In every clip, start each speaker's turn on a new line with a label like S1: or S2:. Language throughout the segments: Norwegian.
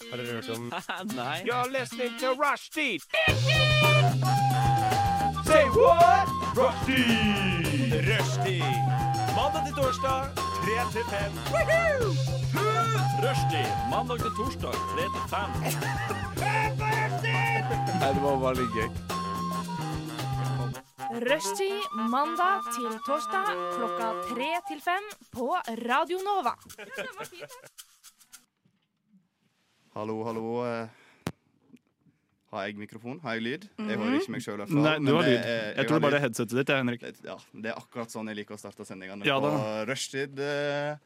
S1: hørt om
S2: Nei.
S3: You're listening to Rushdie. Say what? Rushdie. Rushdie. Mandag til torsdag, 3 til 5.
S2: Rushdie mandag til torsdag 3 til 5.
S1: Nei, det var bare litt gøy.
S4: Rushtid mandag til torsdag klokka tre til fem på Radio Nova.
S5: Hallo, hallo. eh, Har jeg mikrofon? Har jeg lyd? Jeg hører ikke meg sjøl.
S6: Nei, du har
S5: eh,
S6: lyd. Jeg tror det bare er headsetet ditt, jeg, Henrik.
S5: Det- Ja, det er akkurat sånn jeg liker å starte sendingene
S6: Ja,
S5: på rushtid. eh,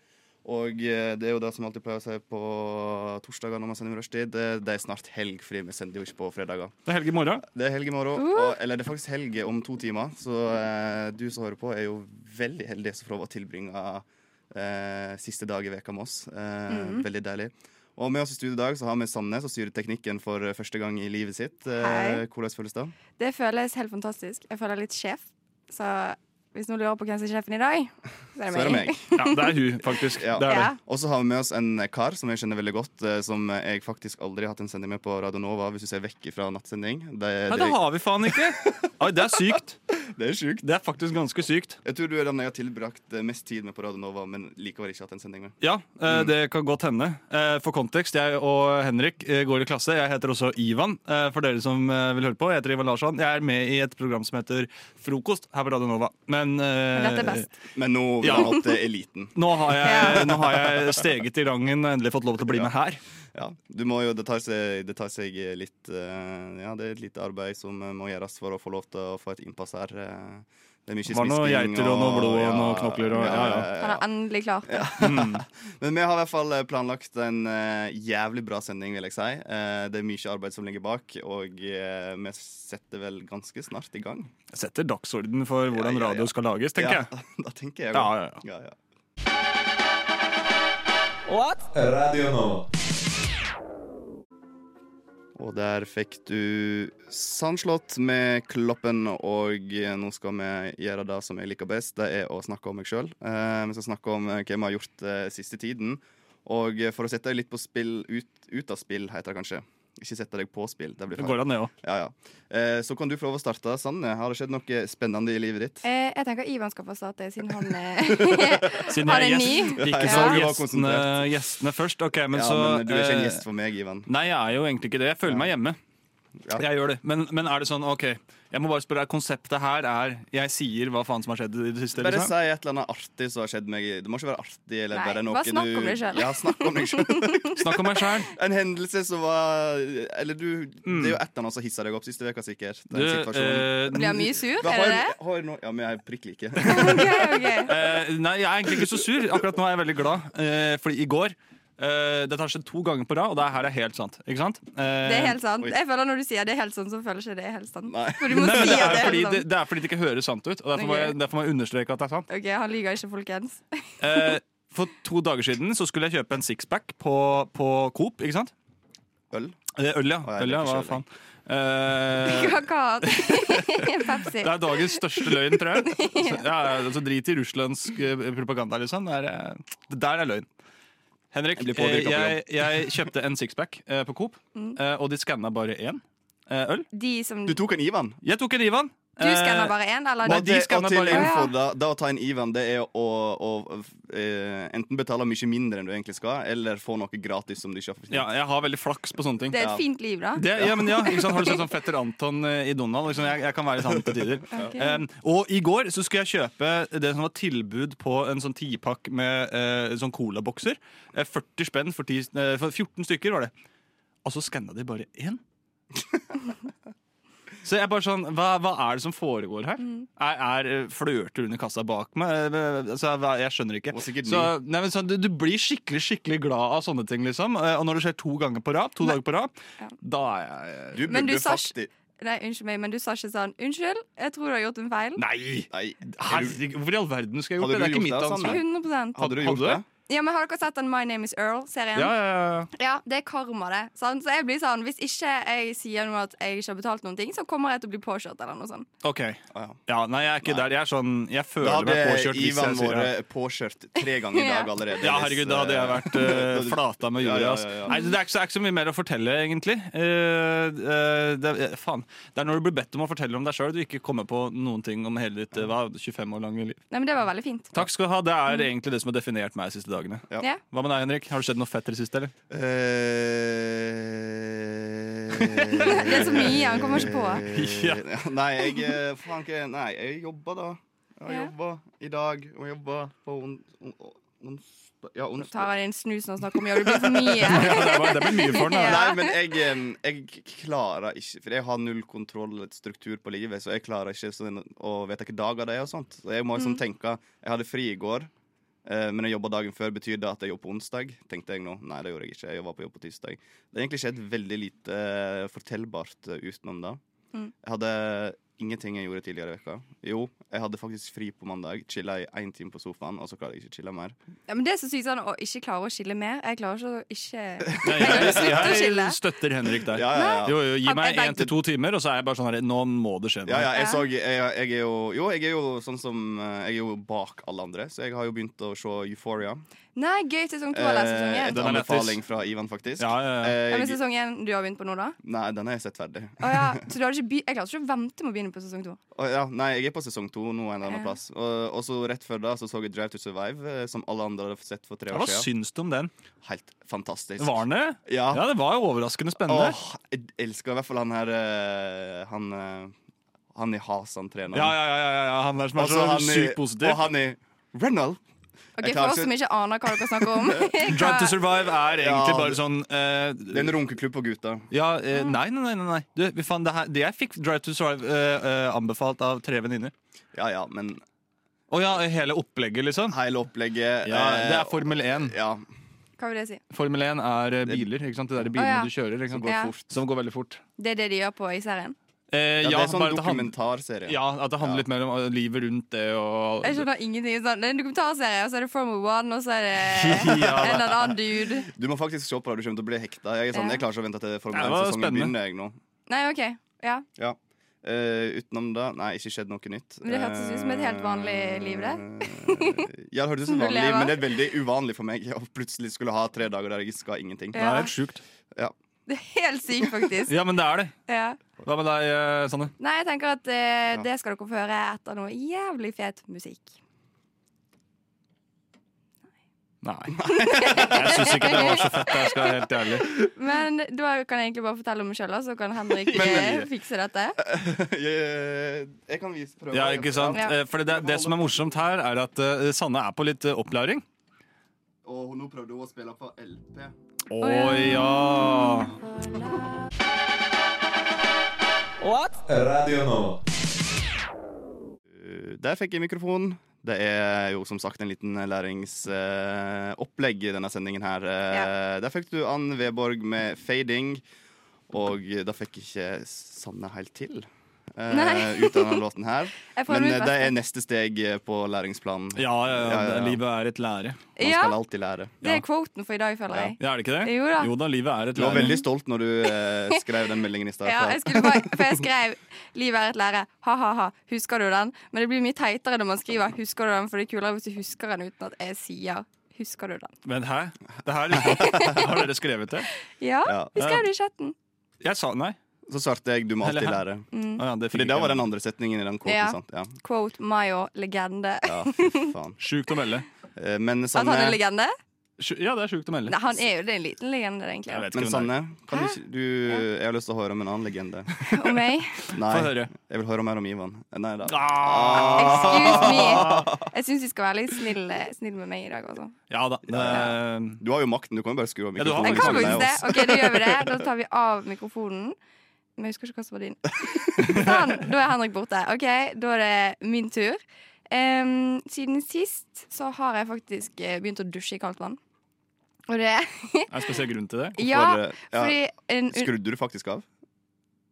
S5: Og eh, det er jo det som alltid pleier å si på torsdager når man sender med rushtid. eh, Det er snart helg, fordi vi sender jo ikke på fredager.
S6: Det er helg i morgen.
S5: Det er helg i morgen,
S7: Uh.
S5: og, eller det er faktisk helg om to timer. Så eh, du som hører på, er jo veldig heldig som får lov å tilbringe eh, siste dag i veka med oss. Eh,
S7: Mm.
S5: Veldig deilig. Og med oss i studio i dag så har vi Sandnes og styrer teknikken for eh, første gang i livet sitt. Eh,
S7: Hei.
S5: hvordan føles det?
S7: Det føles helt fantastisk. Jeg føler litt sjef. Så hvis noen lurer på hvem som er sjefen i dag, så er det meg.
S5: Så er det meg.
S6: Ja, det er hun, faktisk.
S5: Ja.
S6: Det er det.
S7: Ja.
S5: Og så har vi med oss en kar som jeg kjenner veldig godt, eh, som jeg faktisk aldri har hatt en sending med på Radio Nova, hvis du ser vekk fra nattsending. Det,
S6: Nei,
S5: det,
S6: det har vi faen ikke! Oi, det er sykt.
S5: det er sjukt.
S6: Det er faktisk ganske sykt.
S5: Jeg tror du er den jeg har tilbrakt eh, mest tid med på Radio Nova, men likevel ikke hatt en sending med.
S6: Ja, eh,
S5: Mm.
S6: det kan godt hende. Eh, For kontekst, jeg og Henrik eh, går i klasse. Jeg heter også Ivan, eh, for dere som eh, vil høre på. Jeg heter Ivan Larsson. Jeg er med i et program som heter Frokost her på Radio Nova. Men, eh,
S7: Men dette er best.
S5: Men nå vil
S6: Ja.
S5: han opp til eliten.
S6: Nå har, jeg, nå har jeg steget i rangen og endelig fått lov til å bli med her.
S5: Ja, du må jo, det, tar seg, det tar seg litt eh, Ja, det er et lite arbeid som eh, må gjøres for å få lov til å få et innpass her. eh. Det er mye
S6: Var noe
S5: smisking
S6: geiter og noe blod og noe knokler og- ja, ja.
S7: Han har endelig klart det.
S5: Men vi har i hvert fall eh, planlagt en eh, jævlig bra sending, vil jeg si. Eh, det er mye arbeid som ligger bak, og eh, vi setter vel ganske snart i gang.
S6: Jeg setter dagsorden for hvordan
S5: Ja, ja, ja.
S6: radio skal lages, tenker jeg.
S5: ja, Da tenker jeg
S6: Ja,
S5: også.
S6: ja, ja.
S5: Ja, ja.
S1: Radio Nova.
S5: Og der fikk du Sandslott med Kloppen, og nå skal vi gjøre det som jeg liker best, det er å snakke om meg sjøl. Vi skal snakke om eh, hva vi har gjort eh, siste tiden. Og eh, for å sette deg litt på spill, ut, ut av spill, heter det kanskje. Ikke sette deg på spill. Det blir
S6: Det
S5: feil.
S6: går an, det òg.
S5: Ja, ja. Eh, Så kan du få lov å starte, Sanne. Har det skjedd noe spennende i livet ditt?
S7: Eh, jeg tenker Ivan skal få starte, siden han eh, er
S6: Siden
S7: Har
S6: jeg er
S7: en
S6: gjest.
S5: ny?
S6: Ikke
S5: Ja.
S6: så
S5: Du var
S6: gjestene, gjestene først. Ok, men
S5: ja,
S6: så
S5: men du er ikke en
S6: eh,
S5: gjest for meg, Ivan.
S6: Nei, jeg er jo egentlig ikke det. Jeg føler meg hjemme.
S5: Ja.
S6: Jeg gjør det. Men, men er det sånn, ok, jeg må bare spørre deg, konseptet her er jeg sier hva faen som har skjedd i det siste?
S5: Bare si
S6: Liksom.
S5: et eller annet artig som har skjedd meg. i- Det må ikke være artig. Eller
S7: Nei,
S5: bare noe
S7: bare snakk om
S5: du-
S7: deg selv.
S5: Ja, snakk om deg sjøl.
S6: Snakk om meg sjæl.
S5: En hendelse som var Eller du,
S6: Mm.
S5: det er jo et eller annet som hissa deg opp siste uka, sikkert. Den
S6: eh,
S5: situasjonen.
S7: Blir han mye sur?
S5: Hva
S7: Er
S5: har
S7: det
S5: jeg-
S7: det?
S5: har jeg nå- ja, men jeg er prikk like.
S7: Ok, ok.
S6: eh, nei, jeg er egentlig ikke så sur. Akkurat nå er jeg veldig glad. Eh, fordi i går eh, Dette har skjedd to ganger på rad, og det her er helt sant. Ikke sant? Eh,
S7: Det er helt sant.
S5: Oi.
S7: Jeg føler Når du sier det er helt sant, så føler jeg ikke det er helt sant.
S5: Nei.
S7: For du må
S6: Nei, men Eh,
S7: si
S6: det,
S7: at
S6: er
S7: det er
S6: fordi,
S7: helt
S6: det,
S7: sant.
S6: det er fordi det ikke høres sant ut. Og derfor må,
S7: Ok.
S6: jeg, derfor må jeg understreke at det er sant.
S7: Ok, Han lyver ikke, folkens.
S6: Eh, for to dager siden så skulle jeg kjøpe en sixpack på, på Coop. Ikke sant?
S5: Øl.
S6: Eh, Øl, ja.
S5: Å, jeg
S6: Øl, ja,
S5: drikker
S6: hva
S5: ikke
S6: faen. Eh,
S7: Hva kan Pepsi.
S6: det er dagens største løgn, tror jeg. Så, ja, ja, altså, drit i russlandsk eh, propaganda, liksom. Det, er, eh, det der er løgn. Henrik,
S5: Jeg blir
S6: eh,
S5: påvirket på
S6: jeg, jeg kjøpte en sixpack eh, på Coop,
S7: Mm.
S6: eh, og de skanna bare én eh, øl.
S7: De som
S5: Du tok en Ivan.
S6: Jeg tok en Ivan.
S7: Du skanner
S6: Eh,
S7: bare én, eller
S6: Nei,
S5: Og,
S6: de
S5: det,
S6: skal
S5: og
S6: da
S5: til
S6: bare-
S5: info, da, da å ta en Ivan, det er å, å eh, enten betale mye mindre enn du egentlig skal, eller få noe gratis som du ikke har fortjent.
S6: ja, jeg har veldig flaks på sånne ting.
S7: Det er et fint liv, da.
S6: Det, ja, men ja, ikke sant? Har du sett sånn fetter Anton eh, i Donald? Liksom, jeg, jeg kan være sånn til tider.
S7: Ok.
S6: Em, og i går så skulle jeg kjøpe det som var tilbud på en sånn tipakk med eh, sånn colabokser. Eh, 40 spenn for, 10, eh, for 14 stykker, var det. Og så skanna de bare én. Så jeg er bare sånn, hva, hva er det som foregår her? Er, er eh, Flørter under kassa bak meg? Eh, Altså, hva- jeg skjønner ikke.
S5: Og sikkert
S6: Så, nei, men, sånn, du, du blir skikkelig skikkelig glad av sånne ting, liksom. Eh, Og når det skjer to ganger på rad, to dager på rad,
S7: Ja.
S6: da er jeg eh,
S5: Du
S7: Men
S5: burde
S7: du sa
S5: faktisk
S7: ikke- Nei, unnskyld meg, men du sa ikke sånn 'Unnskyld, jeg tror du har gjort en feil'.
S6: Nei!
S5: Nei, er du-
S6: Herregud, hvorfor i all verden skal jeg
S5: Hadde
S6: gjort det? Det er ikke
S5: du gjort
S6: mitt
S5: det, Sanne?
S6: ansvar.
S7: 100
S5: hadde du
S6: Hadde
S5: gjort
S6: du?
S5: det?
S7: Ja, men Har dere sett den My Name Is Earl-serien?
S6: Ja, ja, ja.
S7: Ja, det er karma, det. Sant? Så jeg blir sånn, Hvis ikke jeg sier noe at jeg ikke har betalt noen ting, så kommer jeg til å bli påkjørt eller noe sånt.
S6: OK.
S5: Ah, ja.
S6: Ja, nei, jeg er ikke der. Jeg er sånn Jeg føler
S5: Da
S6: meg
S5: hadde
S6: påkjørt hvis
S5: Ivan
S6: jeg sier det.
S5: vært påkjørt tre ganger i dag allerede.
S6: Ja,
S5: hvis,
S6: herregud, da hadde jeg
S5: eh,
S6: vært eh, flata med
S5: Ja,
S6: jorda.
S5: ja,
S6: ass.
S5: ja, ja.
S6: Nei, det, er ikke, så- er ikke så mye mer å fortelle, egentlig. Eh, eh, det, er- eh, faen. det er når du blir bedt om å fortelle om deg sjøl, du ikke kommer på noen ting om hele ditt eh, hva, 25 år lange liv.
S7: Nei, men Det var veldig fint.
S6: Takk skal du ha. Det er egentlig det som har definert meg de siste dagene.
S5: Mm. Ja.
S7: Ja.
S6: Hva med deg, Henrik? Har det skjedd noe fett i det siste, eller?
S5: Eh,
S7: Det er så mye, han kommer ikke på.
S6: Ja.
S5: Nei, jeg eh, Faen, ikke Nei, jeg jobber, da. Jeg
S7: Ja.
S5: jobber i dag, og jeg jobber på on, on, onsdag Ja,
S7: Nå tar
S5: onsdag.
S7: han inn snusen og snakker om jobb. Det blir for mye.
S6: Det, var, det ble mye for den. da.
S7: Ja.
S5: Nei, men jeg, eh, jeg klarer ikke For jeg har null kontroll og struktur på livet, så jeg klarer ikke sånn, å vite hvilke dager det er og sånt. Så jeg må
S7: Mm.
S5: liksom tenke Jeg hadde fri i går, eh, men jeg jobba dagen før. Betyr det at jeg jobber på onsdag? Tenkte jeg nå. Nei, det gjorde jeg ikke. Jeg jobba på jobb på tirsdag. Det har egentlig skjedd veldig lite eh, fortellbart eh, utenom det.
S7: Mm.
S5: Jeg hadde ingenting jeg gjorde tidligere i veka Jo, jeg hadde faktisk fri på mandag. Chilla i én time på sofaen, og så klarer jeg ikke å chille mer.
S7: Ja, men det er så sykt sånn å ikke klare å skille mer. Jeg klarer ikke å ikke
S6: Nei,
S7: Slutt å
S6: jeg,
S7: skille.
S6: jeg støtter Henrik der.
S5: Ja, ja, ja.
S6: Jo, jo, gi
S7: Han-
S6: meg
S7: jeg bare-
S6: én til to timer, og så er jeg bare sånn her Nå må det skje noe.
S5: Ja, ja, jeg,
S7: Ja.
S5: så, jeg, jeg er jo Jo, jeg er jo sånn som eh, Jeg er jo bak alle andre, så jeg har jo begynt å se Euphoria.
S7: Nei, gøy sesong to eller sesong
S5: Eh,
S7: én.
S5: etter
S6: Den er
S5: anbefaling fra Ivan, faktisk.
S6: Ja, ja, ja.
S5: Eh,
S7: Ja, men
S5: jeg,
S7: sesong én du har begynt på nå, da?
S5: nei, den har jeg sett ferdig.
S7: Å ja, så du hadde ikke by jeg klarte ikke å vente med å begynne på sesong to.
S5: Å, ja, nei, jeg er på sesong to nå en eller annen
S7: Ja.
S5: plass. Og, og så rett før da så, så jeg Drive to Survive, eh, som alle andre hadde sett for tre
S6: Hva
S5: år siden.
S6: syns du om den?
S5: Helt fantastisk.
S6: Var den det?
S5: Ja.
S6: Ja, det var jo overraskende spennende.
S5: Ah. Åh, jeg elsker i hvert fall han her eh, Han, eh, han i Hasan-treneren.
S6: Ja, ja, ja, ja, ja, han der som er
S5: Og så
S6: så
S5: Altså, han i-
S6: sykt positiv.
S5: Og han i Renald.
S7: Ok, For
S5: Jeg klarer
S7: oss
S5: ikke-
S7: som ikke aner hva dere snakker om.
S6: Drive to
S7: Hva-
S6: Survive er egentlig
S5: Ja, Mm.
S6: bare
S5: det-
S6: sånn eh,
S5: Det er en runkeklubb på gutta.
S6: ja, eh, Nei, nei, nei. nei, nei. Du, vi fant det, her, det jeg fikk Drive to Survive eh, eh, anbefalt av tre venninner.
S5: Ja ja, men
S6: Å ja, hele opplegget, liksom.
S5: hele opplegget
S6: Ja,
S5: eh,
S6: det er Formel 1.
S5: ja,
S7: Hva vil det si?
S6: Formel 1 er eh, biler. ikke sant? Det er de bilene
S7: Å, ja.
S6: du kjører. Ikke sant?
S7: går
S5: Som
S7: Ja.
S5: fort.
S6: Som går veldig fort.
S7: Det er det de gjør på i serien?
S6: Eh,
S5: ja, det er
S6: bare
S5: sånn
S6: at det hand-
S5: dokumentarserie.
S6: Ja, at det handler litt mer om eh, livet rundt det og
S7: Jeg skjønner ingenting. Sånn. Det er en dokumentarserie, og så er det Formel One, og så er det en
S6: Ja,
S7: eller annen dude.
S5: Du må faktisk se på det, du kommer til å bli hekta. Jeg, er sånn,
S7: Ja.
S5: jeg klarer ikke å vente til Formel
S6: Ja, det var
S5: 1-sesongen
S6: spennende.
S5: begynner. jeg nå
S7: Nei, OK. Ja.
S5: ja. Eh, Utenom det Nei, ikke skjedd noe nytt.
S7: Men det hørtes ut som et helt vanlig liv, det.
S5: det. ja, det hørtes ut
S7: Som
S5: som
S7: du
S5: vanlig,
S7: lever.
S5: men det er veldig uvanlig for meg å plutselig skulle ha tre dager der jeg skal ingenting.
S6: Det er
S7: Ja.
S6: helt sjukt.
S7: Det er helt sykt, faktisk.
S6: Ja, men det er det.
S7: Ja.
S6: Hva med deg, eh, Sanne?
S7: Nei, jeg tenker at eh,
S5: Ja.
S7: det skal dere få høre etter noe jævlig fet musikk.
S6: Nei. Jeg syns ikke det var så fett. Jeg skal være helt ærlig.
S7: Men da kan jeg egentlig bare fortelle om meg sjøl, så kan Henrik
S5: Men-
S7: eh, fikse dette.
S5: jeg, eh, jeg kan vise prøve.
S6: Ja, ikke sant?
S7: Ja.
S6: Eh, For det, det som er morsomt her, er at eh, Sanne er på litt eh, opplæring.
S5: Og nå prøvde hun å spille på LP.
S6: Å ja!
S1: Radio Nova.
S5: Uh, Der fikk jeg mikrofon. Det er jo som sagt en liten læringsopplegg i denne sendingen her. Eh, Der fikk du Ann Veborg med 'Fading', og da fikk ikke Sanne helt til. eh,
S7: Nei.
S5: ut av denne låten her.
S7: Jeg får
S5: Men
S7: mitt
S5: eh, det
S7: beste.
S5: er neste steg eh, på læringsplanen.
S6: Ja, ja, ja,
S5: Ja, ja, ja.
S6: Livet er et lære.
S5: Man
S7: Ja,
S5: skal alltid lære.
S7: det er quoten for i dag, føler jeg.
S6: Ja, er det ikke det?
S7: Jo da.
S6: livet er et
S5: Du var
S6: lære.
S5: veldig stolt når du eh, skrev den meldingen i stad.
S7: Ja, jeg skulle bare, for jeg skrev 'Livet er et lære'. Ha-ha-ha. Husker du den? Men det blir mye teitere når man skriver 'Husker du den?' For det er kulere hvis du husker den uten at jeg sier 'Husker du den?'
S6: Men hæ? Det her Har dere skrevet det?
S7: Ja,
S5: Ja.
S7: vi skrev det i chatten.
S6: Jeg sa nei.
S5: Så svarte jeg 'du må alltid
S6: Eller hæ?
S5: lære'.
S6: Å ja, det fikk
S5: Fordi
S6: jeg
S5: det var
S6: ikke.
S5: den andre setningen i den kåten.
S7: Ja.
S5: Sant? Ja.
S7: Quote Mayo legende.
S5: ja, fy faen.
S6: Sjukt å melde.
S5: Eh, Men
S7: At han er
S5: Sanne,
S7: legende?
S6: Sju- Ja, det er sjukt å melde.
S7: Nei, han er jo det er en liten legende, egentlig.
S6: Jeg vet ikke hvem
S5: men
S6: det er.
S5: Sanne kan du, ikke- du, jeg har lyst til å høre om en annen legende.
S7: Og meg.
S6: Få
S5: Nei,
S6: høre.
S5: jeg vil høre mer om Ivan. Eh, Nei da.
S6: Ah,
S7: Excuse me. Jeg syns vi skal være litt snille, snill med meg i dag altså. også.
S6: ja da. Det,
S5: Du har jo makten, du kan jo bare skru av
S6: Ja, du har
S5: mikrofonen.
S7: Jeg kan
S5: hvis du
S7: faktisk
S5: vil
S7: det.
S5: oss.
S7: Ok, Da gjør vi det. Da tar vi av mikrofonen. Men jeg husker ikke hva som var din. Sånn, Da er Henrik borte. Ok, Da er det min tur. Em, siden sist så har jeg faktisk eh, begynt å dusje i kaldt vann. Og det
S6: er det en spesiell grunn til det?
S7: Ja,
S5: For, eh, ja,
S7: fordi en, un-
S5: Skrudde du faktisk av?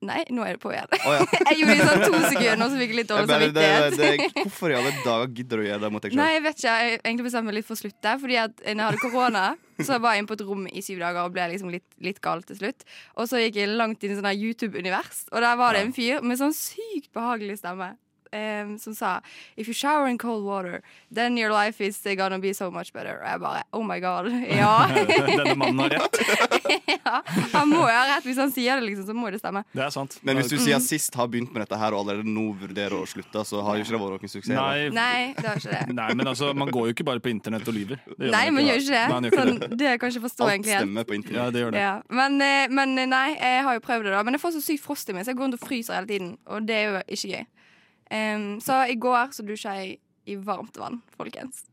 S7: Nei, nå er det på igjen.
S5: Å, ja.
S7: Jeg gjorde det i sånn to sekunder, og så fikk jeg litt
S5: Jeg
S7: dårlig
S5: bare, det,
S7: samvittighet.
S5: det, hvorfor i alle dager gidder du å gjøre det mot deg
S7: Nei,
S5: sjøl?
S7: jeg vet ikke. Jeg egentlig bestemte meg litt for å slutte. Fordi at når jeg hadde korona, så var jeg inne på et rom i syv dager og ble liksom litt, litt gal til slutt. Og så gikk jeg langt inn i sånn her YouTube-univers, og der var det en fyr med sånn sykt behagelig stemme. em, som sa If you shower in cold water, then your life is gonna be so much better. Og jeg bare Oh my god. Ja.
S6: Denne mannen har rett.
S7: ja. Han må jo ha rett hvis han sier det, liksom. Så må det stemme.
S6: Det er sant.
S5: Men hvis du
S7: Mm.
S5: siden sist har begynt med dette her og allerede nå vurderer å slutte, så har jo ikke det vært noen suksess.
S6: Nei,
S7: Nei, det var ikke det.
S6: nei, men altså, man går jo ikke bare på internett og lyver. Det
S7: Nei,
S6: man
S7: men gjør ikke
S6: Nei, man
S7: det.
S6: gjør ikke
S7: Sånn, det kan jeg ikke forstå
S5: Alt
S7: egentlig helt.
S5: stemmer på
S6: det. Ja,
S5: internett.
S6: det gjør det.
S7: Ja. Men, eh, men eh, nei, jeg har jo prøvd det, da. Men jeg får så sykt frost i meg, så jeg går rundt og fryser hele tiden. Og det er jo ikke gøy. Em, så i går så dusja jeg i varmt vann, folkens.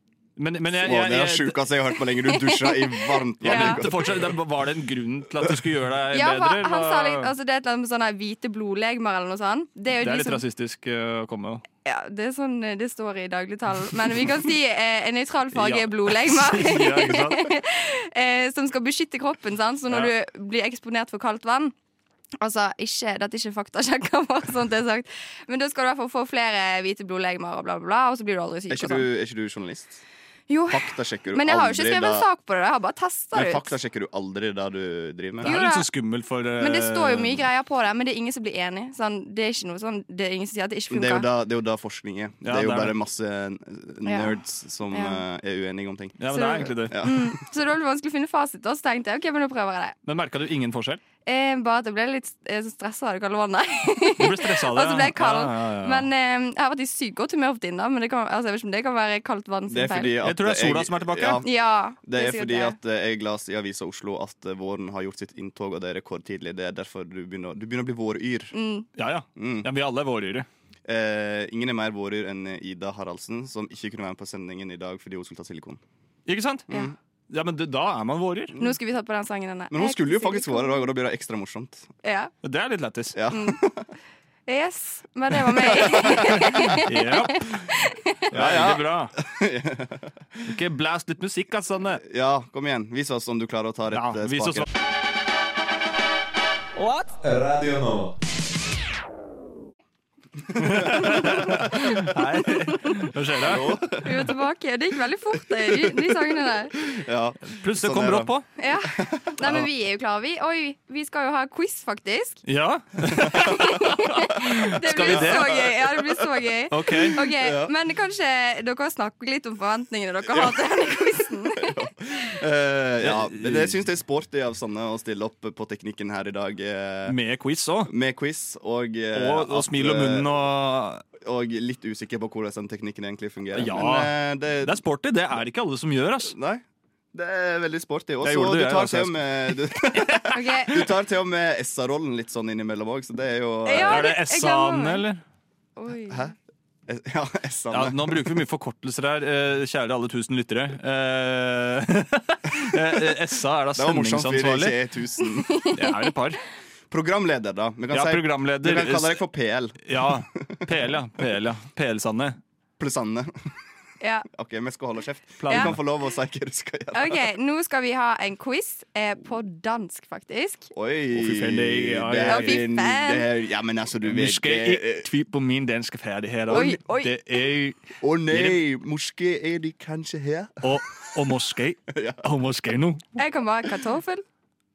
S6: Men, men jeg,
S5: Å,
S6: jeg,
S5: det er det
S6: jeg,
S5: sjukeste jeg har hørt på lenge. Du dusja i varmt
S6: jeg
S5: vann.
S6: mente fortsatt, det- Var det en grunn til at du skulle gjøre deg
S7: Ja,
S6: bedre?
S7: for han
S6: eller
S7: sa
S6: hva?
S7: litt, altså, det er et eller annet med sånne her hvite blodlegemer eller noe sånt. Det er
S6: det
S7: jo
S6: er
S7: de
S6: litt
S7: som
S6: rasistisk eh, å komme med.
S7: ja, Det er sånn eh, det står i dagligtalen. Men vi kan si eh, en nøytral farge
S6: Ja.
S7: er blodlegemer.
S6: Ja, ikke sant?
S7: eh, som skal beskytte kroppen. Sant? Så når
S6: Ja.
S7: du blir eksponert for kaldt vann Altså, ikke, Dette er ikke faktasjekka, bare sånn det er sagt. Men da skal du i hvert fall få flere hvite blodlegemer, og bla, bla, bla, og så blir du aldri syk.
S5: Er ikke
S7: og
S5: du,
S7: sånn.
S5: er ikke du journalist?
S7: Jo,
S5: Fakta sjekker du
S7: men jeg har jo ikke
S5: aldri
S7: skrevet
S5: da-
S7: en sak på det. Jeg har bare testa
S5: Men
S7: det ut.
S5: fakta sjekker du aldri det du driver med?
S6: Det
S7: Jo
S6: er
S7: da.
S6: litt så skummelt for eh,
S7: Men det står jo mye greier på det, men det er ingen som blir enig. Sånn, det er ikke noe sånn, det er ingen som sier at det ikke
S5: Det er jo
S7: funker.
S5: da, det er jo da forskning er.
S6: Ja,
S5: det er jo
S6: det er
S5: bare
S6: det.
S5: masse nerds som
S7: Ja.
S5: eh, er uenige om ting.
S6: Ja, men det er egentlig det.
S5: Ja.
S7: Mm, så det var litt vanskelig å finne fasit, og så tenkte jeg OK, men da prøver jeg det.
S6: Men merka du ingen forskjell?
S7: Eh, bare at jeg ble litt eh, stressa av det kalde vannet.
S6: Du ble stressa av det.
S7: Og så ble jeg kald.
S6: Ja, ja, ja.
S7: Men eh, jeg har vært i sykt godt humør for tiden, da. Men det kan, altså, jeg vet ikke om det kan være kaldt vann sin
S5: Det er
S7: feil.
S5: fordi at
S6: Jeg tror det er sola som er tilbake.
S5: Ja,
S7: Ja,
S5: det er
S7: sikkert
S5: fordi
S7: det.
S5: at eh, jeg leste i avisa Oslo at eh, våren har gjort sitt inntog, og det er rekordtidlig. Det er derfor du begynner, du begynner å bli våryr.
S7: mm.
S6: ja, ja.
S5: Mm.
S6: ja, vi alle er våryre.
S5: Eh, ingen er mer våryr enn Ida Haraldsen, som ikke kunne være med på sendingen i dag fordi hun skulle ta silikon.
S6: Ikke sant?
S7: Ja.
S6: Ja, men det, Da er man våryr.
S7: Nå skulle vi tatt på den sangen denne.
S5: Men hun
S7: Jeg
S5: skulle jo
S7: sier
S5: faktisk
S7: ikke
S5: være i dag, og da blir det ekstra morsomt.
S7: Ja.
S6: Det er litt lættis.
S5: Ja.
S7: Mm. Yes. Men det var meg.
S6: Ja. Ja, ja.
S5: ja.
S6: Bra. Ikke blast litt musikk, altså, Sanne.
S5: ja, kom igjen. Vis oss om du klarer å ta
S6: Ja,
S5: rett eh,
S6: vis oss
S5: spake.
S1: Radio Nova.
S6: Hei. Hva skjer det?
S7: vi var tilbake. Det gikk veldig fort, de, de, de sangene der.
S5: Ja.
S6: Plutselig
S5: Sånn
S6: kom
S5: er
S6: brått
S5: det.
S6: på.
S7: Ja. Nei, men vi er jo klare, vi. Oi, vi skal jo ha quiz, faktisk.
S6: Ja,
S7: Det
S6: Skal vi
S7: blir
S6: det?
S7: så gøy. Ja, det blir så gøy.
S6: OK.
S7: Ok, Men kanskje dere snakker litt om forventningene dere har til denne quizen.
S5: Eh, ja. Det, det syns jeg er sporty av Sanne å stille opp på teknikken her i dag. eh,
S6: Med quiz òg.
S5: med quiz og, eh,
S6: Og, og
S5: at,
S6: smil om munnen og
S5: eh, og litt usikker på hvordan den teknikken egentlig fungerer.
S6: Ja.
S5: Men, eh, det,
S6: Det er sporty. Det er det ikke alle som gjør, ass.
S5: Nei, det er veldig sporty. Og
S6: Det
S5: så
S6: gjorde
S5: du
S6: jeg,
S5: tar
S6: altså.
S5: til og med Du,
S7: Ok,
S5: du tar til og med SA-rollen litt sånn innimellom òg, så det er jo eh,
S7: Ja,
S6: Er det
S7: det- jeg
S6: SA-en,
S7: glemmer.
S6: eller?
S7: Oi.
S5: Hæ? S- eh, Ja,
S6: Ja,
S5: SA-ene.
S6: nå bruker vi mye forkortelser her, eh, kjære alle tusen lyttere. Eh, eh, SA er da
S5: det var morsomt fordi
S6: stemningsansvarlig.
S5: det ikke er 1000.
S6: Det er et par.
S5: Programleder, da. Vi kan,
S6: Ja,
S5: si, vi
S6: programleder.
S5: kan kalle deg for PL.
S6: Ja, PL, ja. PL, ja. PL-Sanne.
S5: Pluss Anne.
S7: Ja.
S5: OK, vi skal holde kjeft. Du
S6: Planen.
S5: kan få lov å si hva du skal gjøre.
S7: Ok, nå skal vi ha en quiz eh, på dansk, faktisk.
S5: Oi!
S6: fy faen, det er- ja,
S5: det
S6: ja,
S5: er
S7: ja.
S5: en-
S7: Å, fy faen.
S5: det er- Ja, men altså, du
S6: Vi
S5: vet
S6: skal
S5: det-
S6: ikke tvile på min danske ferdighet. Og,
S7: Oi, oi.
S6: Det er,
S5: Å nei, måske er de kanskje her.
S6: og, og måske. Og måske nå.
S7: Jeg kan bare kartoffel.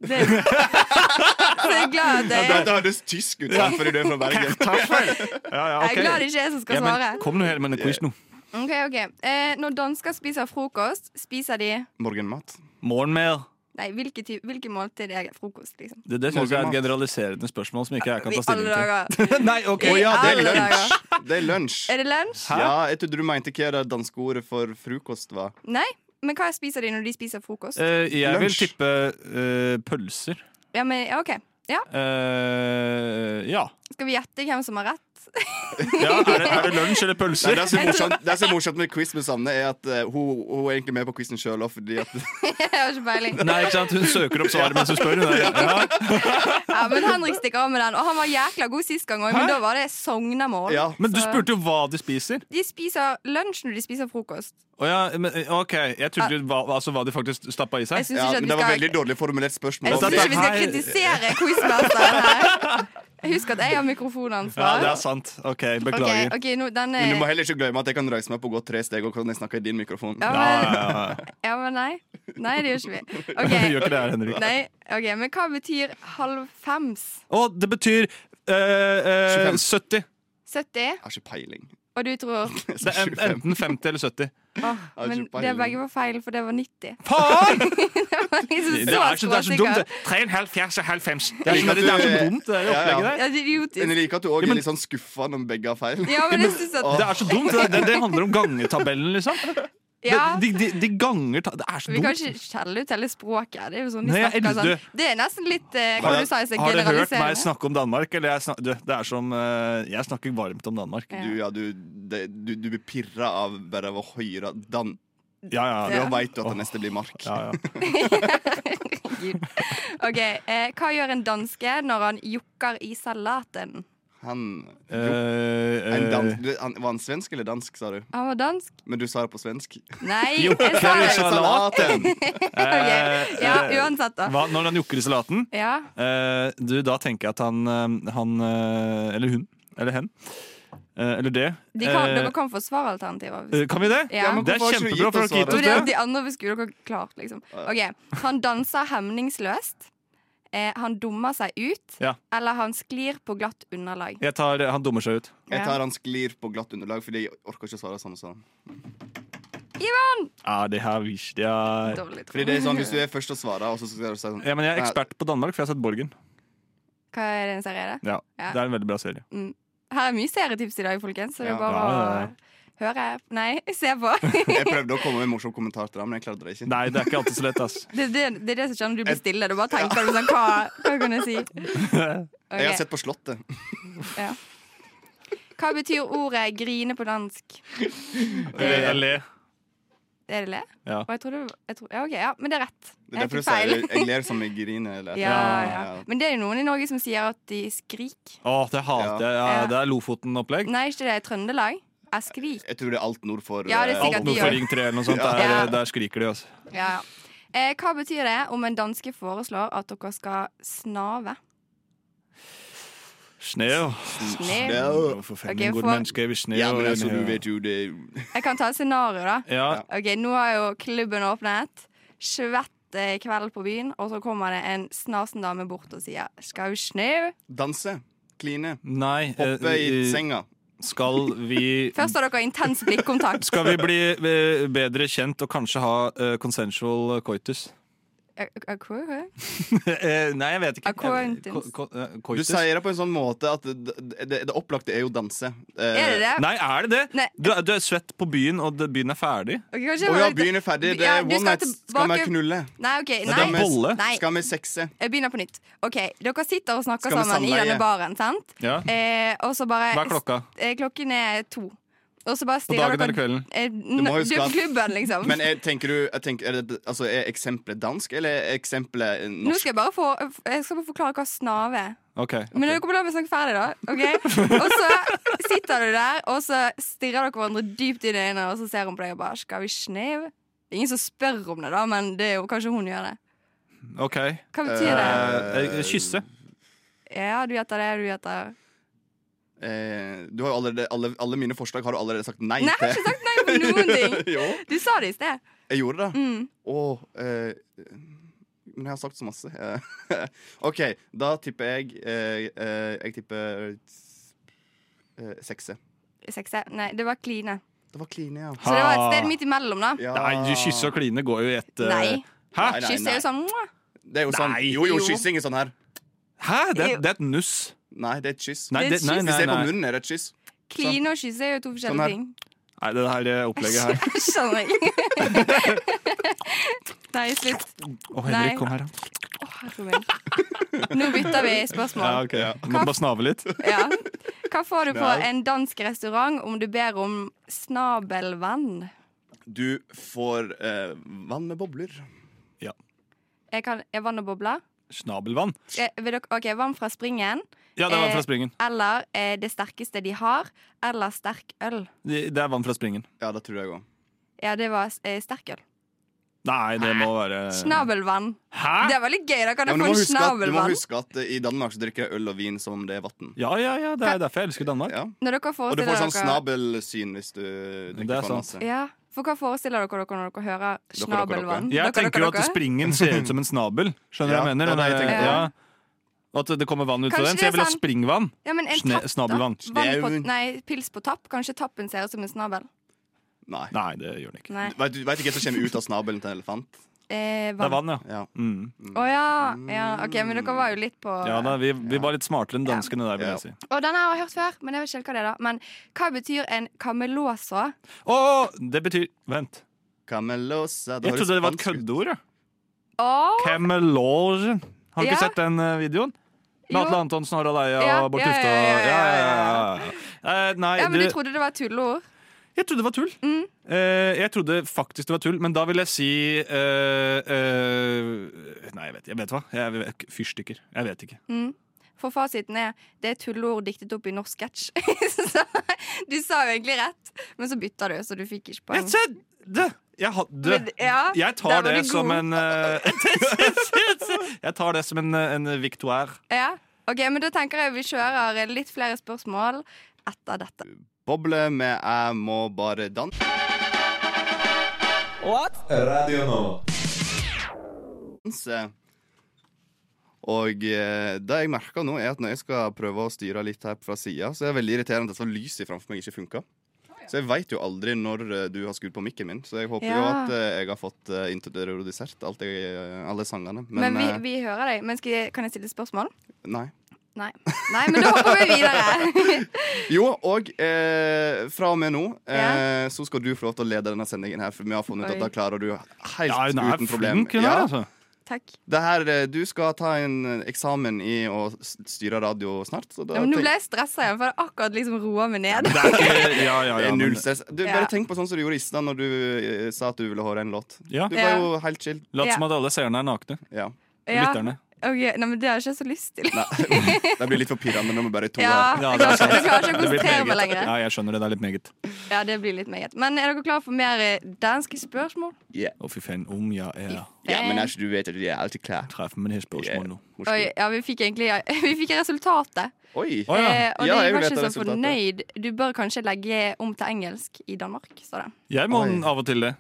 S7: Det Så jeg er glad at det
S5: Ja,
S7: er
S5: det høres tysk ut sant, fordi du er fra Bergen.
S6: Ja, ja,
S7: jeg er glad det ikke er jeg som skal
S6: Ja,
S7: svare.
S6: men, kom nå her med en quiz nå.
S7: Ok, ok eh, Når dansker spiser frokost, spiser de
S5: Morgenmat.
S6: Morgenmel.
S7: Nei, hvilke, ty hvilke måltid er frokost, liksom?
S6: Det, det synes jeg er et
S5: Morgenmat.
S6: generaliserende spørsmål som ikke jeg kan
S7: I
S6: ta stilling
S7: alle
S6: til.
S7: dager.
S6: Nei, ok.
S5: Å ja, det er
S7: alle
S5: lunsj!
S7: dager.
S5: Det er lunsj.
S7: Er det lunsj?
S6: Hæ?
S5: Ja, jeg trodde du mente hva det danske ordet for frokost var.
S7: Nei. Men hva spiser de når de spiser frokost?
S6: Eh, jeg vil
S5: Lunsj.
S6: tippe eh, pølser.
S7: Ja, men ja, OK.
S6: Eh, ja.
S7: Skal vi gjette hvem som har rett?
S6: ja. Er det, er det lunsj eller
S5: Nei,
S6: pølser?
S5: det som er morsomt, det som er morsomt med quiz med Sanne, er at eh, hun, hun er egentlig med på quizen sjøl òg, fordi at
S7: jeg har ikke peiling.
S6: Nei, ikke sant? Hun søker opp svaret mens hun spør. Hun er, ja.
S7: Ja, men Henrik stikker av med den. Og han var jækla god sist gang òg, men
S6: Hæ?
S7: da var det sognamål.
S5: Ja.
S6: Men du
S7: Så-
S6: spurte jo hva de spiser.
S7: De spiser lunsj når de spiser frokost.
S6: Å ja, men, eh, OK, jeg trodde hva, altså, hva de faktisk stappa i
S7: Jeg
S6: seg.
S7: syns
S5: ja,
S7: ikke at
S5: men
S7: vi
S5: Det var
S7: skal
S5: veldig dårlig formulert spørsmål.
S7: Jeg syns
S5: fordi-
S7: ikke vi skal
S6: Dette her-
S7: kritisere quizmasteren her. Husk at jeg har
S6: Ja,
S7: mikrofonansvar.
S6: det er sant. OK,
S7: Ok,
S6: beklager.
S7: ok, nå, denne,
S5: Men du må heller ikke glemme at jeg kan reise meg opp og gå tre steg og kan jeg snakke i din mikrofon.
S7: Ja,
S6: Ja, ja, ja.
S7: ja, men nei. Nei, det gjør ikke vi.
S6: Du gjør
S7: Ok,
S6: ikke det her, Henrik.
S7: nei, ok, Men hva betyr halv fems?
S6: Og det betyr eh, eh, 70.
S7: 70?
S5: Jeg har ikke peiling.
S7: Og du tror
S5: Jeg
S6: Det
S5: sa
S6: er en-
S5: 25.
S6: enten 50 eller 70.
S7: Åh,
S5: har
S7: Men
S5: ikke peiling.
S7: det begge var feil, for det var 90.
S6: Faen!
S7: Liksom
S6: Det er så, det er så dumt.
S7: skråsikker.
S6: det. Tre og en halv, fjerde, halv, fems. Det er
S5: Liker
S6: så, det er så
S5: at du-
S6: dumt, det der
S5: Ja, ja.
S6: opplegget der.
S7: Ja, det er
S5: Men
S7: idiotisk.
S5: jeg liker at du òg
S6: Ja, men-
S5: er litt sånn skuffa når begge har feil.
S7: Ja, men jeg synes at
S6: Det er så dumt, det, det, det handler om gangetabellen, liksom.
S7: ja,
S6: De, de, de ganger ta- Det er så
S7: Vi kan
S6: dumt.
S7: ikke skjelle ut hele språket. her. Det er jo sånn de
S6: Nei, jeg
S7: snakker
S6: elsker-
S7: sånn. Det er nesten litt
S6: Har
S7: eh, hva
S6: jeg-
S7: du sa, jeg sa
S6: Har dere hørt meg
S7: generaliserende.
S6: snakke om Danmark? Eller jeg, snak, du, det er som, eh, jeg snakker varmt om Danmark.
S7: Ja.
S5: Du, ja, du, det, du, du blir pirra av bare av å høre Dan.
S6: Ja, ja.
S5: Da
S6: ja.
S7: Ja.
S5: veit du at det neste blir Mark.
S6: ja, ja.
S7: Gud. Ok, eh, Hva gjør en danske når han jukker i salaten?
S5: Han, jo,
S6: Eh,
S5: en
S6: eh,
S5: dans, du, han, var han svensk eller dansk, sa du?
S7: Han var dansk?
S5: Men du sa det på svensk.
S7: Nei,
S6: Jo,
S7: jeg
S6: det
S7: sa
S6: er
S7: det.
S6: sant. Salaten.
S7: Ok,
S6: eh,
S7: Ja,
S6: eh,
S7: uansett, da.
S6: hva, når han jukker i salaten,
S7: Ja,
S6: eh, du, da tenker jeg at han, eh, han eh, Eller hun. Eller hen. eh, eller det.
S7: de kan,
S6: eh,
S7: Dere kan få svaralternativer. hvis-
S6: eh, kan vi det?
S7: Ja. Ja, men
S6: det er
S5: hvorfor har ikke du
S6: kjempebra, for
S5: gitt
S6: dere har gitt
S7: Jo,
S5: oss
S6: oss
S7: det er
S6: det.
S7: de andre vi skulle dere klart, liksom. Ok, Han danser hemningsløst. Eh, han dummer seg ut.
S6: Ja.
S7: Eller han sklir på glatt underlag.
S6: Jeg tar, eh, han dummer seg ut.
S5: Jeg
S7: Ja.
S5: tar han sklir på glatt underlag, fordi jeg orker ikke å svare samme sånn.
S6: Ja, Ah, det her visste jeg.
S7: Dårlig tro.
S5: Fordi det er sånn, Hvis du er først å svare, og så skal du si sånn
S6: Ja, men jeg er
S5: Nei,
S6: ekspert på Danmark, for jeg har sett Borgen.
S7: Hva er det en serie? er det?
S6: Ja,
S7: Ja.
S6: Det er en veldig bra serie.
S7: Her er mye serietips i dag, folkens. Så det er
S5: Ja.
S7: bare
S6: Ja, ja,
S7: å høre Nei, se på.
S5: Jeg prøvde å komme med en morsom kommentar til det, men jeg klarte det ikke.
S6: Nei, det er ikke alltid så lett, ass.
S7: Det, det, det er det som skjer når du blir stille. Du bare tenker du sånn, hva, hva kan jeg si? Ok,
S5: Jeg har sett på Slottet.
S7: ja. Hva betyr ordet 'grine' på dansk?
S6: Eller, eller.
S7: Er det le?
S6: Ja.
S7: Og jeg tror det, jeg tror, ja, ok, ja, men det er rett.
S5: Det er
S7: Jeg
S5: derfor
S7: tok
S5: jeg sier
S7: feil.
S5: jeg, jeg ler som jeg griner. Eller, et
S7: Ja,
S5: eller
S7: ja.
S5: annet. Ja.
S7: Men det er jo noen i Norge som sier at de skrik.
S6: Å, det hater jeg. Ja,
S7: Ja.
S6: det er Lofoten-opplegg.
S7: Nei, ikke det. Trøndelag er skrik.
S5: Jeg tror det er alt nord for
S7: Ja, det er
S5: eh,
S7: sikkert
S6: Alt nord
S7: de
S6: for
S7: gjør.
S6: Ring 3 eller noe sånt. Der,
S7: Ja.
S6: der skriker de, altså.
S7: Ja, ja. Eh, hva betyr det om en danske foreslår at dere skal snave?
S6: Sneo.
S7: Snev.
S5: Sneo.
S6: Forferdelig
S7: Ok,
S6: god
S7: for-
S6: menneske vi sneo.
S5: Ja, men
S6: i
S5: altså, du
S6: nea.
S5: vet jo det
S7: Jeg kan ta et scenario, da.
S6: Ja,
S7: Ok, Nå har jo klubben åpnet. Svett eh, kveld på byen, og så kommer det en snasen dame bort og sier 'skal du snø'?
S5: Danse. Kline.
S6: nei
S5: Hoppe i
S6: eh,
S5: senga.
S6: Skal vi
S7: Først har dere intens blikkontakt.
S6: Skal vi bli eh, bedre kjent og kanskje ha eh, consensual coitus?
S7: Eh, eh, hva- hva?
S6: Eh, nei, jeg
S7: Ah,
S6: vet ikke.
S7: Acquaintance.
S6: Co- co- eh,
S5: Du
S6: coitus?
S5: sier det på en sånn måte at det, det, det opplagte er jo danse. Eh,
S7: Er det det?
S6: Nei, er det det?
S7: Nei.
S6: Du, er- du er svett på byen, og det- byen er ferdig?
S7: Ok, kanskje jeg
S5: Å ja,
S7: var litt-
S5: byen er ferdig. Det
S7: Ja,
S5: er
S7: du
S5: one
S7: skal
S5: night. Skal vi
S7: tilbake-
S5: knulle?
S7: Nei, ok,
S6: det er
S7: nei.
S6: bolle.
S7: nei.
S5: Skal vi sexe?
S7: Jeg begynner på nytt. Ok, Dere sitter og snakker
S5: Skal vi
S7: sammen i
S5: samleie?
S7: denne baren, sant?
S6: Ja.
S7: Eh, og så bare
S6: Hva er klokka?
S7: Eh, klokken er to. Og så bare
S6: På
S7: stirrer
S6: dagen eller kvelden?
S7: Eh,
S5: Du må
S7: n-
S5: huske
S7: det er
S5: at-
S7: klubben, liksom.
S5: Men jeg, tenker du jeg tenker, er, det, altså, er eksempelet dansk, eller er eksempelet eh,
S7: Nå
S5: norsk?
S7: skal jeg bare få Jeg skal bare forklare hva snave er.
S6: Ok.
S7: Men dere kommer til å snakke ferdig, da. ok? Og så sitter du der, og så stirrer dere hverandre dypt inn i øynene, og så ser hun på deg og bare 'Skal vi snev?' Det er ingen som spør om det, da, men det er jo kanskje hun gjør det.
S6: ok
S7: Hva betyr det?
S6: Eh, eh, Kysse.
S7: Ja, du gjetter det, du gjetter
S5: Eh, du har jo allerede, alle, alle mine forslag har du allerede sagt nei,
S7: Nei, jeg har
S5: til.
S7: ikke sagt nei på noen ting!
S5: jo,
S7: Du sa det i sted.
S5: jeg gjorde det.
S7: Mm.
S5: Åh, eh, men jeg har sagt så masse. Eh, OK, da tipper jeg eh, eh, Jeg tipper eh, sekse.
S7: Sekse. Nei, det var kline.
S5: Det var kline, ja.
S7: Så det var et
S6: Ha.
S7: sted midt imellom, da.
S5: ja.
S6: Nei, du kysse og kline går jo i ett eh,
S7: Nei.
S6: Hæ?
S5: Nei, nei,
S7: Kyss er jo sånn «Mwah».
S5: Det er jo sånn.
S6: Nei.
S5: Jo, jo,
S7: Jo.
S5: kyssing er sånn her.
S6: Hæ? Det, er- det er et nuss.
S5: Nei, det er et kyss.
S6: Nei,
S7: Det er
S6: det,
S7: et
S6: nei,
S7: kyss.
S5: Hvis
S6: nei,
S5: jeg er på
S6: nei.
S5: munnen, er det et kyss.
S7: Kline og kysse er jo to
S5: Sånn her.
S7: forskjellige ting.
S6: nei, det her eh, opplegget her.
S7: Jeg
S5: Sånn
S7: skjønner ikke. Nei, slutt.
S6: Å, Henrik,
S7: Nei.
S6: kom her, da.
S7: Å, herre min. Nå bytter vi
S6: Ja,
S7: spørsmål.
S6: ok. Må bare snave litt.
S7: Ja. Hva får du på en dansk restaurant om du ber om snabelvann?
S5: Du får eh, vann med bobler.
S7: Jeg kan, er vann og bobler?
S6: Snabelvann.
S7: Eh, vil dere- OK, vann fra springen.
S6: Ja, det er vann
S7: Eh,
S6: fra springen.
S7: Eller eh, det sterkeste de har. Eller sterk øl.
S6: Det det er vann fra springen.
S5: Ja, det tror jeg òg.
S7: Ja, det var eh, sterk øl.
S6: Nei, det må være
S7: Snabelvann.
S6: Hæ?!
S7: Det er veldig gøy. Da kan
S5: Eh. Ja,
S7: jeg
S5: men du,
S7: få
S5: må
S7: en
S5: huske at, du må
S7: snabelvann.
S5: huske at eh, i Danmark så drikker jeg øl og vin som om det er vann.
S6: Ja, ja, ja, det er derfor jeg elsker Danmark.
S5: Ja.
S7: Når dere
S5: Og du
S7: forestiller
S5: får sånn
S7: dere
S5: snabelsyn hvis du
S6: Det er
S5: drikker altså. for
S6: sant.
S5: masse.
S7: Ja, for hva forestiller dere dere når dere hører
S5: dere,
S7: snabelvann?
S6: Jeg
S7: Dere,
S6: tenker jo
S7: dere,
S6: at
S7: dere?
S6: springen ser ut som en snabel. Skjønner du
S5: Ja,
S6: hva jeg mener?
S5: det er det jeg
S6: Den er-
S5: tenker.
S6: ja. At det kommer vann ut av
S7: Kanskje
S6: den. Så
S7: det
S6: jeg
S7: er sånn-
S6: vil ha
S7: sant.
S6: springvann.
S7: ja, men en
S6: Sne-
S7: tapp, da?
S6: snabelvann.
S7: Vann på,
S5: Snauen.
S7: nei, pils på tapp? Kanskje tappen ser ut som en snabel?
S5: Nei.
S6: Nei, det gjør den ikke.
S7: Nei.
S5: Vet du vet du ikke hva som kommer ut av snabelen til en elefant?
S7: Eh,
S6: Det er vann,
S7: vann.
S6: ja.
S5: Ja.
S6: Mm.
S7: Å ja. ja. OK, men dere var jo litt på
S6: ja da, vi, vi var litt smartere enn danskene der, vil jeg si.
S7: Og denne har jeg hørt før, men jeg vet ikke hva det er. da Men hva betyr en kamelåsa?
S6: Å, det betyr Vent.
S5: Camelosa
S6: Jeg trodde det var et
S5: spansk ut.
S6: køddeord. Ja.
S7: Åh,
S6: Camelorgen. Har du
S7: Ja.
S6: ikke sett den eh, videoen? Med
S7: Jo.
S6: Atle Antonsen, Harald Eia
S7: Ja,
S6: og Bård
S7: ja, ja,
S6: Tufte
S7: ja,
S6: og
S7: ja,
S6: Ja,
S7: ja,
S6: ja,
S7: ja.
S6: ja. Eh, Nei,
S7: ja, men du
S6: det-
S7: trodde det var et tulleord?
S6: jeg trodde det var tull.
S7: Mm.
S6: Eh, jeg trodde faktisk det var tull, men da vil jeg si eh, eh, Nei, jeg vet, jeg vet hva. Jeg vet, fyrstikker. Jeg vet ikke.
S7: For fasiten er det er tulleord diktet opp i norsk sketsj. Så du sa jo egentlig rett, men så bytta du, så du fikk ikke
S6: Jeg
S7: poeng.
S6: trodde! Jeg hadde
S7: Men- ja,
S6: Jeg
S7: der
S6: tar
S7: var du
S6: det som
S7: god.
S6: en eh, Jeg tar det som en, en victoire.
S7: Ja. Ok, men da tenker jeg vi kjører litt flere spørsmål etter dette.
S5: Boble med 'Jeg må bare danse'.
S1: Radio Nova.
S5: Og eh, det jeg merker nå, er at når jeg skal prøve å styre litt her fra sida, så er det veldig irriterende at så lyset framfor meg ikke funker. Så jeg veit jo aldri når eh, du har skrudd på mikken min, så jeg håper jo
S7: Ja.
S5: at eh, jeg har fått eh, introdusert alt jeg, eh, alle sangene.
S7: Men,
S5: Men,
S7: vi,
S5: eh,
S7: vi hører deg. Men skal jeg, kan jeg stille spørsmål?
S5: nei.
S7: Nei. Nei, men da hopper vi videre.
S5: Jo, og eh, fra og med nå eh, så skal du få lov til å lede denne sendingen her, for vi har funnet ut
S7: Oi.
S5: at da klarer du helt
S6: Ja, hun er
S5: uten problem.
S6: flink, hun
S5: ja.
S6: her, altså.
S7: Takk.
S5: det her, eh, du skal ta en eh, eksamen i å s- styre radio snart. Så da
S7: Ja, men nå
S5: tenk-
S7: ble jeg stressa igjen, for det akkurat liksom roa meg ned.
S6: Det er ikke Ja, ja,
S5: det
S6: ja.
S5: er null
S6: Men,
S5: stress. Du,
S7: Ja.
S5: Bare tenk på sånn som du gjorde i stad, når du eh, sa at du ville høre en låt.
S6: ja.
S5: Du
S7: Ja.
S5: var jo helt chill.
S6: Lat som at alle seerne er nakne.
S5: Ja.
S7: Ja.
S6: Lytterne.
S7: Ok, Nei, men det har jeg ikke så lyst til.
S5: Nei. Det blir litt forpirrende når vi bare er to
S7: Ja,
S5: her.
S6: Ja,
S7: jeg
S6: det er
S7: klarer ikke-
S6: sant.
S7: jeg klarer ikke å
S6: Det blir
S7: konsentrere meg
S6: meget.
S7: lenger.
S6: Ja, jeg skjønner det. Det er litt meget.
S7: Ja, det blir litt meget. Men er dere klare for mer eh, danske spørsmål?
S6: Å, fy faen. Om jeg er
S5: Ja, men er ikke du vet at jeg er alltid klar.
S6: treffer med det her spørsmålet nå.
S5: Måske.
S7: Oi, ja, vi fikk egentlig ja, vi fikk resultatet.
S5: Oi.
S6: Å, ja.
S7: Eh, og
S5: Ja,
S7: de
S5: jeg
S7: var
S5: vet
S7: ikke så
S5: det resultatet.
S7: fornøyd. Du bør kanskje legge om til engelsk i Danmark, sa de.
S6: Jeg må
S5: Oi.
S6: av og til det.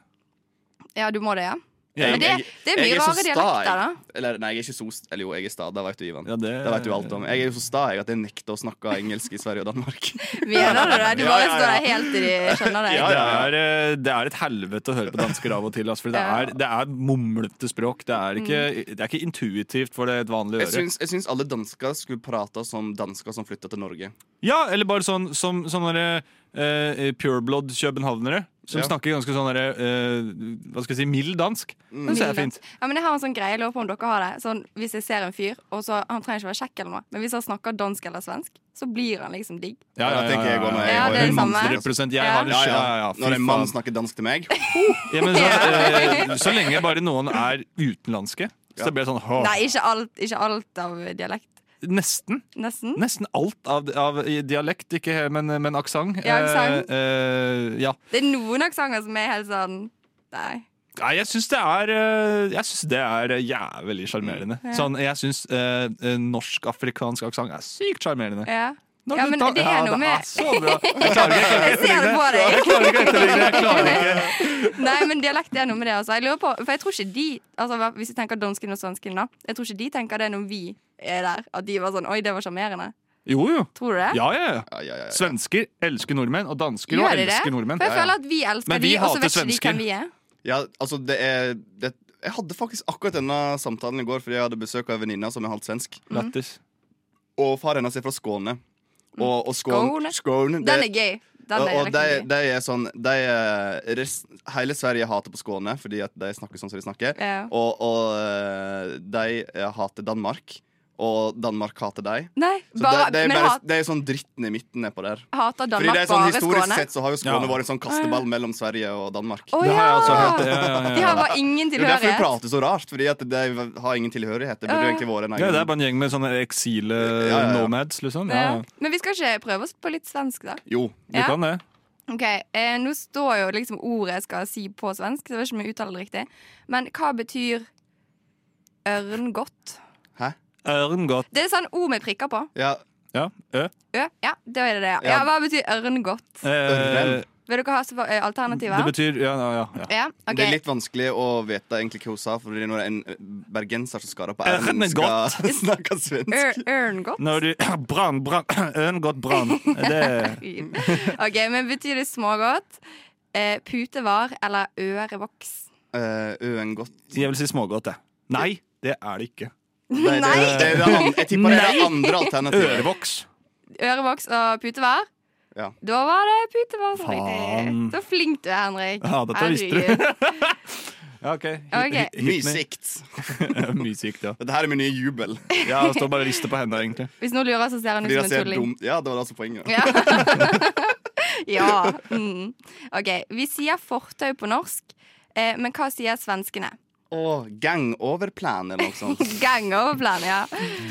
S7: Ja, du må det, ja.
S6: Jeg-
S7: Men det, det er
S5: Jeg
S7: mye
S5: så
S7: rare
S5: sta,
S7: dialekter, da.
S5: jeg. Eller nei, jeg er ikke så st- Eller jo, jeg er sta, det vet du, Ivan.
S6: Ja, det-
S5: det vet du alt om. Jeg er jo så sta jeg at jeg nekter å snakke engelsk i Sverige og Danmark.
S7: Mener du det? Du
S5: Ja,
S7: bare
S5: ja, ja.
S7: står der helt til de skjønner deg.
S5: Ja,
S6: Det
S5: ja.
S6: er, eh, det er et helvete å høre på dansker av og til. Altså, for det
S7: Ja.
S6: er, det er mumlete språk. Det er, ikke, det er ikke intuitivt for det et vanlig
S5: Mm. Jeg
S6: øre.
S5: syns, jeg syns alle dansker skulle prate som dansker som flytter til Norge.
S6: Ja, eller bare sånn som sånne eh, pureblood københavnere. Som
S5: Ja.
S6: snakker ganske sånn derre eh, Hva skal jeg si, mild dansk.
S5: Mm.
S6: Det syns jeg er fint.
S7: Ja, men jeg har en sånn greie, jeg lurer på om dere har det. Sånn, hvis jeg ser en fyr, og så, han trenger ikke være kjekk eller noe, men hvis han snakker dansk eller svensk, så blir han liksom digg.
S5: Ja, det tenker jeg går når jeg
S7: Ja, det er det samme.
S6: 100 Jeg
S7: Ja.
S6: har en
S5: Ja,
S6: skje-
S5: ja.
S6: ja, ja, fy
S5: Når en mann
S6: faen.
S5: snakker dansk til meg
S6: Ja, men så, eh, så lenge bare noen er utenlandske, så blir det sånn «Hå».
S7: Nei, ikke alt, ikke alt av dialekt.
S6: Nesten.
S7: Nesten.
S6: Nesten alt av, av i dialekt, ikke he- men, men aksent.
S7: Ja, aksent.
S6: Eh, eh, ja.
S7: Det er noen aksenter som er helt sånn Nei.
S6: Nei, jeg syns det er eh, Jeg synes det er eh, jævlig sjarmerende.
S7: Mm,
S6: Sånn, jeg syns eh, eh, norsk-afrikansk aksent er sykt sjarmerende.
S7: Ja.
S6: Når
S7: Ja,
S6: du
S7: men
S6: tar-
S7: det er noe med-
S6: så bra. Jeg klarer ikke,
S7: Jeg ser det på
S6: jeg
S7: deg.
S6: klarer ikke å etterligne det. Jeg klarer ikke.
S7: Nei, men dialekt er noe med det, altså. Jeg lurer på, for jeg tror ikke de altså, hva- Hvis jeg tenker dansken og svensken, da. Jeg tror ikke de tenker det når vi er der. At de var sånn Oi, det var sjarmerende.
S6: Jo, jo.
S7: Tror du det?
S6: Ja, ja, ja.
S5: Ja, ja, ja, ja.
S6: Svensker elsker nordmenn, og dansker
S7: Gjør
S6: også
S7: de det?
S6: elsker nordmenn.
S7: For jeg
S5: Ja, ja.
S7: føler at vi elsker
S6: Men vi
S7: de, og så
S6: hater
S7: vet ikke de
S6: svensker.
S7: hvem vi er.
S5: ja, altså, det er det, Jeg hadde faktisk akkurat denne samtalen i går fordi jeg hadde besøk av en venninne som er halvt svensk.
S7: Mm.
S6: Lattis.
S5: Og far hennes er fra Skåne. Og, og
S7: Skåne.
S5: Skåne, Skåne det-
S7: Den er gøy. Den
S5: og,
S7: er
S5: og de,
S7: dialekten gøy.
S5: de er sånn de er, rest, Hele Sverige hater på Skåne fordi at de snakker sånn som de snakker.
S7: Ja.
S5: Og, og eh, de eh, hater Danmark, og Danmark hater dem.
S7: Nei,
S5: Så
S7: bare,
S5: det, det, er
S7: men
S5: bare,
S7: hat,
S5: det er sånn dritt nedpå nedpå der.
S7: hater
S5: Fordi det
S7: Danmark
S5: er sånn
S7: bare
S5: Historisk
S7: Skåne?
S5: sett så har jo Skåne
S6: Ja.
S5: vært en sånn kasteball mellom Sverige og Danmark.
S7: Å
S6: Det har jeg også hørt. Ja,
S7: ja!
S6: ja,
S7: De
S6: ja,
S7: har
S6: ja.
S7: bare ingen
S5: Det er jo derfor de
S7: tilhørighet.
S5: prater så rart, fordi at de har ingen tilhørighet. Det burde jo
S7: Ja.
S5: egentlig vært en
S6: ja,
S5: egen
S6: det er bare en gjeng med sånne eksile
S5: ja, ja.
S6: nomads, liksom. Ja,
S7: Ja.
S6: ja.
S7: Men vi skal ikke prøve oss på litt svensk, da?
S5: Jo.
S6: Vi
S7: Ja.
S6: kan det.
S7: Ok, eh, Nå står jo liksom ordet jeg skal si på svensk, så jeg vet ikke om jeg uttaler det riktig. Men hva betyr ørngodt?
S6: Ørngodt.
S7: Det er sånn ord med prikker på.
S5: Ja,
S6: Ja. Ø.
S7: Ø, ja, det er det det. er.
S5: Ja.
S7: Ja, Hva betyr ørngodt?
S5: Ørren.
S7: Vil dere ha sva- eh,
S6: Eh, det
S7: alternativer?
S6: betyr Ja, ja. ja, ja.
S7: Ja, ok.
S5: Det er litt vanskelig å vite egentlig hva hun sa, for når en eh, bergenser som skader på
S6: Ørnen
S5: r-en,
S6: er
S5: skal snakke svensk.
S7: Ør- Ørngodt?
S6: Når du Brann, brann. Ørngodt brann. Det
S7: OK, men betyr det smågodt, eh, putevar eller ørevoks?
S5: Eh, Øengodt.
S6: Jeg vil si smågodt, jeg. Nei, det er det ikke.
S5: Nei, det, det, det, er det, an- jeg tipper det er det andre alternativet.
S6: Ørevoks.
S7: Ørevoks og putevar?
S5: Ja.
S7: Da var det putevar som
S6: Faen.
S7: riktig. Så flink du er, Henrik.
S6: Ja, dette visste du.
S7: Herregud.
S6: Ja, OK.
S7: Ok.
S5: Mye sikt.
S6: Mye sykt, ja.
S5: Dette her er min nye jubel.
S6: Ja, Jeg står bare og rister på hendene, egentlig.
S7: Hvis noen lurer, så ser han ut som
S5: Fordi jeg
S7: en
S5: ser
S7: tulling.
S5: dum Ja, det var altså poenget.
S7: Ja. ja. Mm. OK. Vi sier fortau på norsk, eh, men hva sier svenskene?
S5: Åh, gang over planen eller noe sånt.
S7: Gang over planen, ja.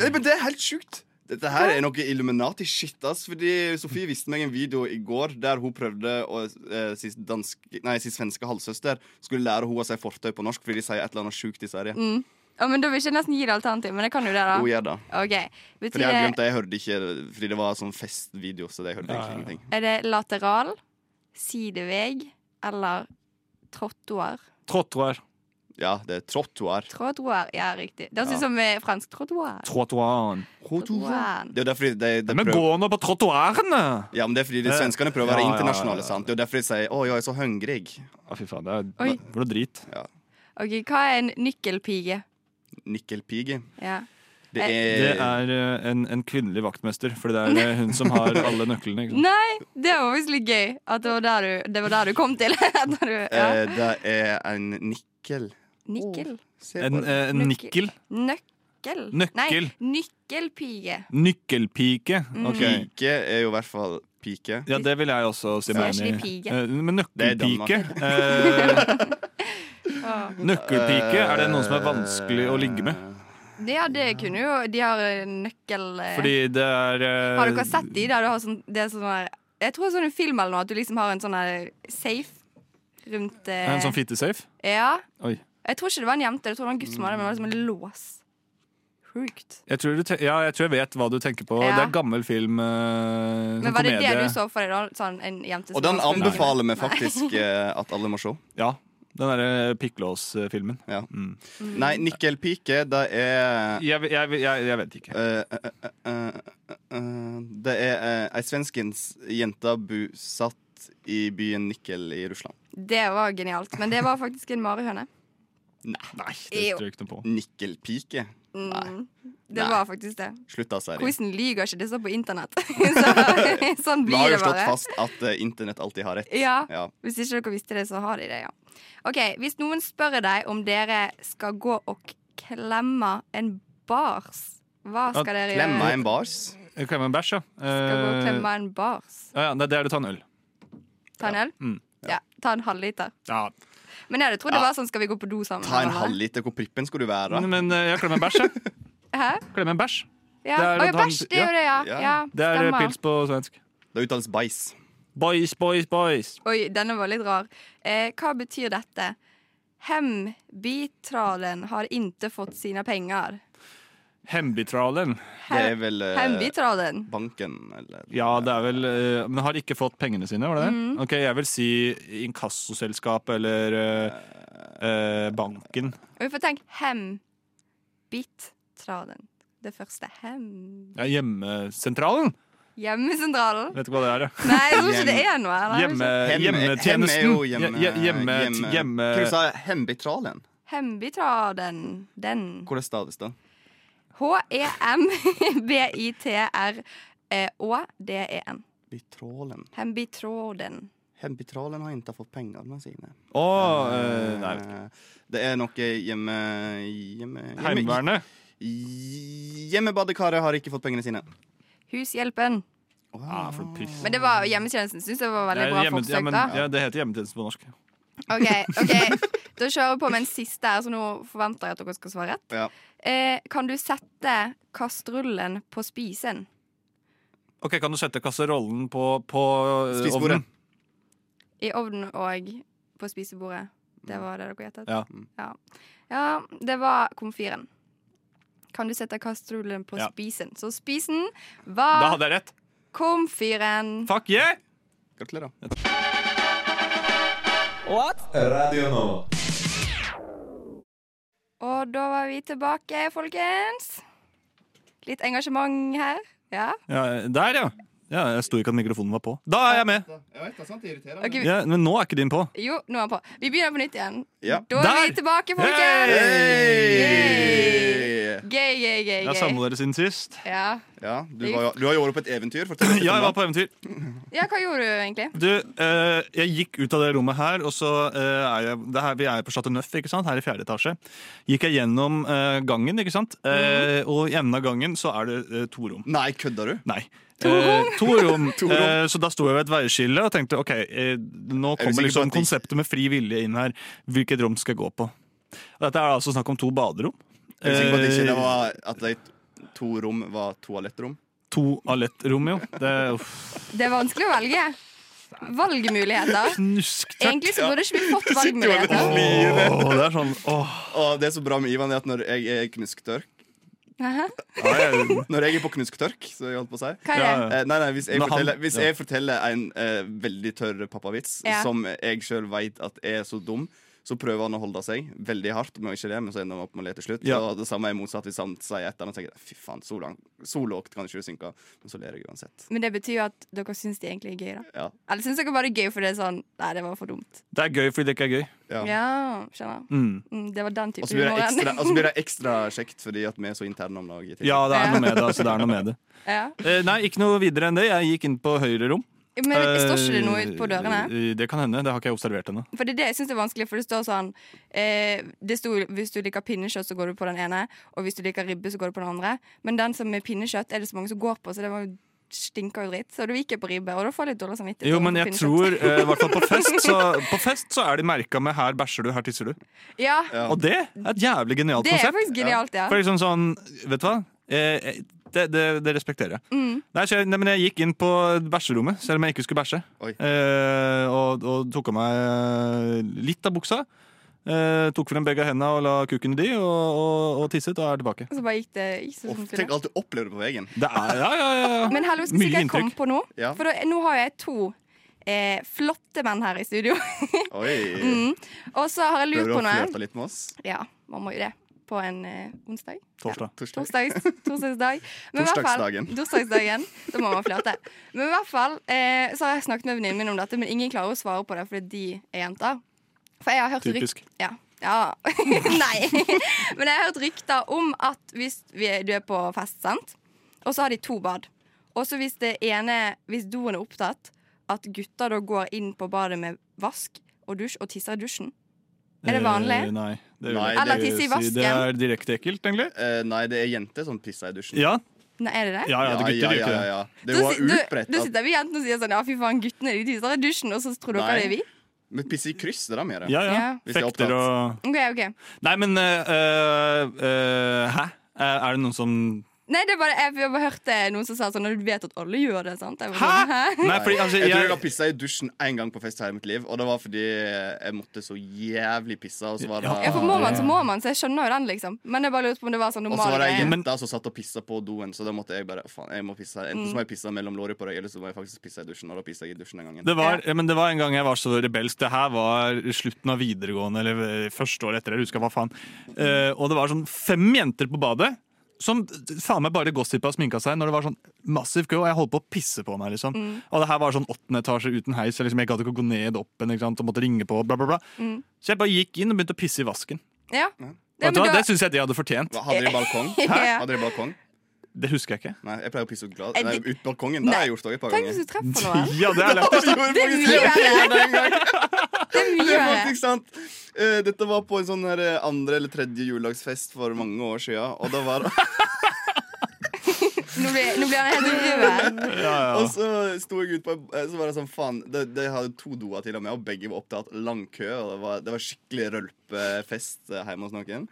S5: Nei, men det er helt sjukt. Dette her er noe Illuminati-shit. ass Fordi Sofie viste meg en video i går der hun prøvde å eh, si, dansk, nei, si svenske halvsøster skulle lære hun å si fortau på norsk fordi de sier et eller annet sjukt i Sverige.
S7: Å, men Da vil jeg ikke nesten gi det alternativ, men jeg kan jo det, da.
S5: Hun gjør det.
S7: OK.
S5: Oh, Fordi
S7: Betyr
S5: jeg
S7: det,
S5: glemte, jeg hørte ikke Fordi det var sånn festvideo, så jeg hørte egentlig ingenting.
S7: er det lateral, sideveg eller trottoar?
S6: Trottoar.
S5: Ja, det er trottoar.
S7: Trottoar, ja, riktig. Det høres ut
S5: Ja.
S7: som eh, fransk trottoar.
S6: Trottoaren.
S7: Trottoar.
S5: Det er jo derfor de, de, de
S6: Men
S5: prøver
S6: gå nå på trottoarene!
S5: Ja, men det er fordi de svenskene prøver å være
S6: Ja, ja, ja, ja.
S5: internasjonale, sant? Det er jo derfor de sier 'Å, jeg er så hungrig'.
S6: Å, fy faen, det er
S7: Oi.
S6: det er noe drit.
S7: OK, hva er en nykkelpige?
S5: Nikkelpige.
S7: Ja.
S5: Det
S7: Eh,
S5: er,
S6: Det er eh, en, en kvinnelig vaktmester, for det er eh, hun som har alle nøklene. Ikke sant?
S7: Nei, det var faktisk litt gøy at det var der du, det var der du kom til. Når du, ja.
S5: eh, det er en nikkel.
S6: oh.
S7: Nikkel.
S5: Se
S6: En,
S5: på det.
S6: eh, nikkel.
S7: Nøkkel.
S6: Nøkkel.
S7: Nei, nykkelpige.
S6: Nykkelpike.
S7: Mm.
S6: Ok.
S5: Pike er jo i hvert fall pike.
S6: Ja, det vil jeg også si
S7: Så
S6: meg
S7: er
S6: enig i.
S7: ikke det pike.
S6: Eh, Men
S5: Det er
S6: nøkkelpike
S5: Danmark.
S6: eh,
S7: Åh.
S6: Nøkkelpike, er det noen som
S5: Eh,
S6: er vanskelig å ligge
S7: Eh.
S6: med?
S7: Det, ja, det kunne jo De har eh, nøkkel eh.
S6: Fordi det er eh,
S7: Har dere sett de der du har sånn Det er sånn her Jeg tror det er sånn en film eller noe, at du liksom har en sånn her safe rundt eh,
S6: En sånn fittesafe?
S7: Ja.
S6: Oi.
S7: Jeg tror ikke det var en jente, jeg tror det var en gutt som hadde det, men det var liksom en lås. Sjukt.
S6: Jeg tror, du te ja, jeg tror jeg vet hva du tenker på.
S7: Ja.
S6: Det er gammel film. Eh,
S7: Men
S6: sånn
S7: var det
S6: komedie.
S7: det du så for deg, da? Sånn en jente som
S5: Og den
S7: har spilt-
S5: anbefaler vi faktisk eh, at alle må se.
S6: Ja. Den derre pikklås-filmen.
S5: Ja.
S6: Mm.
S5: Nei, nikkelpike, det er
S6: Jeg, jeg, jeg, jeg vet ikke.
S5: eh, eh, eh, eh, eh, Det er eh, ei svenskens jente bosatt i byen Nikkel i Russland.
S7: Det var genialt. Men det var faktisk en marihøne.
S6: Nei, det
S7: Jo.
S6: strøk den på.
S5: Nikkelpike?
S7: Mm. Det
S5: Nei.
S7: var faktisk det.
S5: Slutt da, Seri.
S7: Quizen lyver ikke, det står på internett. Så, sånn
S5: Vi har
S7: blir
S5: jo
S7: det
S5: slått
S7: bare.
S5: fast at eh, internett alltid har rett.
S7: Ja,
S5: Ja.
S7: Hvis ikke dere visste det, så har de det, ja. Ok, Hvis noen spør deg om dere skal gå og klemme en bars, hva
S6: Ja,
S7: skal dere
S5: Klemma
S7: gjøre?
S5: en bars.
S6: Klemme en bæsj, ja.
S7: Skal gå og
S6: Eh,
S7: klemme en bars?
S6: ja, ja, det er der du tar en øl.
S7: Ta en øl?
S6: Mm,
S7: Ja, ta en halvliter.
S6: Ja.
S7: Men jeg hadde trodd det
S5: Ja.
S7: var sånn skal vi gå på do sammen?
S5: Ta en
S7: eller?
S5: halvliter. Hvor prippen skulle du være?
S6: Men eh, jeg klemmer en bæsj, jeg.
S7: Hæ?
S6: Klemmer en bæsj.
S7: Ja.
S6: Det er
S7: Oi,
S6: at han-
S7: bæsj, det er jo det, ja.
S5: Ja.
S7: ja.
S6: Det er eh,
S7: stemmer.
S6: pils på svensk.
S5: Det uttales bæsj.
S6: Boys, boys, boys.
S7: Oi, denne var litt rar. Eh, hva betyr dette? Hembitralen har inte fått sina pengar.
S6: Hembitralen.
S5: Det er vel eh,
S7: Hembitralen.
S5: banken, eller
S6: Ja, det er vel eh, Men har ikke fått pengene sine, var det det?
S7: Mm.
S6: Ok, jeg vil si inkassoselskap eller eh, eh, banken.
S7: Og vi får tenke hembitralen. Det første hem...
S6: Ja, hjemmesentralen!
S7: Hjemmesentralen.
S6: Vet ikke hva det er, jeg.
S7: Nei, jeg tror ikke det er noe. Eller?
S6: Hjemme,
S5: Hem- hem er
S6: hjemmetjenesten.
S5: jo hjemme...
S6: Hje- hjemme,
S5: hjemme-
S6: hjemme,
S5: Hva sa jeg? Hembitralen?
S7: Hembitralen. Den. E
S5: Hvordan staves det?
S7: H-e-m-b-i-t-r-å-d-e-n.
S5: Bitralen.
S7: Hembitralen.
S5: Hembitralen har ikke fått pengene sine.
S6: Å eh, Nei, jeg vet ikke.
S5: Det er noe hjemme... hjemme, hjemme
S6: Heimevernet.
S5: Hjemmebadekaret har ikke fått pengene sine.
S7: Hushjelpen.
S6: Ah, for piss.
S7: Men det var hjemmetjenesten syns jeg var veldig
S6: Nei,
S7: bra
S6: hjemme- ja,
S7: forsøk.
S6: men-
S7: da
S6: Ja, det heter hjemmetjeneste på norsk.
S7: Ok, ok Da kjører vi på med en siste her, så nå forventer jeg at dere skal svare rett.
S5: Ja.
S7: Eh, kan du sette kastrullen på spisen?
S6: Ok, Kan du sette kasserollen på, på eh,
S5: Spisebordet.
S6: ovnen?
S7: I ovnen og på spisebordet. Det var det dere gjettet?
S6: Ja.
S7: ja. Ja, det var komfyren. Kan du sette kastrullen på
S6: Ja.
S7: spisen? Så spisen
S6: Da
S7: var
S6: hadde jeg rett.
S7: komfyren.
S6: Fuck yeah!
S5: Gratulerer.
S1: Radio Nova.
S7: Og da var vi tilbake, folkens. Litt engasjement her. Ja.
S6: Ja, der, ja. ja. Jeg sto ikke at mikrofonen var på. Da er jeg med!
S5: Jeg vet, det er sant, det irriterer
S7: Ok, vi,
S6: Ja, men nå er ikke din på.
S7: jo, nå er han på. Vi begynner på nytt igjen.
S5: Ja.
S7: Da er
S6: Der!
S7: vi tilbake,
S6: Yay!
S7: folkens.
S5: Hey!
S7: Gøy, gøy, gøy.
S6: Jeg har
S7: gøy.
S6: savna dere siden sist.
S7: Ja.
S5: Ja, du, var, du har jo vært på et eventyr. Fortell litt om
S6: Ja, jeg var
S5: det.
S6: på eventyr.
S7: ja, hva gjorde du egentlig?
S6: Du, eh, jeg gikk ut av det rommet her, og så eh, er jeg det her, Vi er på Chateau Neuf, ikke sant? her i fjerde etasje. Gikk jeg gjennom eh, gangen, ikke sant? Eh,
S5: Mhm.
S6: og i enden av gangen så er det eh, to rom.
S5: Nei, kødder du?
S6: Nei. To rom! to rom.
S5: To rom.
S6: Eh, så da sto jeg ved et veiskille og tenkte ok, eh, nå
S5: Er du sikker
S6: kommer
S5: på
S6: liksom
S5: at de-
S6: konseptet med fri vilje inn her. Hvilket rom skal jeg gå på? Og dette er altså snakk om to baderom.
S5: Er du sikker på at, ikke det
S6: Eh,
S5: var, at de to rom var toalettrom?
S6: To toalettrom, jo. Det er jo
S7: Det er vanskelig å velge. Valgmuligheter.
S6: fnusktørt.
S7: Egentlig så burde ikke vi fått
S5: Sitter jo
S7: valgmuligheter.
S5: med livet.
S6: Åh, det er sånn åh.
S5: Og det er så bra med Ivan, er at når jeg er knusktørk
S7: Hæ?
S6: Ja, jeg,
S5: Når jeg er på knusktørk, så jeg holdt på å si
S7: Hva er
S6: ja,
S7: det?
S5: Eh, nei, nei, hvis jeg,
S6: Men han-
S5: forteller, hvis
S6: ja.
S5: jeg forteller en eh, veldig tørr pappavits
S7: Ja.
S5: som jeg sjøl veit at er så dum, så prøver han å holde seg veldig hardt, men ikke det, men så ender han opp med å le til slutt.
S6: Ja.
S5: Og det samme er motsatt hvis han sier et eller annet og tenker fy faen, så, lang, så lågt kan ikke du synke, men så ler jeg uansett.
S7: Men det betyr jo at dere syns det egentlig er gøy, da.
S5: Ja.
S7: Eller syns dere bare det er gøy fordi det er sånn Nei, det var for dumt.
S6: det er gøy fordi det ikke er gøy.
S5: Ja.
S7: Ja, skjønner.
S6: Mm.
S7: Mm, det var den
S5: Og
S7: type
S5: så blir, det ekstra- altså.
S7: humoren.
S5: og så blir det ekstra kjekt fordi at vi er så interne om det.
S6: Ja, det er noe med det. altså, det er noe med det.
S7: ja.
S6: Eh, nei, ikke noe videre enn det. Jeg gikk inn på høyre rom.
S7: Men står ikke det noe ut på dørene?
S6: Eh, Det kan hende. Det har ikke jeg observert ennå.
S7: For det er det jeg syns er vanskelig, for det står sånn eh, det sto, Hvis du liker pinnekjøtt, så går du på den ene, og hvis du liker ribbe, så går du på den andre. Men den som er pinnekjøtt, er det så mange som går på, så det var jo stinker jo dritt. Så da gikk jeg på ribbe, og da får jeg litt dårlig samvittighet.
S6: Jo,
S7: for
S6: men jeg
S7: pinnekjøtt.
S6: tror, eh, i hvert fall på fest, så, på fest så er de merka med 'her bæsjer du, her tisser du'.
S7: Ja,
S5: Ja.
S6: Og det er et jævlig genialt
S7: det er
S6: konsept.
S7: faktisk genialt, ja.
S6: For liksom sånn, vet du hva? Eh, eh, det, det, det respekterer jeg.
S7: Mm.
S6: Nei, så jeg. Nei, men jeg gikk inn på bæsjerommet, selv om jeg ikke skulle bæsje.
S5: Oi.
S6: Eh, og, og tok av meg eh, litt av buksa. Eh, tok frem begge hendene og la kukken i de, og, og, og tisset, og er tilbake.
S7: Og så bare gikk det sånn ikke så som det
S5: Tenk
S7: skulle.
S5: alt du opplevde på veien.
S6: Det er, ja, ja, ja, ja.
S7: Men hello, skal
S6: Mye
S7: sikkert komme
S6: inntrykk.
S7: på noe.
S5: Ja.
S7: For da, nå har jeg to eh, flotte menn her i studio.
S5: Oi.
S7: og så har jeg lurt
S5: Mm. Prøver du
S7: Mm, på
S5: å
S7: noe.
S5: flørte litt med oss?
S7: Ja, man må jo det. På en eh, onsdag.
S6: Torsdag.
S5: Torsdag.
S7: Torsdags, torsdagsdag. Men i hvert fall-
S5: Torsdagsdagen.
S7: Torsdagsdagen. Da må man flørte. Men i hvert fall eh, så har jeg snakket med venninnen min om dette, men ingen klarer å svare på det fordi de er jenter. For jeg har hørt ryk-
S6: Typisk.
S7: Ja. ja. Nei. Men jeg har hørt rykter om at hvis vi er, du er på fest, sant, og så har de to bad, og så hvis det ene Hvis doen er opptatt, at gutter da går inn på badet med vask og dusj og tisser i dusjen. Er det vanlig?
S6: Eh, nei. Det vil
S5: Nei,
S6: jeg ikke
S5: Eller
S7: tisse i
S6: si. Det
S7: vasken.
S6: er direkte ekkelt, egentlig.
S5: Eh, nei, det er jenter som pisser i dusjen.
S6: Ja,
S7: Nei, er det det?
S6: ja, ja, det gutter gjør
S5: ja,
S6: ikke det.
S5: ja, ja. Det
S7: Da
S5: var
S7: si- da-
S5: utbredt
S7: Da
S5: at
S7: sitter vi jentene og sier sånn Ja, fy faen, guttene de tisser i dusjen, og så tror dere
S5: Nei.
S7: det er vi?
S5: Vi pisser i kryss, det er da mer.
S6: Ja, ja.
S7: Ja.
S5: Hvis jeg er
S6: Fekter og
S7: Ok, ok
S6: Nei, men eh, eh, eh, Hæ? Eh, Er det noen som
S7: Nei, det er bare, jeg, jeg bare hørte noen som sa sånn Når du vet at alle gjør det, sant? Jeg bare,
S6: Hæ?!
S7: sånn, Hæ?
S6: Nei, fordi altså
S5: Jeg tror jeg
S6: jeg,
S5: har pissa i dusjen én gang på fest her i mitt liv, og det var fordi jeg måtte så jævlig pisse. Og så var det,
S6: Ja,
S7: Ja, for må man, så må man, så jeg skjønner jo den, liksom. Men jeg bare lurte på om det var sånn
S5: og så
S7: normal
S5: var det ei
S7: greie.
S6: Men-
S5: jente som satt og pissa på doen, så da måtte jeg bare faen, jeg må pisse. Enten
S7: Mm.
S5: så må jeg pisse mellom låret på deg, eller så må jeg faktisk pisse i dusjen. Og da pissa jeg i dusjen den gangen.
S6: det var, ja, men det var en gang jeg var så rebelsk. Det her var slutten av videregående, eller eh, første året etter. Jeg husker hva faen. Eh, og det var sånn fem jenter på badet som faen meg bare gossipa og sminka seg når det var sånn massiv kø, og jeg holdt på å pisse på meg, liksom. Og det her var sånn åttende etasje uten heis, jeg liksom, jeg gadd ikke å gå ned opp igjen, ikke sant, og måtte ringe på, bla, bla, bla. Så jeg bare gikk inn og begynte å pisse i vasken.
S7: Ja. Ja,
S6: Vet du
S7: men
S6: hva?
S7: da-
S6: Det syns jeg de hadde fortjent.
S5: Hva, Hadde dere balkong?
S7: Eh, Ja.
S5: Hadde dere balkong?
S6: Det husker jeg ikke.
S5: Nei, jeg pleier å pisse ut, glas-
S7: Er
S5: nei,
S7: det-
S5: ut balkongen. Det har jeg gjort òg et par
S7: Tenk hvis du
S5: ganger.
S7: treffer noen.
S6: Ja, det er lett.
S5: Jeg gjorde
S7: Det er
S5: faktisk
S7: mye verre.
S5: det. Det er en gang.
S7: Det er mye
S5: Det er
S7: verre.
S5: faktisk sant. Eh, Dette var på en sånn her eh, andre eller tredje juledagsfest for mange år siden. Og da var
S7: Nå blir, nå blir han helt rød.
S6: Ja, ja.
S5: Og så sto jeg ut på eh, Så var det sånn, faen De, de hadde to doer til og med, og begge var opptatt lang kø. Og det var, det var skikkelig rølpefest eh, hjemme hos noen.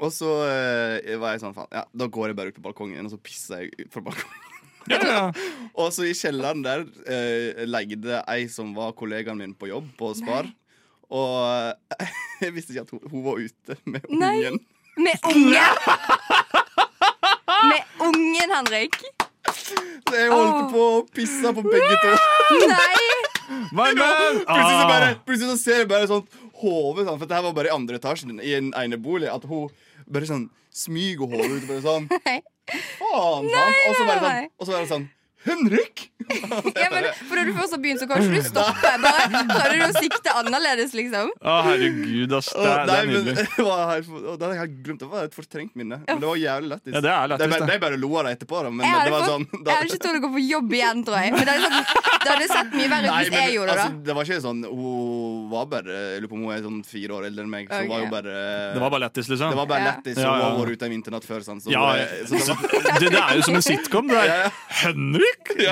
S5: Og så eh, var jeg sånn, faen, ja, da går jeg bare ut på balkongen, og så pisser jeg ut fra balkongen.
S6: Ja, ja.
S5: Og så i kjelleren der eh, leide ei som var kollegaen min på jobb på Spar. Og eh, jeg visste ikke at hun, hun var ute med
S7: Nei.
S5: ungen.
S7: Med ungen! Med ungen, Henrik!
S5: Så jeg holdt på å pisse på begge to.
S7: Nei!
S6: Hva er det?
S5: Plutselig så, bare,
S6: Ah.
S5: plutselig så ser jeg bare et sånt hode, sånn, for dette her var bare i andre etasjen i en enebolig, at hun bare sånn smyger hodet ut og bare sånn
S7: Nei.
S5: Faen, sant? Og så bare
S7: nei,
S5: sånn, og så bare sånn Henrik!
S7: Ja, men, for når du først har begynt, så kan ikke du stoppe. Bare prøver du å sikte annerledes, liksom.
S6: Å, herregud, ass. Det,
S5: Og,
S6: er- det
S5: nei,
S6: er
S5: men,
S6: nydelig.
S5: det var helt, og det hadde jeg helt glemt. Det var et fortrengt minne. Men det var jævlig lættis.
S6: Ja, det er
S5: de,
S6: lættis,
S5: bare,
S6: det.
S5: de bare lo av det etterpå, da. Men
S7: Jeg
S5: det
S7: hadde,
S5: var
S7: fått,
S5: sånn
S7: jeg hadde ikke tålt å gå på jobb igjen, tror jeg. Men det hadde sett, det hadde sett mye verre ut
S5: Nei,
S7: hvis
S5: men
S7: jeg gjorde det.
S5: altså, det var ikke sånn Hun var bare Jeg lurer på om hun er sånn fire år eldre enn meg. Så
S7: Ok.
S5: hun var jo bare
S6: Det var bare lættis, liksom.
S5: det var bare
S7: Ja.
S5: lættis.
S6: Ja,
S5: Hun
S6: ja.
S5: har vært ute en vinternatt før, sant. Så,
S6: ja,
S5: så det var,
S6: det, det er jo som en sitcom. Det er Henrik!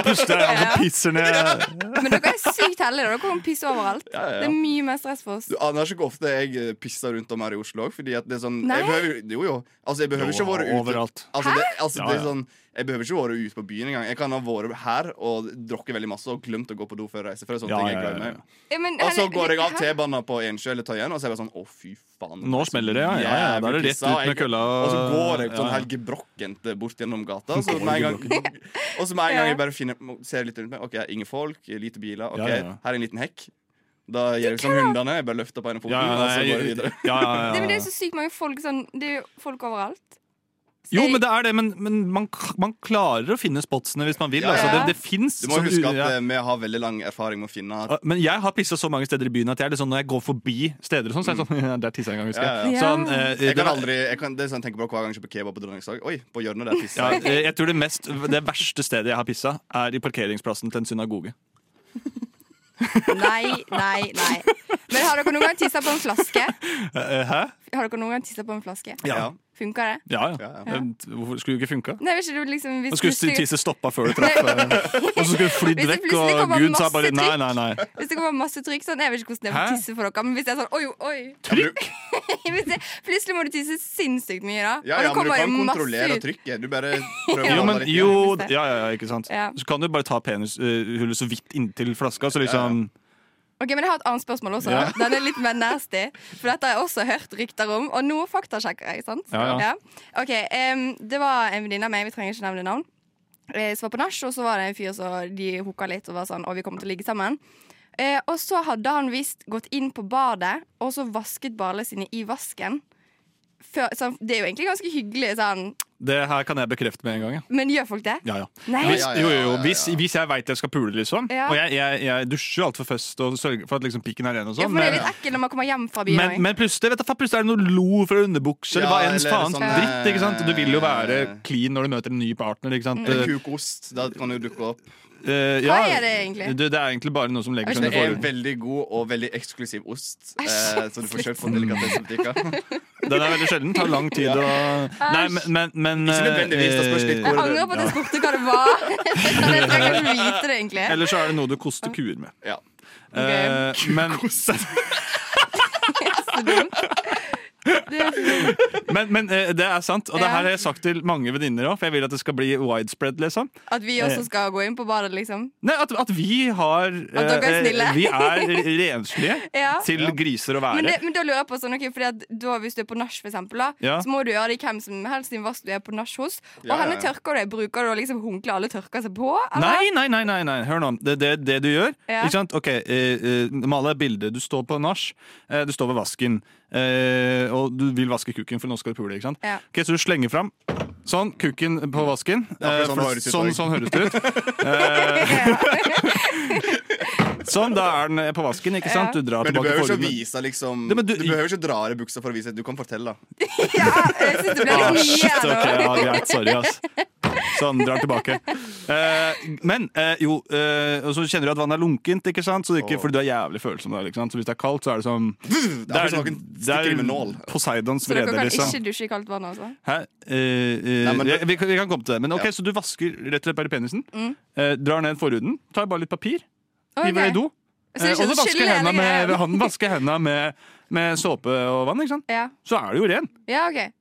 S6: Puster jeg
S7: Ja.
S6: og pisser ned.
S7: da. Men dere er sykt heldige. da. Dere kommer pisse overalt.
S5: Ja, ja, ja.
S7: Det er mye mer stress for oss.
S5: du aner ikke hvor ofte jeg eh, pisser rundt om her i Oslo. Fordi at det er sånn
S7: Nei.
S5: jeg behøver, Jo, jo. Altså, jeg behøver ikke å være ute.
S6: Overalt.
S5: Altså, det, altså,
S6: Ja,
S5: det er
S6: ja.
S5: sånn, jeg behøver ikke være ute på byen engang. Jeg kan ha vært her og drukket veldig masse og glemt å gå på do før reise. For det er sånne
S6: Ja,
S5: ting
S6: ja,
S5: jeg
S6: ja,
S5: glemmer.
S6: ja.
S7: Ja, men,
S5: Og så
S7: Henrik,
S5: går jeg av
S7: hæ?
S5: T-banen på Ensjø eller Tøyen, og så er jeg bare sånn Å, fy faen. altså,
S6: Nå smeller det, ja. ja, ja. Da er det rett
S5: pissa, og
S6: ut med
S5: jeg-
S6: kølla.
S5: Og så går jeg sånn
S6: Ja, ja.
S5: helt gebrokkent bort gjennom gata. Så med en gang, og så med en gang jeg bare finner, ser litt rundt meg OK, ingen folk, lite biler. OK,
S6: Ja, ja, ja.
S5: her er en liten hekk. Da gjør jeg som hundene. Jeg bare løfter på ene foten,
S6: Ja,
S5: og så
S6: nei,
S5: går jeg videre.
S6: ja, ja,
S7: Det, men
S6: ja.
S7: det er jo så sykt mange folk sånn Det er jo folk overalt. Så
S6: Jo,
S7: jeg-
S6: men det er det, men, men man, k- man klarer å finne spotsene hvis man vil.
S5: Ja, ja.
S6: Altså, det det fins
S5: Du må huske at eh, vi har veldig lang erfaring med å finne
S6: Ja, Men jeg har pissa så mange steder i byen at jeg er litt sånn, når jeg går forbi steder, og sånn, så er jeg sånn, ja, der tissa jeg en gang, husker jeg.
S5: Mm. Ja,
S7: ja.
S6: Sånn, eh,
S5: Jeg
S6: det
S5: kan
S6: var-
S5: aldri, jeg kan, det er sånn jeg tenker på hver gang jeg kjøper kebab på Dronningsdag. Oi, på hjørnet der
S6: ja,
S5: pisser jeg.
S6: eh, jeg tror det, mest, det verste stedet jeg har pissa, er i parkeringsplassen til en synagoge.
S7: Nei, nei, nei. Men har dere noen gang tissa på en flaske?
S6: Eh, eh, Hæ?
S7: Har dere noen gang tisset på en flaske?
S5: Ja.
S7: Funka det?
S6: Ja, ja.
S5: Ja, ja.
S6: Eh, Hvorfor skulle det ikke funka?
S7: Nei, hvis ikke du liksom hvis
S6: Nå skulle
S7: plutselig-
S6: tisset stoppa før det traff, eh, og så skulle det flydd
S7: Hvis det
S6: vekk,
S7: plutselig
S6: og
S7: kommer
S6: Gud sa
S7: masse
S6: bare nei,
S7: trykk.
S6: nei, nei.
S7: Hvis det kommer masse trykk sånn, Jeg vet ikke hvordan det er
S6: Hæ?
S7: å tisse for dere, men hvis det er sånn oi, oi
S6: Trykk!
S7: hvis det, Plutselig må du tisse sinnssykt mye, da. og det
S5: Ja, ja, men du
S7: kommer
S5: kan
S7: jo
S5: kontrollere
S7: masse ut.
S5: trykket. Du bare prøver å
S6: Jo,
S5: holde
S6: men
S5: det
S6: jo,
S5: igjen.
S6: ja, ja, ja, ikke sant.
S7: Ja.
S6: Så kan du bare ta penishullet så vidt inntil flaska, så liksom
S7: Ok, men Jeg har et annet spørsmål også. da. Den er litt mer nasty. For dette har jeg også hørt rykter om, og nå faktasjekker jeg. sant?
S6: Ja, ja.
S7: Ok, em, Det var en venninne av meg, vi trenger ikke nevne navn, eh, som var på nach, og så var det en fyr som de hooka litt og var sånn 'Å, vi kommer til å ligge sammen'. Eh, og så hadde han visst gått inn på badet og så vasket ballene sine i vasken. Før, så det er jo egentlig ganske hyggelig, sånn.
S6: Det her kan jeg bekrefte med en gang, ja.
S7: men gjør folk det?
S6: Ja, ja.
S7: Nei.
S6: Hvis,
S5: Ja, ja, ja,
S6: jo, jo,
S5: ja,
S6: jo.
S5: ja,
S6: Hvis,
S5: ja.
S6: hvis jeg veit jeg skal pule, liksom,
S7: Ja.
S6: og jeg, jeg, jeg dusjer altfor først og sørger for at liksom, pikken er ren, og
S7: Ja,
S6: sånn,
S7: for det er
S6: men,
S7: litt ekkelt når man kommer hjem fra byen.
S6: men,
S7: også.
S6: men plutselig, vet du, faen, plutselig er det noe lo fra underbukse eller
S5: Ja,
S6: hva ens
S5: eller
S6: faen.
S5: sånn,
S6: dritt, ikke sant? Du vil jo være
S5: eh,
S6: clean når du møter en ny partner. Ikke sant?
S5: Eller kukost. Eh, Da kan du dukke opp.
S6: Eh,
S7: Mm. Hva er det egentlig?
S6: Du, det er egentlig bare noe som legger
S7: Jeg
S6: seg
S5: Det
S6: under
S5: er
S6: forhuden.
S5: en veldig god og veldig eksklusiv ost, eh,
S7: Æsj,
S5: så du får kjøpt på
S6: Mm.
S5: delikatessebutikker.
S6: Den er veldig sjelden. Tar lang tid å Nei, men, men, men
S5: Ikke nødvendigvis, det spørs litt
S6: eh,
S5: hvor-
S7: Jeg angrer på at jeg spurte hva det var. Men jeg trenger ikke vite det, egentlig.
S6: Eller så er det noe du koster kuer med.
S5: Ja.
S6: Eh, men,
S7: Så dumt. Det er så dumt.
S6: men, men eh, det er sant, og det
S7: Ja.
S6: her har jeg sagt til mange venninner òg, for jeg vil at det skal bli widespread. liksom
S7: At vi også skal gå inn på badet, liksom.
S6: Nei, at, at vi har
S7: dere er
S6: eh,
S7: snille.
S6: Vi er renslige
S7: Ja.
S6: til griser å være.
S7: Men, det, men da lurer jeg på sånn, ok, fordi at da Hvis du er på nach, for eksempel, da,
S6: Ja.
S7: så må du gjøre det i hvem som helst sin vask du er på nach hos. Og
S5: Ja, ja,
S7: henne
S5: ja.
S7: tørker du. Bruker du å liksom håndkle alle tørker seg på?
S6: Nei, nei, nei, nei, nei, hør nå. Det er det, det du gjør.
S7: Ja.
S6: Ikke sant? Ok, eh, eh, Male et bilde. Du står på nach. Eh, du står ved vasken. Eh, og du vil vaske kuken, for nå skal du pule. ikke sant?
S7: Ja.
S6: Ok, Så du slenger fram sånn kuken på vasken.
S5: akkurat
S6: Eh,
S5: sånn
S6: for-
S5: det høres ut
S6: sånn,
S5: også.
S6: sånn høres det ut. Eh, sånn, da er den på vasken, ikke sant? Du drar
S5: Men du
S6: tilbake
S5: behøver ikke å
S6: forhuden.
S5: vise liksom
S6: Nei,
S5: Du
S6: men du-
S5: behøver ikke å dra av deg buksa for å vise Du kan fortelle.
S7: Ja, jeg synes det ble
S6: Ah,
S7: litt
S6: shit,
S7: mye her
S6: ok,
S7: nå.
S6: ja, greit, sorry ass Sånn, drar tilbake Eh, Men, eh, jo eh, Og så kjenner du at vannet er lunkent, ikke sant? Så det er ikke,
S5: Åh.
S6: fordi du er jævlig følsom der, ikke sant? Så hvis det er kaldt, så er det som
S5: Det er som noen stikker i med nål.
S6: Poseidons
S7: Så dere
S6: vrede,
S7: kan
S6: liksom
S7: ikke dusje i kaldt vann, altså?
S6: Hæ? Eh, eh,
S5: Nei, men det-
S6: jeg- vi, kan, vi kan komme til det Men ok,
S5: Ja.
S6: så du vasker rett og slett bare penisen eh, Drar ned forhuden, tar bare litt papir
S7: Mm. Ok.
S6: Hiver det i do
S7: Så
S6: eh,
S7: det er
S6: Og
S7: ikke
S6: så
S7: sånn
S6: vasker
S7: skille
S6: hendene
S7: eller
S6: med,
S7: greie?
S6: han vasker hendene med, med såpe og vann, ikke sant?
S7: Ja.
S6: Så er det jo ren
S7: ja, OK.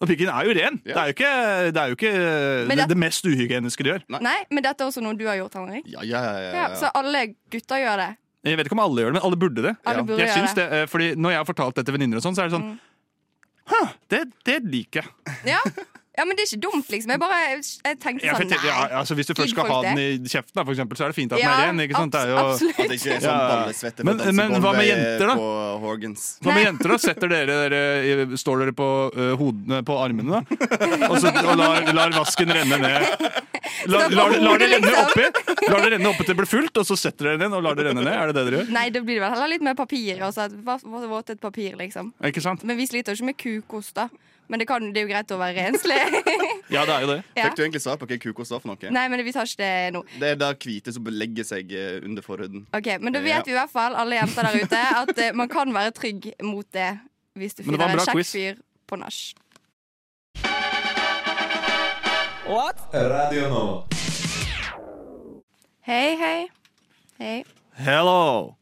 S6: Og pikken er jo ren. Det
S5: Ja.
S6: er jo ikke det, er jo ikke
S7: Men
S6: det,
S7: det-
S6: det mest uhygieniske du gjør.
S5: Nei.
S7: Nei, men dette er også noe du har gjort, Henrik.
S5: Ja, ja, ja, ja,
S7: Ja, så
S5: ja.
S7: alle gutter gjør det.
S6: Jeg vet ikke om alle gjør det, men alle burde det.
S7: Alle
S5: Ja.
S7: burde
S6: jeg
S7: gjøre Mm.
S6: syns det, eh, fordi Når jeg har fortalt det til venninner, og sånn, så er det sånn Hæ, det, det liker jeg.
S7: Ja. ja, men det er ikke dumt, liksom. Jeg bare jeg tenkte
S6: Ja, for
S7: sånn,
S6: jeg-
S7: nei.
S6: ja, altså, hvis du først skal
S7: Gidder
S6: ha
S7: folk
S6: den i kjeften, da, for eksempel, så er det fint at den er ren. ikke sant? Det er
S7: abs-
S6: jo...
S5: At det
S7: Absolutt.
S5: ikke er sånn
S6: Ja.
S5: ballesvette
S6: Men-
S5: fra
S6: men hva med
S5: dansegulvet
S6: jenter, da?
S5: På Horgans.
S6: Hva med
S7: Nei.
S6: jenter, da? Setter dere, dere i- Står dere på ø, hodene på armene, da? Og, så, og lar, lar vasken renne ned? La,
S7: Står på
S6: lar, lar det
S7: hodet,
S6: renne
S7: liksom.
S6: oppi Lar det renne oppi til det blir fullt, og så setter dere den inn og lar det renne ned? Er det det dere gjør?
S7: Nei, det blir vel heller litt mer papir. Også, at vas- vas- våtet papir, liksom.
S6: Ikke sant?
S7: Men vi sliter jo ikke med kukost, da. Men det, kan, det er jo greit å være renslig.
S6: Ja, det er jo det.
S7: ja.
S5: Fikk du egentlig svar på hva kukost var for noe?
S7: Nei, men vi tar ikke det nå.
S5: Det er der hvite som legger seg eh, under forhuden.
S7: Ok, Men da
S5: Ja.
S7: vet vi i hvert fall, alle jenter der ute, at eh, man kan være trygg mot det hvis du
S6: Men det var en
S7: finner en
S6: bra
S7: kjekk
S6: quiz.
S7: fyr på nach.
S1: What? Radio Nova.
S7: Hei, hei. Hei.
S6: Hello!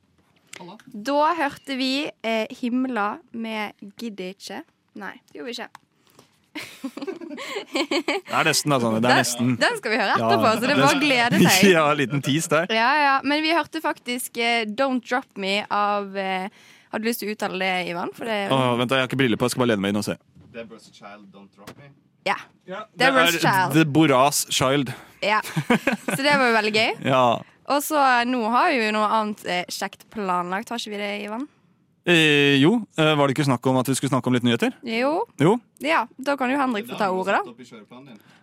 S7: Da hørte vi eh, 'Himla' med 'Gidder ikke'. Nei, det gjorde vi ikke.
S6: Det er nesten, altså. Det er nesten.
S7: Den skal vi høre
S6: Ja.
S7: etterpå, så det bare gleder seg.
S6: Ja, liten tis der.
S7: Ja, ja. Men vi hørte faktisk eh, 'Don't Drop Me' av eh, Har du lyst til å uttale det, Ivan? For det,
S6: Å, vent, da, jeg har ikke briller på. Jeg skal bare lene meg inn og se.
S5: Deborah's child don't drop me.
S7: ja.
S6: Det
S7: Deborah's
S6: er
S7: Child.
S6: The Boras Child.
S7: ja. Så det var jo veldig gøy.
S6: Ja.
S7: Og så eh, nå har vi jo noe annet eh, kjekt planlagt, har ikke vi det, Ivan?
S6: Eh, jo, eh, var det ikke snakk om at vi skulle snakke om litt nyheter?
S7: Jo.
S6: Jo.
S7: Ja, da kan jo Henrik få ta ordet, da.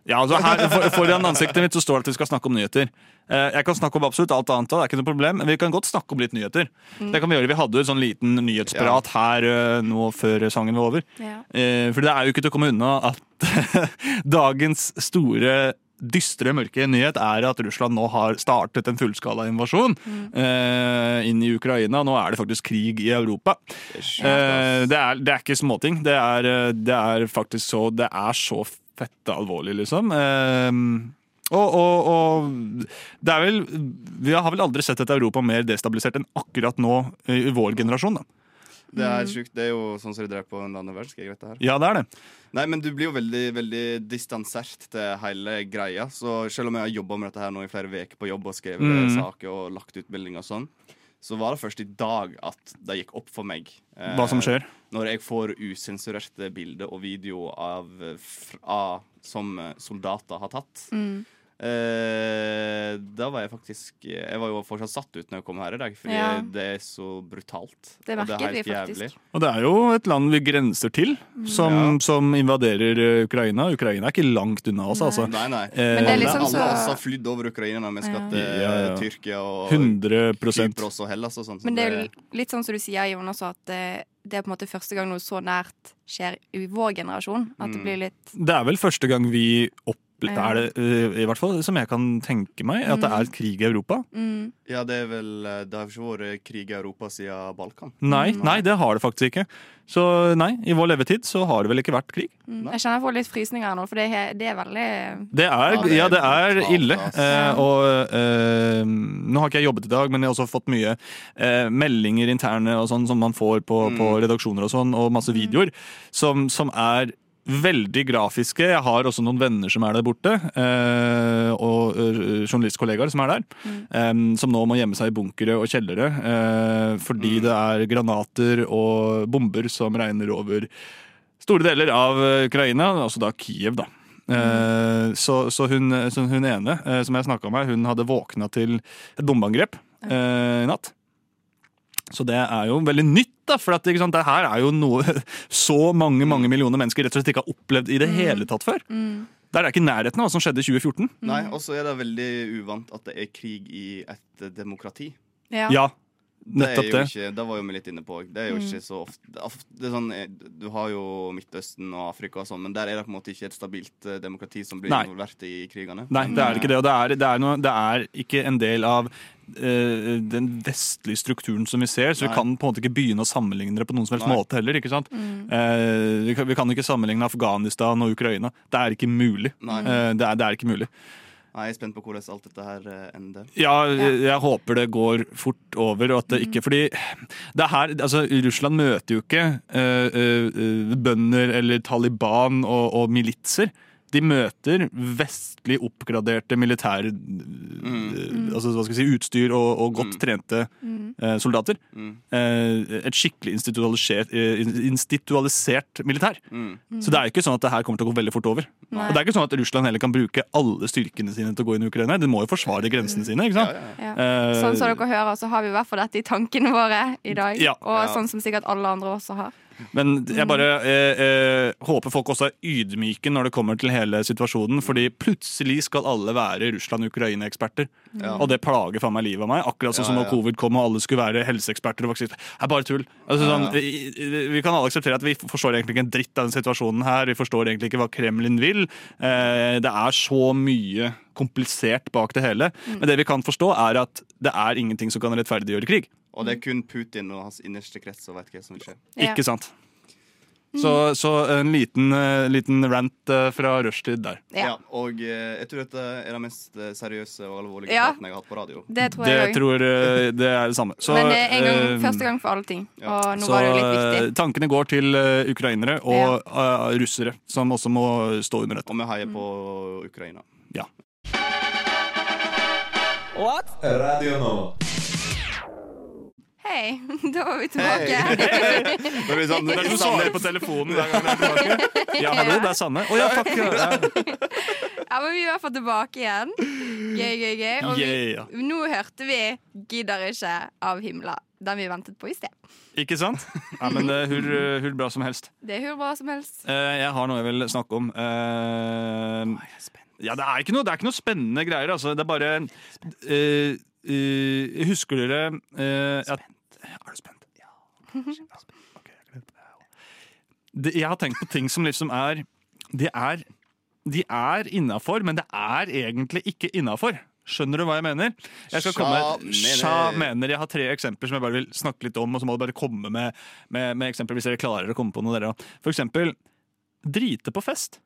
S6: Ja, altså her, for, Foran ansiktet mitt så står det at vi skal snakke om nyheter. Eh, jeg kan snakke om absolutt alt annet. og Det er ikke noe problem, men vi kan godt snakke om litt nyheter. Det kan Vi gjøre. Vi hadde jo en sånn liten nyhetsprat her eh, nå før sangen var over.
S7: Ja.
S6: Eh, for det er jo ikke til å komme unna at dagens store dystre, mørke nyhet er at Russland nå har startet en fullskala invasjon eh, inn i Ukraina. Nå er det faktisk krig i Europa. Eh, det, er, det er ikke småting. Det er, eh, det er faktisk så Det er så fette alvorlig, liksom. Eh, og, og, og det er vel Vi har vel aldri sett et Europa mer destabilisert enn akkurat nå eh, i vår generasjon. Da.
S5: Det er sjukt. Det er jo sånn som de drev på under andre verdenskrig. vet det her.
S6: Ja, det er det.
S5: Nei, men du blir jo veldig veldig distansert til hele greia. Så selv om jeg har jobba med dette her nå i flere uker på jobb og skrevet
S6: Mm.
S5: saker og lagt ut meldinger og sånn, så var det først i dag at det gikk opp for meg eh,
S6: Hva som skjer.
S5: Når jeg får usensurerte bilder og videoer av, eh, fr- av som eh, soldater har tatt.
S7: Mm.
S5: Eh, da var jeg faktisk Jeg var jo fortsatt satt ut når jeg kom her i dag, fordi
S7: Ja.
S5: det er så brutalt.
S7: Det
S5: og
S7: merket
S5: er
S7: vi
S5: helt
S7: faktisk.
S5: jævlig.
S6: Og det er jo et land vi grenser til, som,
S5: Ja.
S6: som invaderer eh, Ukraina. Ukraina er ikke langt unna oss, altså.
S5: Nei, nei.
S6: Men
S7: det er
S5: Alle-
S7: liksom så-
S5: Alle oss har flydd over Ukraina når vi skal til
S6: Ja, ja.
S5: Tyrkia og
S6: 100
S5: Kypros og Hellas og sånn. Så
S7: Men det er
S5: det-
S7: jo litt sånn som du sier, Jon, også, at eh, det er på en måte første gang noe så nært skjer i vår generasjon. At
S6: Mm.
S7: det blir litt
S6: Det er vel første gang vi opplever
S7: Ja.
S6: Er det, eh, i hvert fall som jeg kan tenke meg, at det er krig i Europa?
S7: mm,
S5: ja, det er vel eh, Det har ikke vært krig i Europa siden Balkan.
S6: Nei, nei, det har det faktisk ikke. Så nei, i vår levetid så har det vel ikke vært krig.
S7: mm. Jeg kjenner jeg får litt frysninger her nå, for det, er he- det er veldig
S6: Det er,
S5: Ja, det er
S6: ja, det er
S5: brutalt,
S6: ille.
S5: ass.
S6: Eh, og eh, nå har ikke jeg jobbet i dag, men jeg har også fått mye eh, meldinger interne og sånn som man får på,
S5: Mm.
S6: på redaksjoner og sånn, og masse videoer som, som er Veldig grafiske. Jeg har også noen venner som er der borte. Eh, og eh, journalistkollegaer som er der. eh, som nå må gjemme seg i bunkere og kjellere eh, fordi
S5: Mm.
S6: det er granater og bomber som regner over store deler av eh, Ukraina, altså da Kiev, da. Eh, Så, så, hun, så hun ene eh, som jeg snakka med, hun hadde våkna til et bombeangrep eh, i natt. Så det er jo veldig nytt, da, for at, ikke sant, det her er jo noe så mange mange millioner mennesker rett og slett ikke har opplevd i det hele tatt før. Der er ikke nærheten av hva som skjedde i 2014.
S5: Nei, Og så er det veldig uvant at det er krig i et eh, demokrati.
S7: Ja.
S6: Ja,
S5: Det, er
S6: nettopp
S5: jo
S6: det.
S5: ikke, det var jo vi litt inne på. Det er jo ikke
S7: Mm.
S5: så ofte det er ofte- det er sånn, eh, Du har jo Midtøsten og Afrika og sånn, men der er det på en måte ikke et stabilt eh, demokrati som blir
S6: Nei.
S5: involvert i krigene.
S6: Nei, det er ikke det. Og det er, det er, noe, det er ikke en del av eh, den vestlige strukturen som vi ser, så vi
S5: Nei.
S6: kan på en måte ikke begynne å sammenligne det på noen som helst
S5: Nei.
S6: måte heller. ikke sant? Eh, vi, kan, vi kan ikke sammenligne Afghanistan og Ukraina. Det er ikke mulig.
S5: Nei.
S6: Eh, det, er, det er ikke mulig.
S5: Nei, Jeg er spent på hvordan alt dette her eh, ender.
S6: Ja, jeg, jeg håper det går fort over, og at det ikke Fordi det er her Altså, Russland møter jo ikke eh, eh, bønder eller Taliban og, og militser. De møter vestlig oppgraderte militære eh, altså, hva skal jeg si, utstyr og, og godt trente eh, soldater. Eh, et skikkelig institualisert, eh, institualisert militær. Så det er jo ikke sånn at det her kommer til å gå veldig fort over.
S7: Nei.
S6: Og det er ikke sånn at Russland heller kan bruke alle styrkene sine til å gå inn i Ukraina. De må jo forsvare grensene sine. ikke sant?
S7: Ja.
S6: Eh,
S7: Sånn som dere hører, så har vi i hvert fall dette i tankene våre i dag.
S6: Ja.
S7: Og sånn som sikkert alle andre også har.
S6: Men jeg bare eh, eh, håper folk også er ydmyke når det kommer til hele situasjonen. Fordi plutselig skal alle være Russland-Ukraina-eksperter.
S5: Ja.
S6: Og det plager faen meg livet av meg. Akkurat sånn
S5: Ja,
S6: som når
S5: ja.
S6: covid kom og alle skulle være helseeksperter og vaksineeksperter. Det er bare tull. Altså, sånn,
S5: Ja, ja.
S6: i- i- Vi kan alle akseptere at vi forstår egentlig ikke en dritt av den situasjonen her. Vi forstår egentlig ikke hva Kremlin vil. Eh, det er så mye komplisert bak det hele.
S5: Mm.
S6: Men det vi kan forstå, er at det er ingenting som kan rettferdiggjøre krig.
S5: Og det er kun Putin og hans innerste krets som vet hva som vil skje.
S7: Ja.
S6: Ikke sant? Så, så en liten, eh, liten rant eh, fra rushtid der.
S7: Ja.
S5: Og eh, jeg tror dette er den mest eh, seriøse og alvorlige
S7: Ja.
S5: praten jeg har hatt på radio.
S7: Det tror
S6: Det
S7: jeg òg.
S6: tror eh, det er det samme. Så,
S7: Men det er en gang,
S6: eh,
S7: første gang for alle ting.
S5: ja.
S7: Og nå
S6: så
S7: var det jo litt
S6: eh,
S7: viktig.
S6: tankene går til eh, ukrainere og eh, russere, som også må eh, stå under dette.
S5: Og vi
S7: Mm.
S5: heier på Ukraina.
S6: Ja.
S1: Radio Nova.
S7: Hei, da var vi tilbake.
S5: Det blir sånn,
S6: Det er som du svarer på telefonen hver gang du er tilbake. Ja, hallo, det er Sanne. Å ja, fuck! Ja.
S7: Ja, men vi er i hvert fall tilbake igjen. Gøy, gøy, gøy. Og vi,
S6: Yeah.
S7: nå hørte vi 'Gidder ikke' av Himla. Den vi ventet på i sted.
S6: Ikke sant? Ja, men eh, det er hur, hur bra som helst.
S7: Det er hvor bra som helst.
S6: Eh, jeg har noe jeg vil snakke om. Eh, ja, det er ikke noe, det er ikke noe spennende greier. Altså. Det er bare eh, eh, Husker dere eh, at, Er du spent? Ja. Ok, jeg gleder meg. Det, jeg har tenkt på ting som liksom er De er, de er innafor, men det er egentlig ikke innafor. Skjønner du hva jeg mener? Jeg skal
S5: Sja
S6: komme,
S5: mener.
S6: sja mener Jeg har tre eksempler som jeg bare vil snakke litt om, og så må du bare komme med, med, med eksempler hvis dere klarer å komme på noe. Dere. også. For eksempel drite på fest.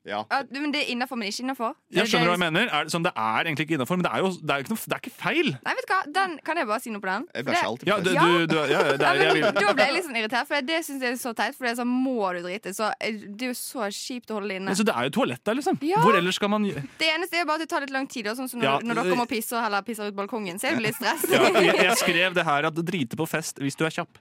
S5: Ja.
S7: Ja, du, men det er innafor, men ikke innafor.
S6: Jeg skjønner hva jeg mener. Er det, sånn, det er egentlig ikke innafor, men det er jo det er jo ikke, noe, det er ikke feil.
S7: Nei, vet du hva? Den, kan jeg bare si noe på den?
S5: Jeg
S7: For
S5: bæsjer
S7: det-
S5: alltid
S6: Ja,
S5: på
S6: du,
S5: fest.
S7: Ja.
S6: du, du, ja, ja, det er, jeg vil.
S7: Da ble jeg litt sånn irritert, for det syns jeg er så teit. For det er sånn, må du drite? Så, eh, det er jo så kjipt å holde det inne.
S6: Men så det er jo toalett der, liksom.
S7: Ja.
S6: Hvor ellers skal man gjø-
S7: Det eneste er jo bare at det tar litt lang tid. da, Sånn som når,
S6: Ja,
S7: når
S6: det-
S7: dere må pisse og heller pisser ut balkongen, så er det jo litt stress.
S6: ja, jeg, jeg skrev det her at drite på fest hvis du er kjapp.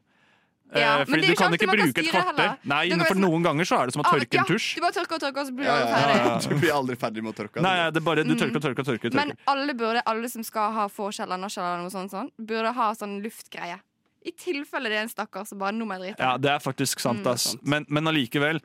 S6: Eh,
S7: Ja, men
S6: fordi du
S7: det er jo ikke
S6: kan
S7: alltid
S6: ikke
S7: man kan
S6: bruke et
S7: styre
S6: kvarter.
S7: heller.
S6: Nei,
S7: Det går
S6: for
S7: liksom-
S6: noen ganger så er det som å tørke
S7: ah, ja,
S6: en tusj.
S7: Du bare tørker og tørker, og så blir du
S5: Ja,
S7: aldri
S5: ja,
S7: ferdig.
S5: ja. Du blir aldri ferdig med å tørke.
S6: Nei, det er bare du tørker og tørker og tørker. og
S7: Mm. Men
S6: tørker.
S7: alle burde, alle som skal ha forskjell eller nachspiel eller noe sånt, sånn, burde ha sånn luftgreie. I tilfelle det er en stakkar som bare 'nå må jeg drite'.
S6: Ja, det er faktisk sant,
S7: Mm.
S6: ass. Men, men allikevel.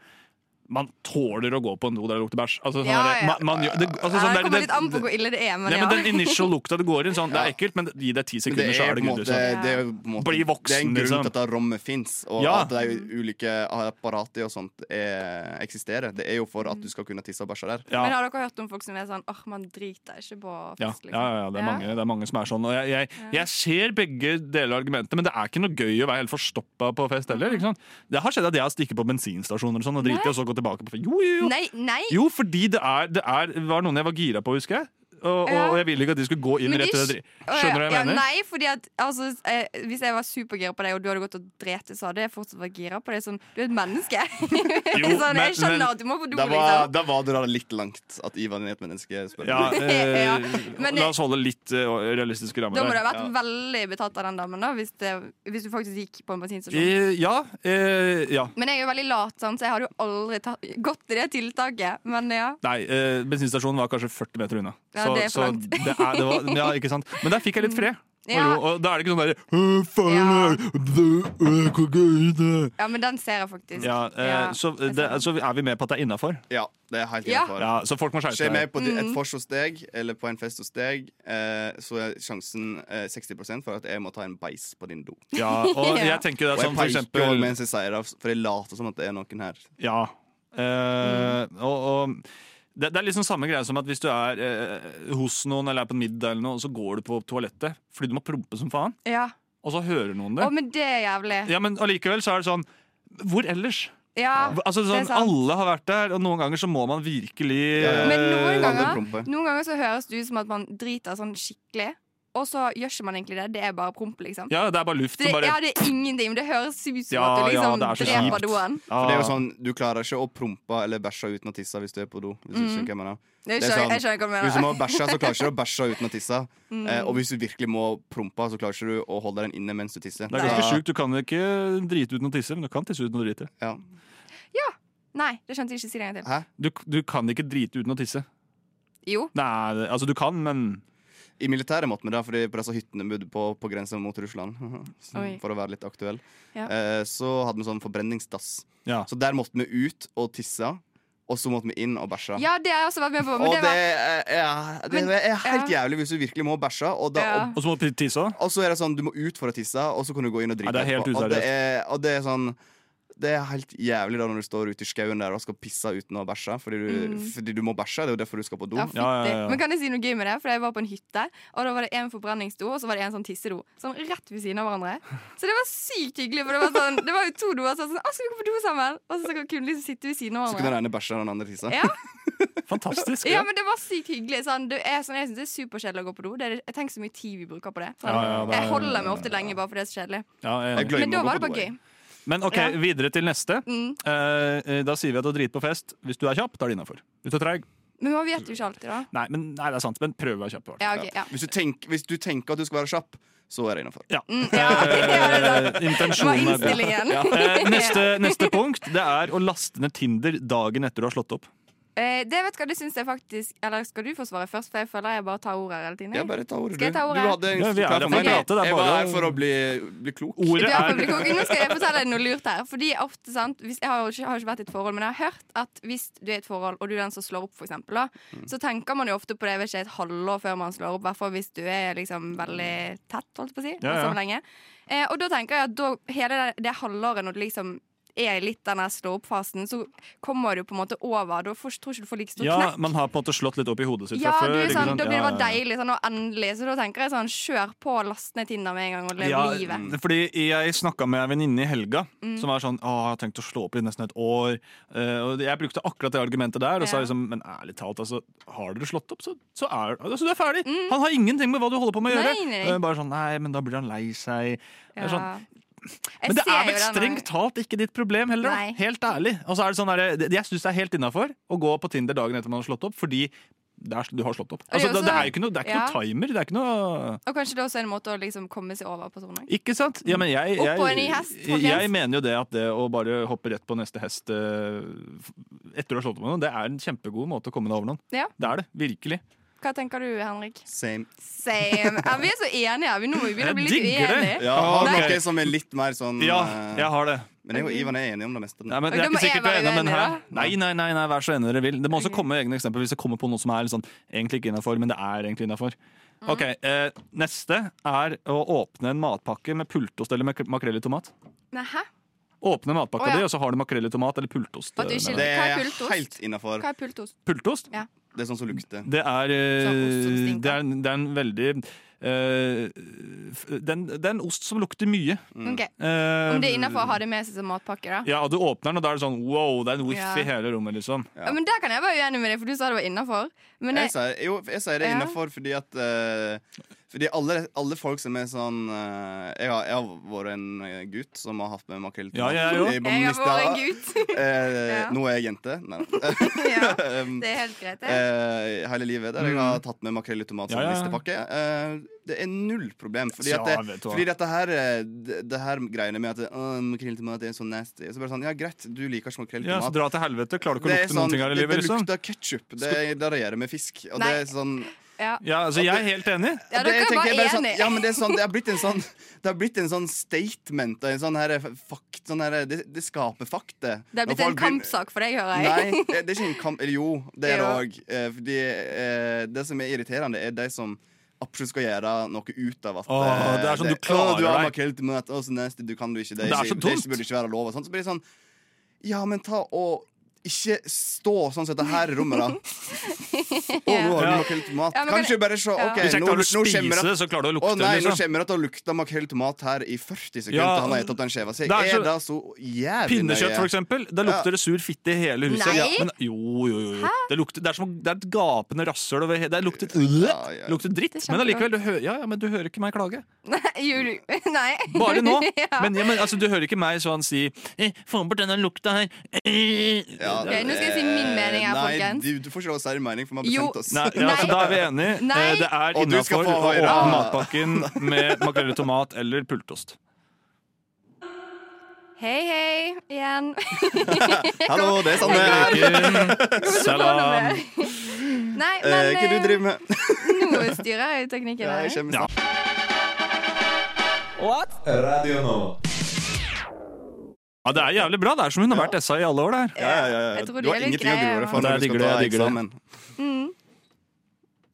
S6: Man tåler å gå på en do der det lukter bæsj. Altså, sånn
S7: Ja,
S6: der-
S7: ja.
S6: Man, man, gjør- det, altså,
S7: Ja,
S6: sånn
S7: det
S6: der-
S7: kommer litt an på
S6: det-
S7: hvor ille det er, men
S6: Ja,
S7: ja.
S6: men den initial lukta det går inn sånn, det er ekkelt, men gi det ti
S5: Men det
S6: sekunder, så
S5: er
S6: er det good.
S5: på en måte,
S6: Liksom.
S5: det er jo på en måte
S6: Bli voksen,
S5: Det er en grunn
S6: liksom.
S5: til at det rommet fins, og
S6: Ja.
S5: at de ulike apparater og sånt er, eksisterer. Det er jo for at du skal kunne tisse og bæsje der.
S6: Ja.
S7: Men har dere hørt om folk som er sånn 'åh, man driter ikke på
S6: Ja,
S7: fest'? liksom?
S6: ja, ja, ja, det, er mange, det er mange som er sånn. Og jeg, jeg, jeg ser begge deler av argumentet, men det er ikke noe gøy å være helt forstoppa på fest heller. Ikke sant? Det har skjedd at jeg har stikket på bensinstasjoner og sånn og driti, og så gå tilbake på fest. Jo, jo, jo.
S7: Nei, nei!
S6: jo fordi det, er, det er, det var noen jeg var gira på, husker jeg. Og, og,
S7: Ja.
S6: og jeg ville ikke at de skulle gå inn
S7: Men
S6: rett
S7: de
S6: til
S7: sk-
S6: det. Skjønner du hva jeg
S7: ja,
S6: mener?
S7: Nei, fordi at altså, eh, Hvis jeg var supergira på deg, og du hadde gått og drete, så hadde jeg fortsatt vært gira på deg. Sånn, du er et menneske. sånn,
S6: men-
S7: jeg skjønner
S6: men-
S7: at du må på do,
S5: Da var,
S7: liksom.
S5: da var det da litt langt at Ivan er et menneske. Spør.
S6: Ja, eh,
S7: Ja, men
S6: la oss holde litt eh, realistiske rammer
S7: Da må du ha vært
S5: Ja.
S7: veldig betatt av den damen, da, hvis, det, hvis du faktisk gikk på en bensinstasjon.
S6: Eh, ja, eh, ja.
S7: Men jeg er jo veldig lat, sant, så jeg hadde jo aldri tatt, gått til det tiltaket. Men ja.
S6: Nei, eh, bensinstasjonen var kanskje 40 meter unna.
S7: Ja, det er for langt. Mm.
S6: det er, det var, ja, ikke sant? Men der fikk jeg litt fred. Og,
S7: Ja.
S6: ro, og da er det ikke sånn derre «Åh, faen, eh,
S7: Ja.
S6: jeg- det- jeg kan ikke ut, jeg».
S7: ja, men den ser jeg faktisk.
S6: Ja, eh,
S7: Ja,
S6: så,
S7: jeg
S6: det,
S7: ser den.
S6: så er vi med på at det er innafor.
S5: Ja, det er helt
S7: Ja. Mm.
S5: innenfor.
S6: Ja, så folk må skjerpe
S5: Skjer
S6: seg.
S5: med på et vors hos deg, eller på en fest hos deg, eh, så er sjansen eh, 60 for at jeg må ta en beis på din do.
S6: Ja, og
S7: Ja.
S6: jeg tenker det
S5: Og
S6: er
S5: jeg
S6: sånn for
S5: peker også
S6: eksempel
S5: mens jeg sier det, for jeg later som at det er noen her.
S6: Ja. Eh, og, og det, det er liksom samme greie som at hvis du er eh, hos noen eller er på en middag, eller noe, og så går du på toalettet fordi du må prompe som faen,
S7: ja.
S6: og så hører noen det.
S7: Å, men det er jævlig.
S6: Ja, men allikevel så er det sånn Hvor ellers?
S7: Ja,
S6: Altså
S7: det er
S6: sånn,
S7: sant.
S6: Alle har vært der, og noen ganger så må man virkelig eh,
S7: Men noen ganger,
S5: prompe.
S7: noen ganger så høres det ut som at man driter sånn skikkelig, og så gjør ikke man egentlig det. Det er bare promp, liksom.
S6: Ja, det er bare luft
S7: Det,
S6: som bare
S7: ja, det er ingenting, men det høres ut som
S6: Ja,
S7: at du
S6: ja,
S7: liksom
S6: det er så
S7: dreper
S6: kjipt.
S7: doen.
S5: For det er
S6: Ah.
S5: jo sånn, Du klarer ikke å prompe eller bæsje uten å tisse hvis du er på do. Hvis du
S7: Mm.
S5: skjønner hva jeg mener.
S7: Jeg
S5: Det er
S7: skjønner, jeg
S5: sant.
S7: skjønner hva
S5: Hvis
S7: du
S5: du må
S7: mener.
S5: bæsje, så klarer ikke du å bæsje uten å tisse.
S7: Mm.
S5: Eh, og hvis du virkelig må prompe, så klarer ikke du å holde den inne mens du tisser.
S6: Det er ganske sjukt. Du kan ikke drite uten å tisse, men du kan tisse uten å drite.
S5: Ja.
S7: Nei, det skjønte jeg ikke. Si det en gang til.
S5: Hæ?
S6: Du, du kan ikke drite uten å tisse.
S7: Jo.
S6: Nei, det- altså du kan, men
S5: I militæret måtte vi det, fordi på disse hyttene vi bodde på, på grensa mot Russland,
S7: Oi.
S5: for å være litt aktuell,
S7: Ja.
S5: eh, så hadde vi sånn forbrenningsdass.
S6: Ja.
S5: Så der måtte vi ut og tisse, og så måtte vi inn og bæsje.
S7: Ja, det har jeg også vært med på. Men
S5: og
S7: det
S5: det,
S7: var,
S5: er- ja, det
S7: Men-
S5: er helt jævlig hvis du virkelig må bæsje. Og, da,
S7: Ja.
S5: og,
S6: Og så må du tisse òg.
S5: og så er det sånn, du må ut for å tisse, og så kan du gå inn og drite.
S6: Ja, det er helt
S5: etterpå. og, det
S6: useriøst.
S5: er, og det er sånn det er helt jævlig da når du står ute i skauen der og skal pisse uten å bæsje. Fordi du, fordi du må bæsje, det er jo derfor du skal på do.
S7: Mm. ja, fytti.
S6: Ja, ja, ja.
S7: Men kan jeg si noe gøy med det? For jeg var på en hytte, og da var det en forbrenningsdo, og så var det en sånn tissedo. Sånn rett ved siden av hverandre. Så det var sykt hyggelig, for det var, sånn, det var jo to doer. Så jeg var sånn, «Å, skal vi gå på do sammen? Og så kunne vi liksom sitte ved siden av
S5: Så kunne
S7: hverandre.
S5: den ene bæsje og den andre tisse.
S7: Ja.
S6: Fantastisk.
S7: Ja, men det var sykt hyggelig. Sånn, du er sånn, jeg syns det er superkjedelig å gå på do. Det er, jeg tenker så mye tid vi bruker på det. Sånn,
S6: Ja, ja, det er-
S7: jeg holder meg ofte lenge bare fordi det er så kjedelig.
S6: Ja, jeg er
S5: Jeg
S6: enig.
S5: glemmer
S7: Men da
S5: å gå
S7: var det
S5: på do,
S7: bare
S5: jeg.
S7: gøy.
S6: men OK,
S7: Ja.
S6: videre til neste.
S7: Mm.
S6: Eh, eh, da sier vi at å drite på fest Hvis du er kjapp, da er det innafor. Hvis du er treig
S7: Men man vet jo ikke alltid, da.
S6: Nei, men, nei, det er sant, men prøv å være kjapp. i hvert fall.
S7: Ja, ok, ja.
S5: Hvis, du tenk, hvis du tenker at du skal være kjapp, så er det innafor.
S6: Ja.
S7: Mm, ja, ja, det er sant.
S6: Eh,
S7: Det var
S6: intensjonen er god.
S7: innstillingen.
S6: Eh, neste, neste punkt det er å laste ned Tinder dagen etter du har slått opp.
S7: Eh, det vet du hva, det syns jeg faktisk Eller skal du få svare først, for jeg føler jeg bare tar ordet her hele tiden.
S5: Jeg bare ta ordet,
S7: Skal jeg ta ordet?
S5: Du hadde en
S6: Ja, vi er her for
S5: plan for
S6: å
S5: meg.
S6: prate, det er
S5: Jeg var
S6: bare-
S5: her for å bli, bli klok.
S6: Ordet
S7: Ja, for å
S6: er
S7: bli kokken. Nå skal jeg fortelle deg noe lurt her. Fordi ofte, sant, hvis, Jeg har jo ikke, har ikke vært i et forhold, men jeg har hørt at hvis du er i et forhold, og du er den som slår opp, for eksempel, da,
S6: Mm.
S7: så tenker man jo ofte på det jeg vet ikke, et halvår før man slår opp. I hvert fall hvis du er liksom veldig tett, holdt på å si.
S6: Ja, ja.
S7: og så lenge. Eh, og da tenker jeg at da, hele det, det halvåret når du liksom er i litt den der slå-opp-fasen, så kommer du på en måte over. Da får, tror ikke du får like stor
S6: Ja,
S7: knekk.
S6: man har på en måte slått litt opp i hodet sitt
S7: Ja,
S6: fra
S7: du,
S6: før.
S7: er
S6: ikke
S7: sånn,
S6: sant?
S7: da blir det bare
S6: Ja, ja, ja.
S7: deilig sånn, og endelig. Så da tenker jeg sånn, kjør på, last ned Tinder med en gang og lev livet.
S6: Mm,
S7: Mm.
S6: Fordi jeg snakka med ei venninne i helga som var sånn Å, jeg har tenkt å slå opp i nesten et år. Eh, og jeg brukte akkurat det argumentet der. Og sa
S7: Ja.
S6: liksom, Men ærlig talt, altså, har dere slått opp, så, så er altså, du er ferdig. Han har ingenting med hva du holder på med å gjøre.
S7: Mm. Nei, nei.
S6: Eh, bare sånn Nei, men da blir han lei seg. Det er sånn,
S7: Jeg
S6: Men det
S7: ser
S6: er vel
S7: jo den,
S6: strengt talt ikke ditt problem heller,
S7: Nei.
S6: da. Helt ærlig. Og så er det sånn der, det- Jeg syns det er helt innafor å gå på Tinder dagen etter man har slått opp, fordi det er, du har slått opp.
S7: Og det er
S6: Altså,
S7: jo
S6: det,
S7: også-
S6: det er jo ikke noe, det er ikke
S7: ja.
S6: noe timer. Det er ikke noe
S7: eh, Og kanskje det er også en måte å liksom komme seg over på sånn også.
S6: Ikke sant? Ja, men jeg,
S7: Opp
S6: jeg,
S7: på en ny hest,
S6: jeg,
S7: folkens.
S6: mener jo det at det å bare hoppe rett på neste hest eh, etter å ha slått opp med noen, det er en kjempegod måte å komme deg over noen.
S7: Ja.
S6: Det er det. Virkelig.
S7: Hva tenker du, Henrik?
S5: Same.
S7: Same. Ja, vi er så enige her. Vi nå må vi begynne å bli litt
S6: Jeg digger det.
S7: uenige.
S5: Jeg har
S6: Nei.
S5: noe som er litt mer sånn
S6: Ja,
S5: eh,
S6: jeg har det.
S5: Men jeg og Ivan er enige om det meste.
S6: Nei, men
S7: Ok,
S6: det
S7: da
S6: er
S7: må
S6: ikke
S7: jeg
S6: sikkert vi er
S7: være
S6: enige, men
S7: uenig,
S6: her
S7: da.
S6: Nei, nei, nei, nei, vær så enige dere vil. Det må også komme egne eksempler hvis det kommer på noe som er litt sånn, egentlig ikke innafor, men det er egentlig innafor.
S7: Mm.
S6: Ok, eh, Neste er å åpne en matpakke med pultost eller mak makrell i tomat.
S7: Nei, hæ?
S6: Åpne matpakka
S7: Å, ja.
S6: di, og så har du makrell i tomat eller pultost.
S7: At du
S6: eh,
S7: ikke-
S6: med
S5: Det
S6: deg.
S7: Hva er
S5: er
S7: pultost?
S5: helt innafor.
S7: Hva er pultost?
S6: Pultost?
S5: Det er sånn som lukter.
S6: Det er, eh,
S7: Sånn ost som stinker.
S6: det er, en- det er en veldig eh, f- den, Det er en ost som lukter mye.
S7: Ok.
S6: Eh,
S7: Om det er innafor å ha det med seg som matpakke, da?
S6: Ja, og du åpner den, og da er det sånn wow, det er en whiff
S7: Ja.
S6: i hele rommet, liksom.
S5: Ja.
S7: Men der kan jeg være uenig med deg, for du sa det var innafor. Men
S5: Jeg
S7: jeg,
S5: sier, jo, jeg sier det
S7: Ja.
S5: innafor fordi at eh, Fordi alle, alle folk som er sånn eh, jeg, har, jeg har vært en eh, gutt som har hatt med makrell
S6: Ja, jeg er jo.
S5: i
S7: jeg har vært en
S5: bomullsdager.
S7: gutt.
S5: Eh,
S7: Ja.
S5: Nå er jeg jente. Nei.
S7: ja,
S5: Um,
S7: det er helt greit, det.
S5: eh, hele livet der jeg har tatt med makrell i tomat som
S6: Mm. Ja, ja.
S5: listepakke. Eh, det er null problem. Fordi,
S6: Ja,
S5: at det,
S6: vet du hva.
S5: fordi dette her eh, det, det her greiene med at det, «Åh, makrell i tomat er så nasty. Så bare sånn, ja greit, du liker ikke makrell i
S6: Ja, så dra
S5: tomat.
S6: til helvete. Klarer du ikke å
S5: det,
S6: lukte
S5: er sånn,
S6: noen ting her i
S5: det,
S6: livet?
S5: det
S6: liksom?
S5: lukter ketsjup. Det, det regjerer med fisk. Og det
S7: Nei.
S5: er sånn
S7: Ja.
S6: Ja, altså, jeg er helt enig.
S7: Ja,
S5: det,
S7: dere
S5: jeg
S7: er
S5: tenker
S7: bare
S5: bare sånn,
S7: enige.
S5: ja, men det, er sånn, det har blitt en sånn Det har blitt en sånn statement. og En sånn her, fakt, sånn her, det, det skaper fakt, det.
S7: Det har blitt
S5: Når
S7: en
S5: folk begynner-
S7: kampsak for deg, hører jeg.
S5: Nei, det er ikke en kamp Eller jo, det er det
S7: Jo.
S5: òg. Fordi eh, det som er irriterende, er de som absolutt skal gjøre noe ut av at
S6: Åh,
S5: eh,
S6: det er sånn du
S5: «Åh, du har
S6: klarer
S5: makrell til mat, åh, så nasty, du kan du ikke. Det,
S6: Det er
S5: er
S6: så
S5: ikke,
S6: dumt.
S5: det burde ikke være lov. Og sånt. Så blir det sånn Ja, men ta og ikke stå sånn som dette her i rommet, da. Å, nå har du
S6: Ja.
S5: makrell til mat.
S7: Ja, men kan-
S5: Kanskje bare se.
S7: Ja.
S5: OK,
S6: Hvis jeg
S5: nå,
S6: klarer å
S5: nå kommer
S6: spise
S5: det
S6: det, så klarer du å
S5: Å
S6: lukte
S5: nei,
S6: det.
S5: nå
S6: Liksom.
S5: kommer det til å lukte makrell til mat her i 40 sekunder.
S6: Ja,
S5: til han har gitt opp den skjeva si.
S6: det er
S5: Er,
S6: så-
S5: det så jævlig
S6: Pinnekjøtt, for eksempel. Da lukter det sur fitte i hele huset.
S7: Nei.
S6: men, jo, jo, jo. jo. Det, lukter, det, er som, å- det er et gapende rasshøl over he- Det lukter,
S5: Ja, ja.
S6: lukter dritt.
S7: Det er
S6: Men allikevel, du, hø ja, ja, men du hører ikke meg klage.
S7: Jul- Nei.
S6: Bare nå.
S7: Ja.
S6: Men, ja, men altså, du hører ikke meg sånn si eh, 'Få bort denne lukta her'. Eh.
S5: Ja, eh,
S7: Ok, nå skal jeg si min mening her,
S5: nei,
S7: folkens.
S5: Du, du får ikke lov å si din mening, for vi har
S7: Jo.
S5: bestemt oss.
S6: Nei, ja, altså,
S7: Nei.
S6: da er vi enige.
S7: Nei.
S6: Eh, Det er
S5: Og du skal
S6: innafor
S5: få
S6: å åpne
S5: høre.
S6: matpakken med makrell i tomat eller pultost.
S7: Hei, hei igjen.
S5: Hallo, det er Sanne her.
S6: Ehm, Salam.
S7: Nei,
S5: Eh,
S7: men
S5: Hva du
S7: eh,
S5: driver med?
S7: nå styrer jeg teknikken
S5: Ja,
S7: her.
S5: jeg kommer snart.
S1: Radio Nova.
S6: Ja, det er jævlig bra. Det er som hun har vært SA i alle år. Der.
S5: Ja, ja, ja, ja.
S7: Jeg tror
S5: Du
S7: det
S5: har
S7: er litt
S5: ingenting å
S7: greier,
S5: grue deg for
S6: men-
S5: når du
S6: Jeg
S5: skal
S6: digger
S5: ta
S6: det, jeg digger det.
S5: eksamen.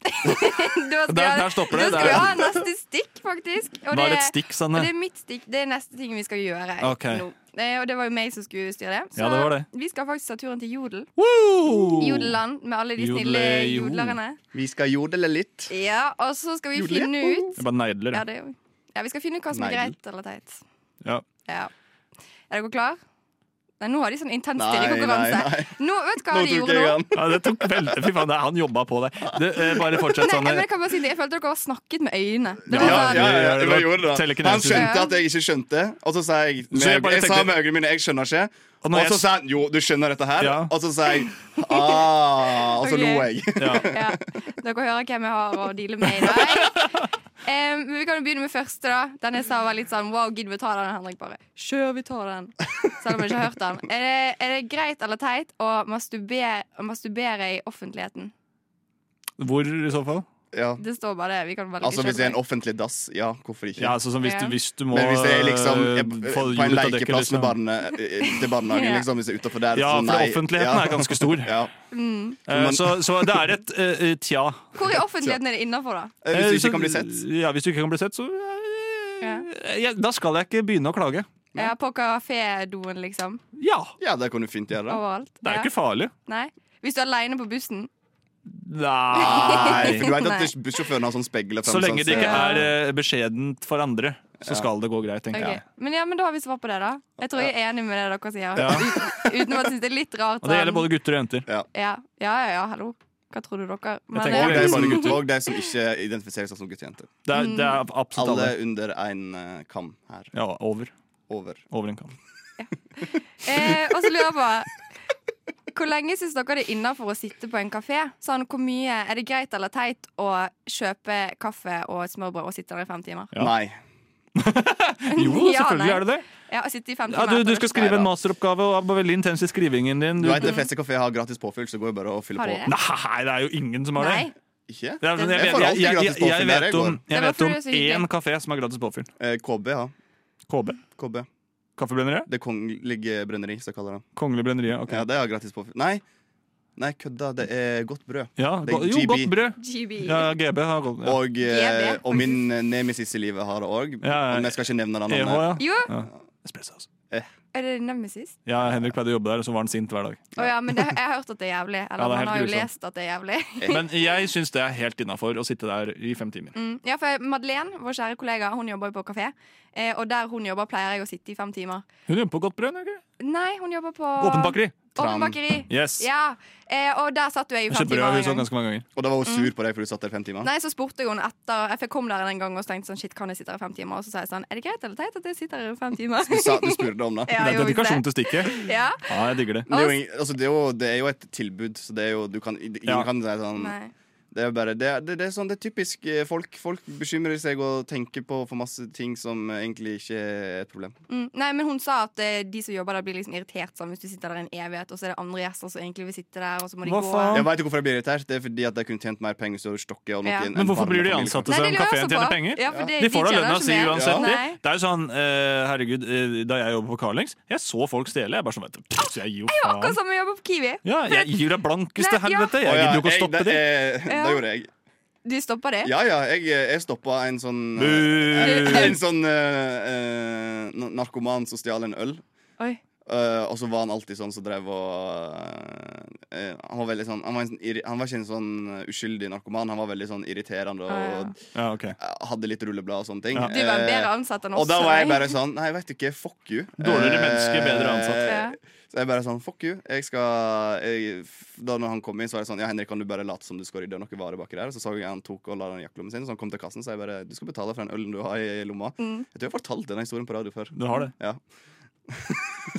S7: Da skal,
S6: Der- der stopper det.
S7: Da skal
S6: Der-
S7: vi ha neste stikk, faktisk. Og
S6: Var det et stikk, Sanne?
S7: og det er mitt stikk. Det er neste ting vi skal gjøre
S6: Ok.
S7: nå. Eh, Og det var jo meg som skulle styre det. Så
S6: Ja, det var det.
S7: vi skal faktisk ta turen til Jodel.
S6: Woo!
S7: Jodeland med alle de snille
S6: Jodle- jo.
S7: jodlerne.
S5: Vi skal jodele litt.
S7: Ja, og så skal vi
S5: Jodle-
S7: finne ut
S6: Jeg bare negler.
S7: ja,
S6: jeg.
S7: det, er jo- ja, vi skal finne ut hva som er
S5: Neidel.
S7: greit eller teit.
S6: Ja.
S7: Ja. Er dere klar? Nei, nå har de sånn intens
S5: Nei, nei, nei.
S7: stirrekonkurranse. Nå, vet du hva
S5: Nå
S7: de
S5: tok
S7: gjorde
S5: jeg
S7: nå?
S5: igjen.
S6: Ja, det tok veldig Fy faen, det er han jobba på det. det eh, bare fortsett,
S7: Nei,
S6: Sanne.
S7: men jeg, kan bare si det. jeg følte dere har snakket med øynene. Det
S6: Ja,
S7: var
S5: Sånn Ja,
S7: sånn-
S5: ja, ja,
S6: det
S5: jeg
S6: var
S5: bare gjorde det.
S6: telekinesisk.
S5: Han skjønte at jeg ikke skjønte, og så sa jeg med,
S6: Så jeg
S5: jeg,
S6: bare
S5: sa
S6: tenkte-
S5: med øynene mine jeg skjønner ikke.
S6: Og
S5: Og
S6: når jeg-
S5: så sa han jo, du skjønner dette her.
S6: Ja.
S5: Og så sa jeg ah, og så
S7: Ok.
S5: lo jeg.
S6: Ja.
S7: Ja. Dere hører hvem jeg har å deale med i dag. Em, men vi kan jo begynne med første. da Den jeg sa var litt sånn Wow, gidder vi ta den? Henrik bare Kjør, vi tar den. Selv om jeg ikke har hørt den. Er det, er det greit eller teit å masturbere, å masturbere i offentligheten?
S6: Hvor i så fall?
S5: Ja.
S7: Det står bare det. Vi kan velge
S5: Altså
S7: selv.
S5: hvis det er en offentlig dass, ja, hvorfor ikke?
S6: Ja, altså, sånn, hvis, du,
S7: Ja.
S6: hvis du må
S5: Men hvis det er liksom
S6: eh,
S5: eh,
S6: få
S5: på en
S6: hjulet til å dekke,
S5: lekeplass
S6: liksom.
S5: med barne, eh, til barnehagen,
S7: Ja.
S5: liksom, hvis det er utafor der,
S6: Ja,
S5: så
S6: for
S5: nei.
S6: offentligheten
S5: Ja.
S6: er ganske stor.
S5: Ja.
S6: Eh, så, så det er et eh, tja.
S7: Hvor i offentligheten er det innafor, da?
S5: Eh, Hvis
S6: Eh,
S5: du
S6: så-
S5: ikke kan bli sett.
S6: Ja, hvis du ikke kan bli sett, så eh, ja, Da skal jeg ikke begynne å klage.
S7: Ja, på kafédoen, liksom?
S6: Ja.
S5: Ja, det kan du fint gjøre.
S7: Overalt?
S6: Det er
S7: ja.
S6: ikke farlig.
S7: Nei? Hvis du er aleine på bussen?
S5: Nei,
S6: Nei.
S5: for du vet
S7: Nei.
S5: at bussjåføren har sånn speil
S6: Så lenge det ikke
S7: Ja.
S6: er eh, beskjedent for andre, så skal det gå greit, tenker
S7: Ok.
S6: jeg.
S7: Men ja, men da har vi svar på det, da. Jeg tror jeg er enig med det dere sier.
S6: Ja.
S7: Ut- Utenom at jeg syns det er litt rart.
S6: Og det gjelder
S7: sånn-
S6: både gutter og jenter.
S7: Ja, ja, ja, ja hallo. Hva trodde dere? Men,
S6: tenker
S5: Og
S7: eh,
S5: de
S6: det er
S5: som,
S6: bare gutter.
S5: og de som ikke identifiserer seg som guttejenter.
S6: Det er, det
S7: Mm.
S6: er absolutt alle.
S5: Alle under én kam her.
S6: Ja, over.
S5: Over.
S6: Over en kam.
S7: eh, og så lurer jeg på Hvor lenge syns dere det er innafor å sitte på en kafé? Sånn, hvor mye Er det greit eller teit å kjøpe kaffe og smørbrød og sitte der i fem timer?
S6: Ja.
S5: Nei.
S6: Jo,
S7: Ja,
S6: selvfølgelig
S7: nei.
S6: er det det.
S7: Ja, å sitte i fem
S6: Ja,
S7: timer
S6: du, du
S7: etter
S6: skal
S7: det.
S6: skrive en
S5: Neida.
S6: masteroppgave og er veldig intens i skrivingen din.
S5: Du
S6: Du,
S5: vet, De fleste kafeer har gratis påfyll, så det går jo bare å fylle
S7: Mm. Har de
S5: på.
S7: det?
S6: nei, det er jo ingen som har det.
S7: Nei.
S5: Ikke?
S6: Det er sånn, jeg,
S5: Jeg
S6: vet-
S5: får
S6: jeg,
S5: alltid
S6: jeg, jeg,
S5: gratis
S6: jeg,
S5: påfyll der jeg
S6: vet om,
S5: går.
S6: jeg
S7: Det var
S6: vet om
S7: fordi det er så
S6: én
S7: hyggelig.
S6: kafé som har gratis påfyll.
S5: Eh, KB, ja.
S6: KB.
S5: KB.
S6: Kaffebrenneriet?
S5: Det kongelige brenneri, som jeg kaller det.
S6: Kongelig brenneriet. ok.
S5: Ja, det har gratis påfyll. Nei, Nei, kødda. Det er godt brød.
S6: Ja,
S5: Det er
S6: go jo,
S5: GB.
S6: godt brød.
S7: GB.
S6: Ja, GB har gått. Ja.
S5: Og, eh,
S7: GB,
S5: og min eh, nemesis i livet har det òg.
S6: Ja, ja.
S5: Men jeg skal ikke nevne det
S6: EH,
S5: navnet.
S6: ja.
S7: Jo,
S6: ja. Espresso, altså.
S7: er det Nemesis?
S6: Ja, Henrik pleide å jobbe der, og så var han sint hver dag.
S7: Å ja, men det, jeg har hørt at det er jævlig.
S6: Ja,
S7: Eller
S6: det er
S7: man
S6: helt
S7: har jo
S6: grusomt.
S7: lest at det er jævlig.
S6: Men jeg syns det er helt innafor å sitte der i fem timer.
S7: Mm. Ja, for Madeleine, vår kjære kollega, hun jobber jo på kafé. Eh, og der hun jobber, pleier jeg å sitte i fem timer.
S6: Hun jobber på Godt brød, gjør hun ikke?
S7: Nei, hun jobber på
S6: Åpent bakeri.
S5: Tram.
S7: Åpen bakeri.
S6: Yes.
S7: Ja, eh, og der satt jo jeg i
S6: Hun
S7: fem
S6: kjøper brød
S7: timer.
S6: hun
S7: en
S6: sånn
S7: gang.
S6: ganske mange ganger.
S5: Og da var hun sur på deg fordi du satt der i fem timer.
S7: Mm. Nei, så spurte jeg henne etter Jeg kom der en gang og så tenkte jeg sånn, shit, kan jeg sitte her i fem timer? Og så sa jeg sånn, er det greit eller teit at jeg sitter her i fem timer?
S5: Du, sa, du spurte om det.
S6: Det
S7: Ja,
S6: er
S7: jo, ikke
S6: dedikasjon
S7: det.
S6: til stikket.
S7: Ja.
S6: Ja, jeg digger det.
S5: Men Det er, jo, ing- altså det, er jo, det er jo et tilbud, så det er jo, du kan, ingen
S6: Ja.
S5: kan si sånn
S7: Nei.
S5: Det er bare, det, er- det, det er sånn, det er typisk eh, folk. Folk bekymrer seg og tenker på for masse ting som eh, egentlig ikke er et problem.
S7: Mm. Nei, men hun sa at eh, de som jobber der, blir liksom irritert sånn hvis du sitter der i en evighet, og så er det andre gjester som egentlig vil sitte der, og så må de
S6: Hva
S7: gå.
S6: faen?
S5: Jeg vet ikke hvorfor jeg blir irritert. Det er fordi at jeg kunne tjent mer penger hvis du hadde stokket og noe
S7: Ja.
S5: i en-
S6: Men
S5: en
S6: hvorfor
S5: varm
S6: blir de
S5: familie.
S6: ansatt?
S7: Nei,
S6: Så
S7: det lurer jeg
S6: kafeen
S7: også
S6: tjener
S7: på.
S6: penger?
S7: Ja, for det,
S6: De får da
S7: tjener
S6: lønna
S7: ikke
S6: si
S7: mer.
S6: uansett. de.
S7: Nei.
S6: Det er jo sånn, eh, herregud, eh, Da jeg jobbet på Carlings, jeg så folk stjele. Jeg bare sånn, vet du, pff, jeg gir jo
S7: Akkurat
S6: faen.
S7: som jeg jobber på Kiwi.
S6: Ja, jeg gir deg blankeste
S7: Nei, ja.
S6: helvete. Jeg
S5: Å ja,
S6: gidder jo ikke å
S5: jeg-
S6: stoppe
S5: det.
S6: det.
S5: eh,
S7: Ja.
S5: Det gjorde jeg.
S7: De stopper det.
S5: Ja ja, jeg, jeg stoppa en sånn eh,
S6: Bu.
S5: En sånn eh, eh, narkoman som stjal en øl.
S7: Oi.
S5: Eh, og så var han alltid sånn som drev og eh, Han var veldig sånn han var, en, sånn irri- han var ikke en sånn eh, uskyldig narkoman. Han var veldig sånn irriterende og
S7: Ah, ja.
S6: Ja, ok
S5: eh, hadde litt rulleblad og sånne ting.
S6: Ja.
S7: Du var en
S5: Eh,
S7: bedre ansatt enn oss.
S5: og da var jeg
S7: eller?
S5: bare sånn Nei, vet du ikke, fuck you.
S6: Dårligere
S5: Eh,
S6: menneske, bedre ansatt.
S7: Ja.
S5: Så jeg bare sånn, fuck you. Jeg skal jeg, Da når han kom inn, så var jeg sånn Ja, Henrik, kan du bare late som du skal rydde noen varer baki der? Så så jeg han tok og la den i jakkelommen sin, så han kom til kassen, så jeg bare Du skal betale for den ølen du har i, i lomma.
S7: Mm.
S5: Jeg tror jeg har fortalt denne historien på radio før.
S6: Du har det.
S5: Ja.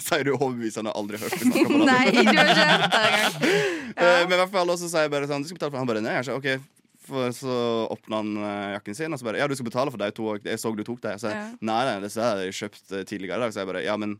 S5: Sier du overbevisende aldri hørt meg snakke på radio?
S7: Nei, du har ikke hørt det engang.
S5: Eh, Men i hvert fall også sier jeg bare sånn Du skal betale for Han bare nei, jeg sa, ok for så åpna han eh, jakken sin og så bare Ja, du skal betale for de to òg. Jeg så du tok dem. Så jeg
S7: Ja.
S5: nei, nei, disse har jeg kjøpt eh, tidligere i dag. Så jeg bare Ja, men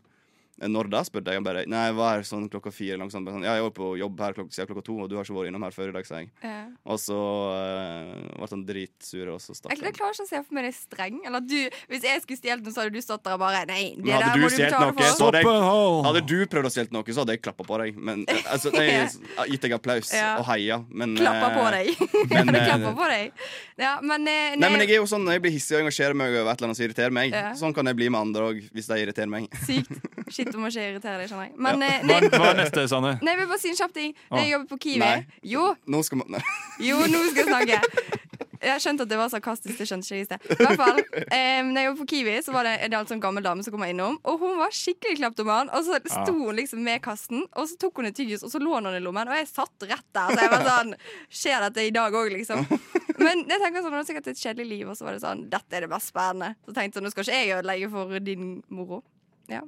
S5: eh, når da? spurte jeg. Han bare Nei, jeg var her sånn klokka fire. eller noe sånt. Bare Sånn, ja, jeg var på jobb her klokka, siden klokka to, og du har ikke vært innom her før i dag, sa jeg.
S7: Ja.
S5: Og så eh, ble han dritsur, og så stakk
S7: Jeg, jeg
S5: han.
S7: klarer ikke å se for meg deg streng. Eller at du, hvis jeg skulle stjålet noe, så hadde du stått der og bare Nei, det
S5: Men hadde
S7: der
S5: du
S7: må du
S5: stjelt
S7: betale
S5: noe,
S7: for.
S5: så- Stopp en Hadde
S6: Hadde
S5: du prøvd å stjele noe, så hadde jeg klappa på deg. Men eh, altså, nei, gitt deg applaus
S7: Ja.
S5: og heia, men
S7: Klappa på
S5: eh,
S7: deg.
S5: men,
S7: Men,
S5: eh,
S7: klappa på deg. Ja, men, eh,
S5: Nei, men jeg er jo sånn, når jeg blir hissig og engasjerer meg over et eller annet som irriterer meg.
S7: Ja.
S5: Sånn kan jeg bli med andre òg, hvis de irriterer meg.
S7: Sykt. Shit, du må ikke irritere deg, skjønner jeg. Men eh,
S6: Hva,
S7: nei,
S6: hva er neste, Sanne?
S7: nei, jeg vil bare si en kjapp ting. Når jeg jobber på Kiwi
S5: Nei.
S7: Jo,
S5: Nå skal man... Nei.
S7: jo, nå skal jeg snakke. Jeg skjønte at det var sarkastisk. Det skjønte ikke jeg i sted. I hvert fall, eh, når jeg jobbet på Kiwi, så var det en alt sånn gammel dame som kom innom. Og hun var skikkelig kleptoman. Og så sto hun liksom med kassen, og så tok hun et tyggis, og så lå hun i lommen. Og jeg satt rett der. Så jeg var sånn Skjer dette i dag òg, liksom? Men jeg tenker sånn, hun har sikkert et kjedelig liv, og så var det sånn Dette er det mest spennende. Så tenkte jeg sånn, nå skal ikke jeg ødelegge for din moro. Ja.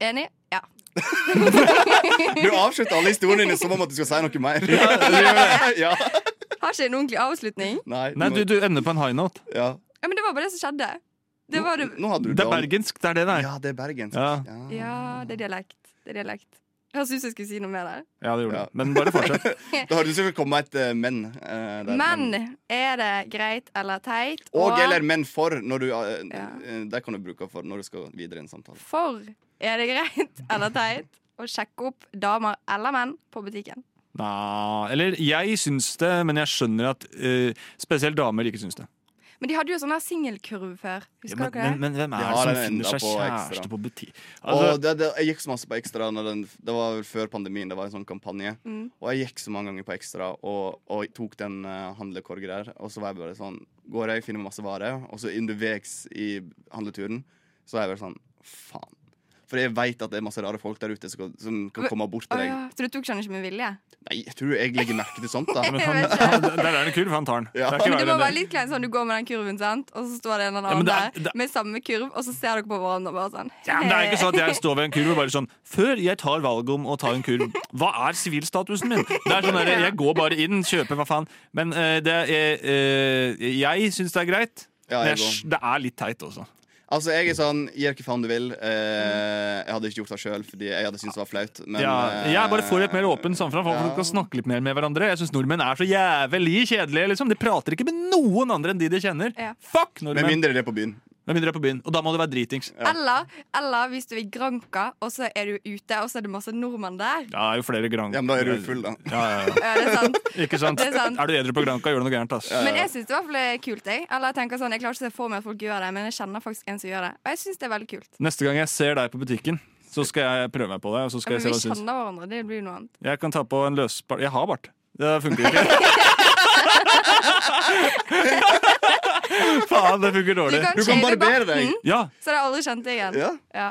S7: Enig? Ja.
S5: Du avslutter alle historiene dine som om at du skal si noe mer. Ja.
S7: Har ikke en ordentlig avslutning.
S5: Nei,
S6: Nei,
S5: nå-
S6: du, du ender på en high note.
S5: ja.
S7: Ja, men det var bare det som skjedde. Det var det
S5: Nå hadde du
S6: Det er
S5: down.
S6: bergensk, det er det det er.
S5: Ja, det er bergensk.
S6: Ja.
S7: Ja, det er dialekt. Det er dialekt. Høres ut som jeg skulle si noe mer der.
S6: Ja, det gjorde
S5: Ja.
S6: det. Men bare fortsett.
S5: Da hadde du sikkert kommet med et eh, men. eh, der.
S7: Men er det greit eller teit?
S5: Og eller men for. Når du, eh,
S7: Ja.
S5: eh, Det kan du bruke for når du skal videre i en samtale.
S7: for er det greit eller teit å sjekke opp damer eller menn på butikken?
S6: Nei, eller jeg syns det, men jeg skjønner at eh, spesielt damer ikke syns det.
S7: Men de hadde jo sånn her singelkurv før. Husker
S6: men,
S7: dere det?
S6: hvem
S5: er
S6: er
S5: det
S6: det som
S5: som finner
S6: finner seg
S5: seg
S6: kjæreste
S5: kjæreste
S6: på Altså, butikk?
S5: og det, det, jeg gikk så masse på Ekstra når den, Det var vel før pandemien. Det var en sånn kampanje.
S7: Mm.
S5: Og jeg gikk så mange ganger på Ekstra og, og jeg tok den uh, handlekorga der. Og så var jeg bare sånn Går jeg, finner masse varer, og så underveis i handleturen, så er jeg bare sånn Faen. For jeg veit at det er masse rare folk der ute som, kan- som kan
S7: Men-
S5: komme bort
S7: Å
S5: til deg.
S7: ja, så du tok sånn ikke med vilje?
S5: Nei, jeg tror jeg legger merke til sånt, da.
S6: men
S7: Jeg
S6: han,
S7: vet ikke.
S6: han, der er det kul, for han tar den.
S5: Ja.
S6: Det er ikke
S7: Men
S6: verre
S7: det må
S6: enn
S7: være
S6: det.
S7: litt kleint sånn du går med den kurven, sant? og så står det en eller
S6: Ja, men
S7: annen
S6: det er-
S7: der
S6: det-
S7: med samme kurv, og så ser dere på hverandre og bare sånn.
S6: Ja, men det er ikke sånn at jeg står ved en kurv og bare sånn Før jeg tar valget om å ta en kurv, hva er sivilstatusen min? Det er sånn der, Jeg går bare inn, kjøper hva faen. Men eh, det er, eh, jeg syns det er greit.
S5: Ja,
S6: men
S5: jeg
S6: jeg,
S5: går.
S6: sk- det er litt teit også.
S5: Altså, jeg er sånn Gjør hva faen du vil.
S7: Mm.
S5: Eh, jeg hadde ikke gjort det sjøl fordi jeg hadde syntes det var flaut. Men
S6: ja,
S5: eh,
S6: jeg er bare for et mer åpent samfunn. For
S5: ja.
S6: folk kan snakke litt mer med hverandre. Jeg syns nordmenn er så jævlig kjedelige. Liksom. De prater ikke med noen andre enn de de kjenner.
S7: Ja.
S6: Fuck
S5: Med
S6: nordmenn!
S5: mindre det er på byen.
S6: Med mindre du er på byen. Og da må du være dritings. Ja,
S7: Eller, eller hvis du er i Granca, og så er du ute, og så er det masse nordmenn der.
S6: det er jo flere gran...
S5: Ja, men da er du full, da.
S6: Ja, ja, ja.
S7: Ja, det er sant.
S6: Ikke sant?
S7: Det er
S6: er,
S7: sant.
S6: du edru på Granca, gjør du noe gærent, ass.
S7: Men
S5: Eh.
S7: jeg syns det i hvert fall er kult. Jeg Eller jeg tenker sånn, jeg klarer ikke å se for meg at folk gjør det, men jeg kjenner faktisk en som gjør det. Og jeg syns det er veldig kult.
S6: Neste gang jeg ser deg på butikken, så skal jeg prøve meg på det. Og så
S7: Ja,
S6: skal jeg
S7: men
S6: se
S7: vi
S6: hva du syns.
S7: kjenner hverandre. Det blir jo noe annet.
S6: Jeg kan ta på en løsbart Jeg har bart. Det funker ikke. Faen, det funker dårlig.
S5: Du kan
S7: shave
S5: barbere deg.
S7: barten,
S6: Ja, Hmm.
S7: Så det er aldri kjent igjen.
S5: Ja.
S7: Ja.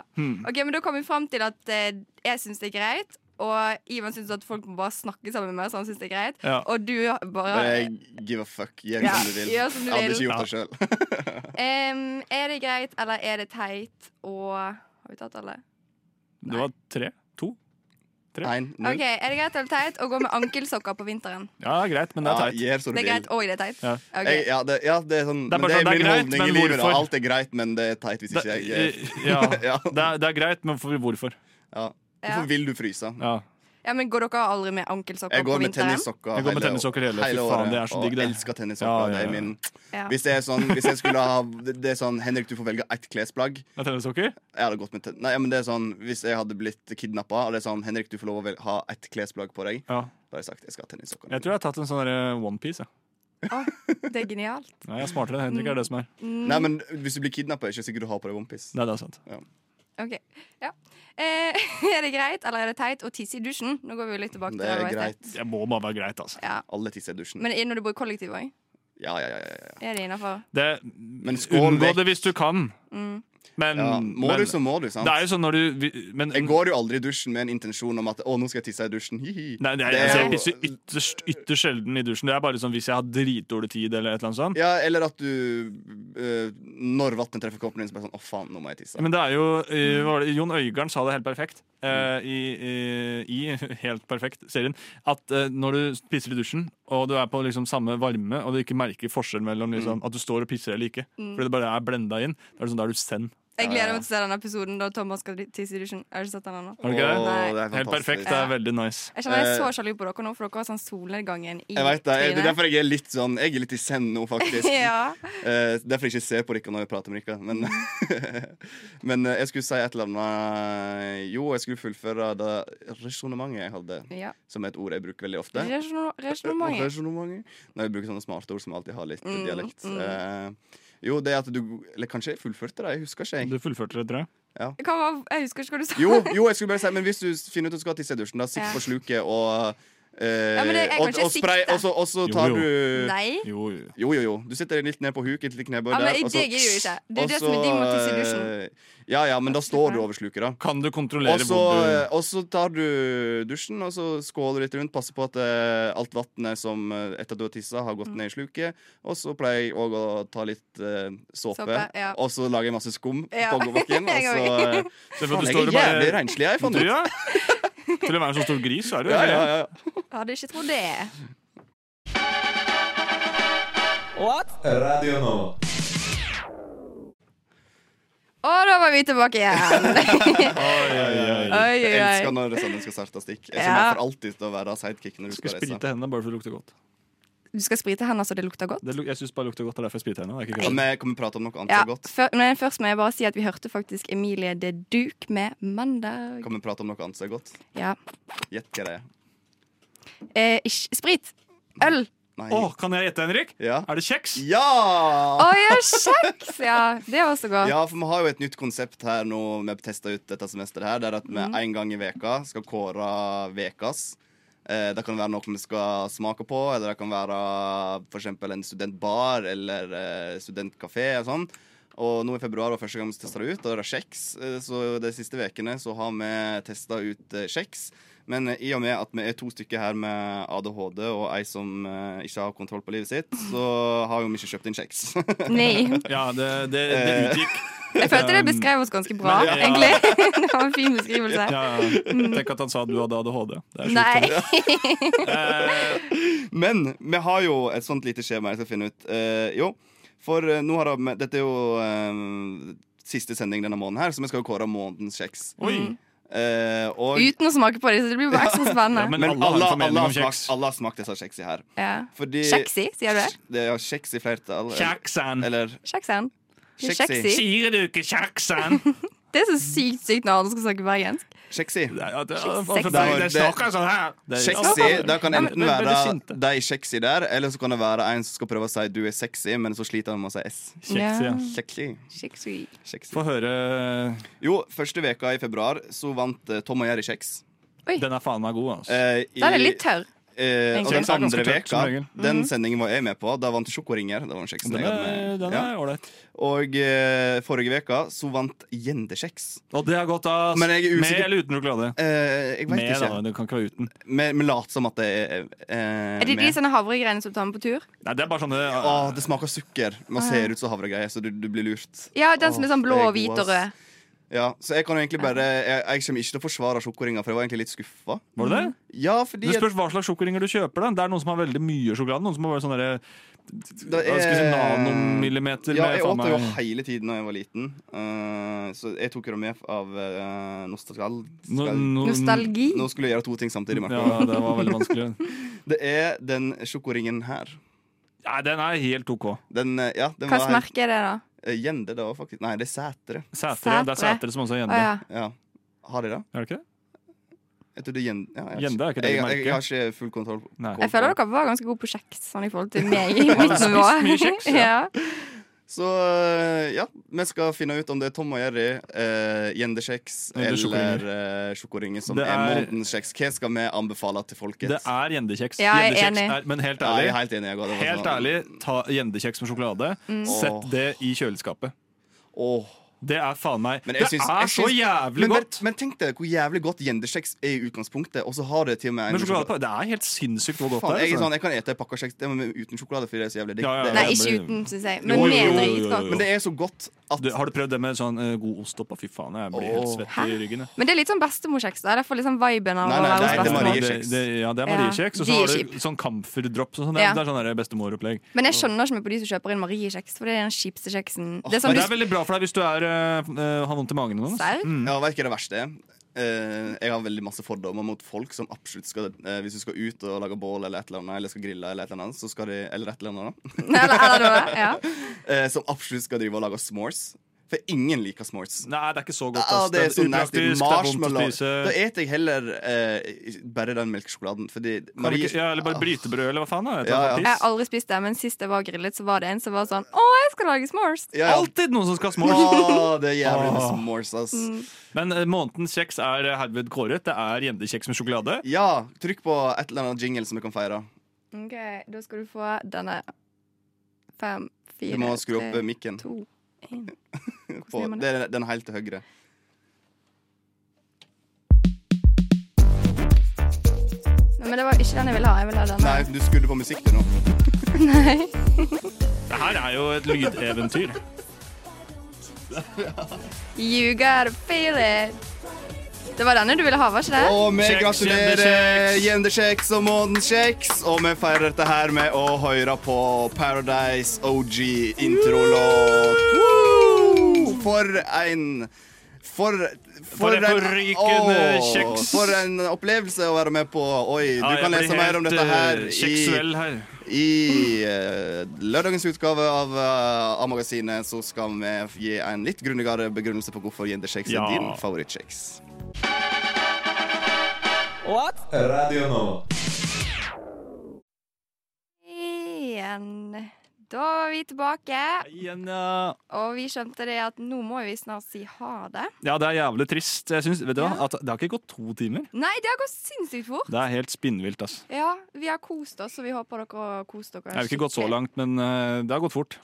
S7: Ok, Men da kom vi fram til at eh, jeg syns det er greit. Og Ivan syns at folk må bare snakke sammen med meg, så han syns det er greit.
S6: Ja.
S7: Og du bare
S5: Bare give a fuck. Gjør
S7: Ja,
S5: som du vil.
S7: gjør som du
S5: jeg hadde
S7: vil.
S5: ikke gjort det sjøl.
S7: Em, Er det greit, eller er det teit å Har vi tatt alle?
S6: det var tre? To?
S5: Nei, null.
S7: Ok, Er det greit eller teit å gå med ankelsokker på vinteren?
S6: Ja, greit, men det er
S5: Ja,
S6: teit.
S5: gjør som du
S7: Det er
S5: vil.
S7: greit, og det er teit.
S6: Ja.
S7: Ok.
S5: Jeg, ja, det, ja, det er sånn
S6: Det er
S5: men
S6: bare
S5: det
S6: sånn, det
S5: er
S6: er
S5: min
S6: greit,
S5: holdning i
S6: men
S5: livet. da.
S6: hvorfor?
S5: Alt er greit, men det er teit hvis
S6: Det,
S5: ikke jeg
S6: ja,
S5: Ja.
S6: det, er, det er greit, men for- hvorfor?
S5: ja.
S7: Ja.
S5: Hvorfor vil du fryse?
S6: Ja.
S7: Ja, men Går dere aldri med ankelsokker
S5: Jeg
S7: på
S5: går med
S7: vinteren?
S5: tennissokker
S6: Jeg går med tennissokker hele- fy faen, det er så digg,
S5: og
S6: det.
S5: elsker
S6: Ja,
S5: tennissokker.
S6: ja,
S5: Det er
S6: ja.
S5: min
S7: Ja.
S5: Hvis det er sånn, hvis jeg skulle ha Det er sånn, Henrik, du får velge ett klesplagg.
S6: Det er tennissokker?
S5: Jeg hadde gått med ten Nei, men det er sånn Hvis jeg hadde blitt kidnappa, og det er sånn Henrik, du får lov å vel ha ett klesplagg på deg,
S6: Ja.
S5: da har jeg sagt jeg skal ha tennissokker.
S6: Jeg tror jeg har tatt en sånn derre onepiece. Ja.
S7: Å, det er genialt.
S6: Nei, jeg er smartere enn Henrik. er det som er
S5: Mm. Nei, men Hvis du blir kidnappa, er det ikke sikkert du har på deg OnePiece.
S6: Nei, det er sant.
S7: Ok, ja. Eh, er det greit, eller er det teit å tisse i dusjen? Nå går vi jo litt tilbake til
S5: Det er
S7: det vi var i sted.
S5: greit.
S6: Det må bare være greit, altså.
S7: Ja.
S5: Alle tisser i dusjen.
S7: Men er- når du bor i kollektiv òg,
S5: Ja, ja, ja, ja, ja.
S7: er det innafor?
S6: Det,
S5: Men skål
S6: unngå
S5: vekk.
S6: det hvis du kan.
S7: Mm.
S6: Men,
S5: ja. Må
S6: men
S5: du, så må du, sant?
S6: det er jo sånn når du vi- men,
S5: Jeg går jo aldri i dusjen med en intensjon om at å, nå skal jeg tisse i dusjen. Hihi.
S6: Nei, det er,
S5: Det er
S6: altså, jeg
S5: jo-
S6: pisser ytterst, ytterst sjelden i dusjen. Det er bare liksom hvis jeg har dritdårlig tid eller et eller annet sånt.
S5: Ja, eller at du eh, Når vannet treffer koppen din, så bare sånn Å, faen, nå må jeg tisse.
S6: Men det er jo eh, hva var det, Jon Øigarden sa det helt perfekt eh, i, i, i Helt perfekt serien. At eh, når du pisser i dusjen, og du er på liksom samme varme, og du ikke merker forskjell mellom
S5: Mm.
S6: liksom, at du står og pisser eller ikke, fordi det bare er blenda inn, da er det sånn, da er du send.
S7: Jeg gleder meg til å se den episoden da Thomas skal tisse i dusjen. Har du sett den ennå?
S6: Har du ikke det?
S5: Å,
S7: Nei.
S5: det er
S6: Helt perfekt.
S5: fantastisk.
S6: Det er veldig nice.
S7: Jeg kjenner jeg er
S5: Eh,
S7: så sjalu på dere nå, for dere har sånn solnedgangen i
S5: Jeg vet det, jeg- det er
S7: trynet.
S5: derfor jeg er litt sånn Jeg er litt i send nå, faktisk.
S7: ja.
S5: Eh, derfor jeg ikke ser på dere når jeg prater med dere. Men,
S7: Mm.
S5: men eh, jeg skulle si et eller annet eh, Jo, jeg skulle fullføre det resonnementet jeg hadde,
S7: ja.
S5: som er et ord jeg bruker veldig ofte.
S7: Resonno- Resonnementet.
S5: Resonnementet. Når jeg bruker sånne smarte ord som alltid har litt
S7: Mm,
S5: dialekt.
S7: mm.
S5: Eh, jo, det at du Eller kanskje jeg fullførte det, jeg husker ikke. jeg
S6: Du fullførte det, tror jeg.
S7: Hva var Jeg husker ikke hva du sa.
S5: Jo, jo, jeg skulle bare si Men hvis du finner ut at du skal tisse i dusjen, da sitt
S7: Ja.
S5: på sluket og eh,
S7: Ja, men det- jeg kan
S5: og,
S7: ikke
S5: og spray,
S7: sikte.
S5: og så, og så
S6: Jo,
S5: tar
S6: jo.
S5: du
S7: Nei.
S6: Jo, jo.
S5: eh, Jo, jo, jo. Du sitter litt ned på huket, litt knebøy
S7: Ja, men
S5: der. og så-
S7: det gidder jeg jo ikke. Det er
S5: og
S7: det som er
S5: så,
S7: digg med å tisse i dusjen.
S5: eh, Ja, ja, men da står du over sluket, da.
S6: Kan du kontrollere
S5: Og så, eh,
S6: hvor du
S5: og så tar du dusjen, og så skåler du litt rundt. Passer på at eh, alt vannet som eh, etter at du har tissa, har
S7: Mm.
S5: gått ned i sluket. Og så pleier jeg òg å ta litt eh, såpe.
S7: Såpe, ja.
S5: Og så lager jeg masse skum
S7: Ja.
S5: på bakken. Og
S7: Jeg
S5: så
S7: òg.
S5: eh,
S6: Se for
S5: Faen,
S6: at du
S5: jeg
S6: står
S5: er
S6: og bare
S5: jævlig renslig, jeg, fant
S6: Du,
S5: ut.
S6: ja. Til å være en så stor gris, så er du
S5: Ja, ja, ja.
S7: Hadde ikke trodd det.
S1: Radio Nova.
S7: Og da var vi tilbake igjen. Oi, oi,
S5: Jeg elsker
S7: oi.
S5: når sånne skal starte stikk. Jeg
S7: Ja.
S5: kommer for alltid til å være sidekick når du
S6: Skal
S5: skal reise.
S6: sprite hendene bare for det lukter godt.
S7: Du skal sprite hendene så det lukter godt.
S6: Det, luk- jeg syns bare det lukter godt, det er derfor jeg spriter hendene. Det er ikke
S5: Ja,
S6: greit.
S5: Vi kommer prate om noe annet
S7: Ja,
S5: så godt.
S7: før, men først må jeg bare si at vi hørte faktisk Emilie de Duke med 'Mandag'.
S5: Kommer prate om noe annet så godt.
S7: Ja.
S5: Gjett hva det er.
S7: Eh, ish, sprit. Øl.
S5: Nei.
S6: Å, kan jeg gjette, Henrik?
S5: Ja.
S6: Er det kjeks?
S7: Å
S5: Ja!
S7: ja, kjeks! Ja, det var så godt.
S5: ja, for vi har jo et nytt konsept her nå vi testa ut dette semesteret her. Det er at vi en gang i veka skal kåre vekas. Eh, det kan være noe vi skal smake på, eller det kan være f.eks. en studentbar eller eh, studentkafé og sånn. Og nå i februar var første gang vi testa det ut, og det er kjeks. Eh, Så de siste ukene så har vi testa ut eh, kjeks. Men eh, i og med at vi er to stykker her med ADHD og ei som eh, ikke har kontroll på livet sitt, så har jo vi ikke kjøpt inn kjeks.
S7: Nei.
S6: Ja, det, det, det
S5: Eh.
S6: utgikk.
S7: Jeg følte det beskrev oss ganske bra,
S6: Men- ja.
S7: egentlig. Det var en fin beskrivelse.
S6: Ja, ja. Tenk at han sa at du hadde ADHD. Det er sjukt.
S7: Nei.
S5: Men vi har jo et sånt lite skjema jeg skal finne ut. Eh, jo, for eh, nå har vi Dette er jo eh, siste sending denne måneden her, så vi skal jo kåre månedens kjeks.
S6: Oi.
S5: Eh, og
S7: Mm. Uten å smake på dem, så det blir bare ekstra
S6: Ja,
S7: spennende.
S6: men,
S5: men
S6: alle, har en
S5: alle
S6: formening
S5: har
S6: om kjeks.
S5: smakt, alle har smakt disse kjeksa her.
S7: Ja.
S5: Fordi
S7: Kjeksi, sier du det?
S5: Det er kjeks i flertall.
S6: Kjeksen.
S5: Eller
S7: Kjeksen.
S5: Kjeksi.
S7: Kjeksi.
S6: Sier du ikke kjeksen?
S7: Det er så sykt sykt når andre skal snakke bergensk.
S5: kjeksi.
S6: Det er- det
S7: Kjeks-
S6: er-
S5: kjeks.
S6: det snakker sånn her. Det er-
S5: Kjeksi, Det kan
S6: Ja, men-
S5: enten
S6: men- men det
S5: være
S6: sinte.
S5: de kjeksi der, eller så kan det være en som skal prøve å si 'du er sexy', men så sliter han med å si 's'.
S6: Kjeks, ja.
S5: Kjeksi.
S7: Kjeksi.
S5: kjeksi.
S6: Få høre.
S5: Jo, første veka i februar så vant eh, Tom og Jerry kjeks.
S6: Den er faen meg god, altså.
S5: Eh, i-
S7: Den er litt tørr.
S5: Eh, og
S6: Egentlig.
S5: den
S6: Det er ganske
S5: andre
S6: tørt
S5: veka,
S6: som regel. Mhm.
S5: den sendingen var jeg med på. Da vant Sjokoringer. Det var den kjeksen
S6: Den
S5: jeg hadde
S6: er
S5: med.
S6: den
S5: Ja.
S6: er ålreit.
S5: Og eh, forrige veka så vant Gjendekjeks.
S6: Og det er godt, ass.
S5: Men jeg er usikker-
S6: Med eller uten sjokolade?
S5: Eh, jeg veit
S6: Med, da.
S5: ikke.
S6: Det kan ikke være uten.
S5: Vi vi later som at det er eh,
S7: Er det de
S5: med.
S7: sånne havregreiene som tar med på tur?
S6: Nei, det er bare sånn
S5: Åh,
S6: det
S5: det smaker sukker.
S7: Ah,
S5: Man ser ut som havregreier, så du, du blir lurt.
S7: Ja, den som er sånn blå
S5: Åh,
S7: og hvit
S5: det er
S7: og
S5: god, ass.
S7: rød.
S5: Ja, så jeg kan jo
S7: Ah.
S5: egentlig bare Jeg, jeg kommer ikke til å forsvare sjokoringer, for jeg var egentlig litt skuffa.
S6: Var det det?
S5: Ja, fordi
S6: Det spørs hva slags sjokoringer du kjøper. da Det er noen som har veldig mye sjokolade. Noen som har bare sånn derre
S5: Det
S6: Hva skal jeg si, nanomillimeter
S5: Ja,
S6: med
S5: jeg
S6: faen
S5: åt det jo
S6: meg-
S5: hele tiden da jeg var liten. Eh, så jeg tok jo det med av uh, nostalgi...
S6: no, no,
S7: Nostalgi.
S5: Nå skulle jeg gjøre to ting samtidig. Marco.
S6: Ja, det var veldig vanskelig.
S5: Det er den sjokoringen her.
S6: Nei, den er helt OK.
S5: Den, eh, ja, den
S7: Hvilket
S5: var helt
S7: merke er det, da?
S5: eh, Gjende, det var faktisk Nei, det er Sætre.
S6: Sætre. Det er
S7: Sætre.
S6: Sætre som også er
S7: Å
S6: Gjende.
S7: ja.
S5: Ja. Har de det?
S6: Er det ikke det?
S5: Jeg tror det er Gjende. Ja, jeg,
S6: Gjende er ikke det
S5: jeg, jeg,
S6: merket.
S5: jeg har ikke full kontroll på
S6: Nei.
S7: Jeg føler dere var ganske gode på kjeks sånn i forhold til meg. i
S6: Ja,
S7: mitt
S6: det er
S7: nivå.
S6: spist mye kjeks,
S7: ja.
S5: Så eh, ja, vi skal finne ut om det er Tom og Jerry, eh, Gjendekjeks
S6: Eller
S5: eller,
S6: sjokoringer.
S5: eh, sjokoringer som
S6: Det
S5: er,
S6: er-
S5: månedens kjeks. Hva skal vi anbefale til folket?
S6: Det er gjendekjeks.
S7: Ja, jeg er
S6: Gjendekjeks
S7: enig.
S6: er- Men helt
S5: Ja, jeg er
S6: ærlig,
S5: helt enig. Jeg også. Det var
S6: helt
S5: sånn-
S6: ærlig ta gjendekjeks med sjokolade.
S7: Mm.
S6: Sett
S5: Åh.
S6: det i kjøleskapet.
S5: Åh.
S6: Det er faen meg
S5: Men
S6: Det
S5: jeg syns-
S6: er
S5: jeg
S6: så
S5: syns-
S6: jævlig
S5: men, men-
S6: godt!
S5: Men tenk deg hvor jævlig godt gjendekjeks er i utgangspunktet, og så har det til og med en
S6: Med sjokolade på. Det er helt sinnssykt hvor godt
S5: Faen,
S6: det
S5: jeg,
S6: er.
S5: er
S6: altså.
S5: sånn, jeg kan ete pakka kjeks det er med- uten sjokolade, fordi det er så jævlig digg.
S6: Ja, ja, ja.
S7: Nei,
S5: Det,
S7: ikke
S6: men-
S7: uten, syns jeg.
S6: Jo,
S7: Men
S6: jo, jo,
S7: med
S6: jo, jo,
S7: dritgodt.
S6: jo.
S5: men det er så godt at
S6: Du, har du prøvd det med sånn eh, god ost oppå? Fy faen, jeg blir helt
S5: Åh.
S6: svett i
S7: Hæ?
S6: ryggen. jeg.
S7: Men det er litt sånn bestemorkjeks. da. Det er for liksom viben av å være
S5: Nei, nei, nei,
S7: hos
S5: det er
S7: bestemor.
S5: Marie.
S6: det,
S5: Mariekjeks.
S6: det, ja, det er
S7: Ja,
S6: mariekjeks. Og
S7: de
S6: så
S7: er
S6: har
S7: kjip.
S6: du sånn camferdrops og sånn.
S7: Ja.
S6: Det er sånn der bestemoropplegg.
S7: Men jeg skjønner ikke meg på de som kjøper inn Mariekjeks, for det er den kjipeste kjeksen. Det er
S6: Men det
S7: sånn du
S6: er veldig bra for deg hvis du er, eh, eh, har vondt i magen. Eller noe.
S7: Serr?
S5: Ja, vet ikke hva det verste er. Eh, jeg har veldig masse fordommer mot folk som absolutt skal eh, Hvis du skal ut og lage bål eller et eller annet, eller skal grille eller et eller annet, så skal de Eller et eller annet, da.
S7: Eller, eller noe. Ja.
S5: Eh, som absolutt skal drive og lage s'mores. For ingen liker s'mores.
S6: Nei, det er ikke så godt.
S5: Ja,
S6: ass.
S5: det er så
S6: upraktisk,
S5: nasty.
S6: det er vondt å
S5: Marshmallow.
S6: spise.
S5: Da eter jeg heller eh, bare den melkesjokoladen, fordi
S6: Kan du
S5: Marie Ah.
S6: ikke- Ja, eller bare brytebrød, eller hva faen? Da? Et
S5: Ja,
S6: eller annet
S7: Jeg har
S6: piss.
S7: aldri spist det, men sist jeg var grillet, så var det en som var sånn Å, jeg skal lage s'mores!
S5: ja, ja.
S6: Alltid noen som skal ha s'mores.
S5: Å, det er jævlig med
S6: Åh.
S5: s'mores, ass.
S6: Men eh, månedens kjeks er eh, herved kåret. Det er gjendekjeks med sjokolade.
S5: Ja, trykk på et eller annet jingle som vi kan feire.
S7: OK, da skal du få denne. Fem,
S5: Du
S7: fire,
S5: må skru opp eh,
S7: tre,
S5: mikken.
S7: to, én.
S5: På,
S7: gjør man
S5: det er den helt til høyre.
S7: Nei, Men det var ikke den jeg ville ha. Jeg ville ha denne.
S5: Nei, du skrudde på musikk, du nå.
S6: Det her er jo et lydeventyr.
S7: You gotta feel it. Det var denne du ville ha, var ikke det?
S5: Og vi
S6: Kjeks,
S5: gratulerer
S6: gjendekjeks.
S5: Gjendekjeks og månedens kjeks. Og vi feirer dette her med å høre på Paradise OG introlåt. Woo! For en For,
S6: For en forrykende
S5: Åh,
S6: kjeks.
S5: For en opplevelse å være med på. Oi, du
S6: Ja, jeg
S5: kan lese
S6: blir
S5: mer om
S6: helt,
S5: dette her
S6: eh,
S5: i,
S6: Seksuell her.
S5: i eh, lørdagens utgave av eh, A-magasinet. Så skal vi gi en litt grundigere begrunnelse på hvorfor gjendekjeks
S6: Ja.
S5: er din favorittkjeks.
S1: Radio Nova.
S7: Igjen. Da er vi tilbake,
S6: Igjen, ja.
S7: og vi skjønte det at nå må vi snart si ha det.
S6: Ja, det er jævlig trist. Jeg synes, vet du
S7: Ja.
S6: hva? At det har ikke gått to timer.
S7: Nei, det har gått sinnssykt fort.
S6: Det er helt spinnvilt. ass.
S7: Ja, vi har kost oss, og vi håper dere har kost dere.
S6: Jeg har ikke gått så langt, men eh, det har gått fort.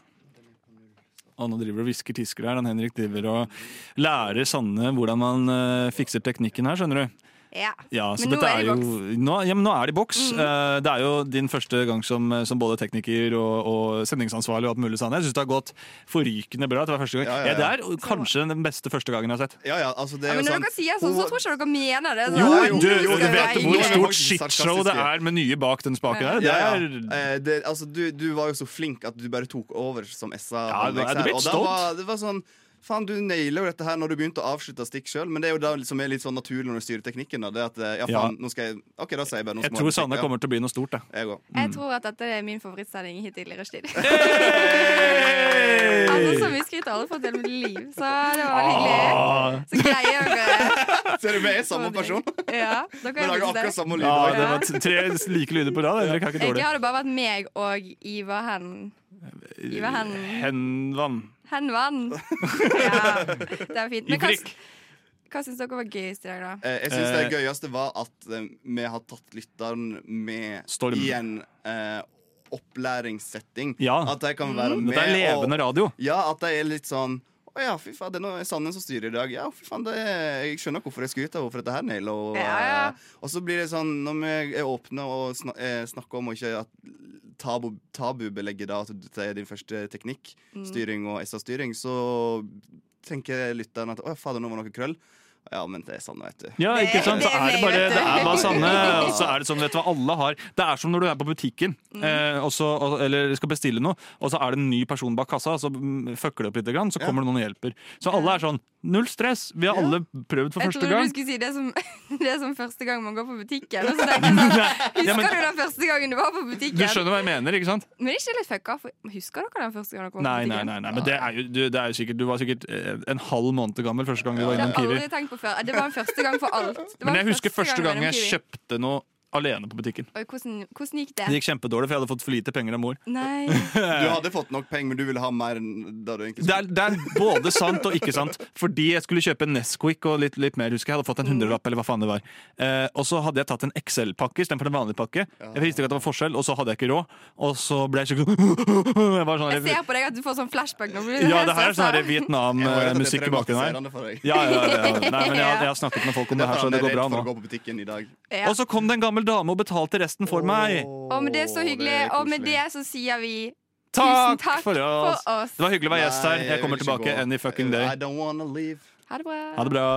S6: Og nå driver og hvisker tisker her. Han Henrik driver og lærer Sanne hvordan man eh, fikser teknikken her, skjønner du.
S7: Ja.
S6: Ja, så
S7: Men nå
S6: dette
S7: er det Mm. i
S6: jo, nå, ja, men nå er det i boks. Eh, det er jo din første gang som, eh, som både tekniker og, og sendingsansvarlig og alt mulig Sanne. Jeg syns det har gått forrykende bra. at Det var første gang.
S5: Ja,
S6: Ja,
S5: ja, ja.
S6: det er kanskje den beste første gangen jeg har sett.
S5: Ja, ja, altså det
S7: Ja,
S5: er
S7: men
S5: jo
S7: når
S5: sånn
S7: dere sier sånn, så tror jeg ikke dere mener det. Sånn. så-
S6: Jo,
S5: Ja, jo,
S6: du,
S5: jo,
S6: du
S5: det
S6: vet
S5: er
S6: hvor
S5: jo-
S6: stort shitshow det er med nye bak den spaken der. Det
S5: Ja, ja.
S6: er
S5: Eh, det, altså, du, du var jo så flink at du bare tok over som SA.
S6: Ja, du-
S5: håndverks
S6: du
S5: her,
S6: ble
S5: og da
S6: stolt.
S5: var, det var sånn Faen, du naila jo dette her når du begynte å avslutte stikk sjøl. Men det er jo det som er litt sånn naturlig når du styrer teknikken. Da, det at, eh, ja,
S6: Ja.
S5: faen, nå skal jeg OK, da sier jeg bare noe
S6: Jeg tror Sanne kommer til å bli noe stort, jeg.
S5: Jeg òg.
S7: Jeg tror at dette er min favorittsending hittil i rushtid. altså, så
S6: Hey!
S7: mye skryt har alle fått til mitt liv, så det var veldig
S6: Ah.
S7: hyggelig. Så greier dere
S5: Ser du, vi er samme person. Vi
S7: Ja, dere er
S5: lager
S7: faktisk det.
S5: akkurat samme
S6: Ah, Ja,
S5: lyd.
S6: det var t- tre like lyder på rad. Henrik er ikke
S7: Egentlig
S6: dårlig.
S7: har det bare vært meg og Ivar Hen... Ivar Hen...
S6: Henvan.
S7: Henvann. Ja, det er fint. Men hva,
S6: Ivrik.
S7: hva syns dere var gøyest i dag, da?
S5: Eh, Jeg syns det gøyeste var at eh, vi har tatt lytteren med
S6: Storm.
S5: i en eh, opplæringssetting.
S6: Ja. Mm.
S5: At de kan være med
S6: Dette er
S5: og-
S6: levende radio.
S5: Ja, at det er litt sånn å ja, fy faen, det er noe Sanden som styrer i dag. Ja, fy faen, det er, Jeg skjønner hvorfor jeg skryter av hvorfor dette her naila. Og,
S7: Ja, ja.
S5: eh, og så blir det sånn, når vi er åpne og snak, eh, snakker om og ikke at tabu, tabubelegget da, at dette er din første teknikk,
S7: Mm.
S5: styring og SA-styring, så tenker lytteren at å ja, fader, nå var noe krøll. Ja, men det er Sanne, vet du.
S6: Ja, ikke sant? Så
S7: det er
S6: er det
S7: meg,
S6: bare,
S7: vet du.
S6: det er bare Sanne. Og så er det sånn, vet du hva, alle har Det er som når du er på butikken
S7: Mm.
S6: eh, og så, og, eller skal bestille noe, og så er det en ny person bak kassa, og så mm, fucker det opp litt, grann, så kommer det noen og hjelper. Så alle er sånn Null stress! Vi har alle prøvd for
S7: Jeg
S6: første
S7: trodde du
S6: gang.
S7: skulle si det som, det som første gang man går på butikken. Og så tenkte jeg sånn, Husker
S6: Ja, men-
S7: du den første gangen du var på butikken?
S6: Du skjønner hva jeg mener, ikke sant?
S7: Men det er ikke litt fucka, for husker dere den første gangen dere var
S6: Nei, nei,
S7: på butikken?
S6: nei, nei. men det er jo, du, det er jo sikkert, du var sikkert eh, en halv måned gammel første gang du var
S7: Det har
S6: innom
S7: jeg
S6: Kiwi.
S7: aldri tenkt på før. Det var en første gang for alt. Det var
S6: Men jeg
S7: en
S6: husker første
S7: var
S6: gang
S7: innom
S6: jeg
S7: Kiwi.
S6: kjøpte noe alene på butikken.
S7: Oi, hvordan, hvordan gikk det?
S6: Det gikk kjempedårlig, for jeg hadde fått for lite penger av mor.
S7: Nei.
S5: Du hadde fått nok penger, men du ville ha mer enn det du egentlig
S6: Eh. Det er, det er både sant og ikke sant. Fordi jeg skulle kjøpe Nesquik og litt, litt mer, husker jeg. Jeg hadde fått en hundrelapp, eller hva faen det var. Eh, og så hadde jeg tatt en XL-pakke istedenfor en vanlig pakke. Jeg visste ikke at det var forskjell, og så hadde jeg ikke råd. Og så ble jeg skikkelig sånn Jeg var sånn
S7: Jeg ser på deg at du får sånn flashback nå. blir du
S6: Ja,
S7: helt
S6: det her er sånn
S7: stressa.
S6: her Vietnam-musikk i bakgrunnen her. Ja, ja, ja, ja. Nei, men jeg, jeg har snakket med folk om det her, så det går bra
S5: for å
S6: nå.
S5: gå på butikken i dag.
S7: Ja.
S6: Og så kom det en gammel dame og betalte resten for meg.
S7: Å, men det er så hyggelig.
S5: er
S7: og med
S5: koselig.
S7: det så sier vi tusen
S6: Takk
S7: takk
S6: for oss.
S7: for oss.
S6: Det var hyggelig å være gjest her.
S5: Nei,
S6: Jeg kommer
S5: vil ikke
S6: tilbake
S5: gå.
S6: any fucking day.
S5: I don't wanna leave.
S7: Ha det bra.
S6: Ha det bra.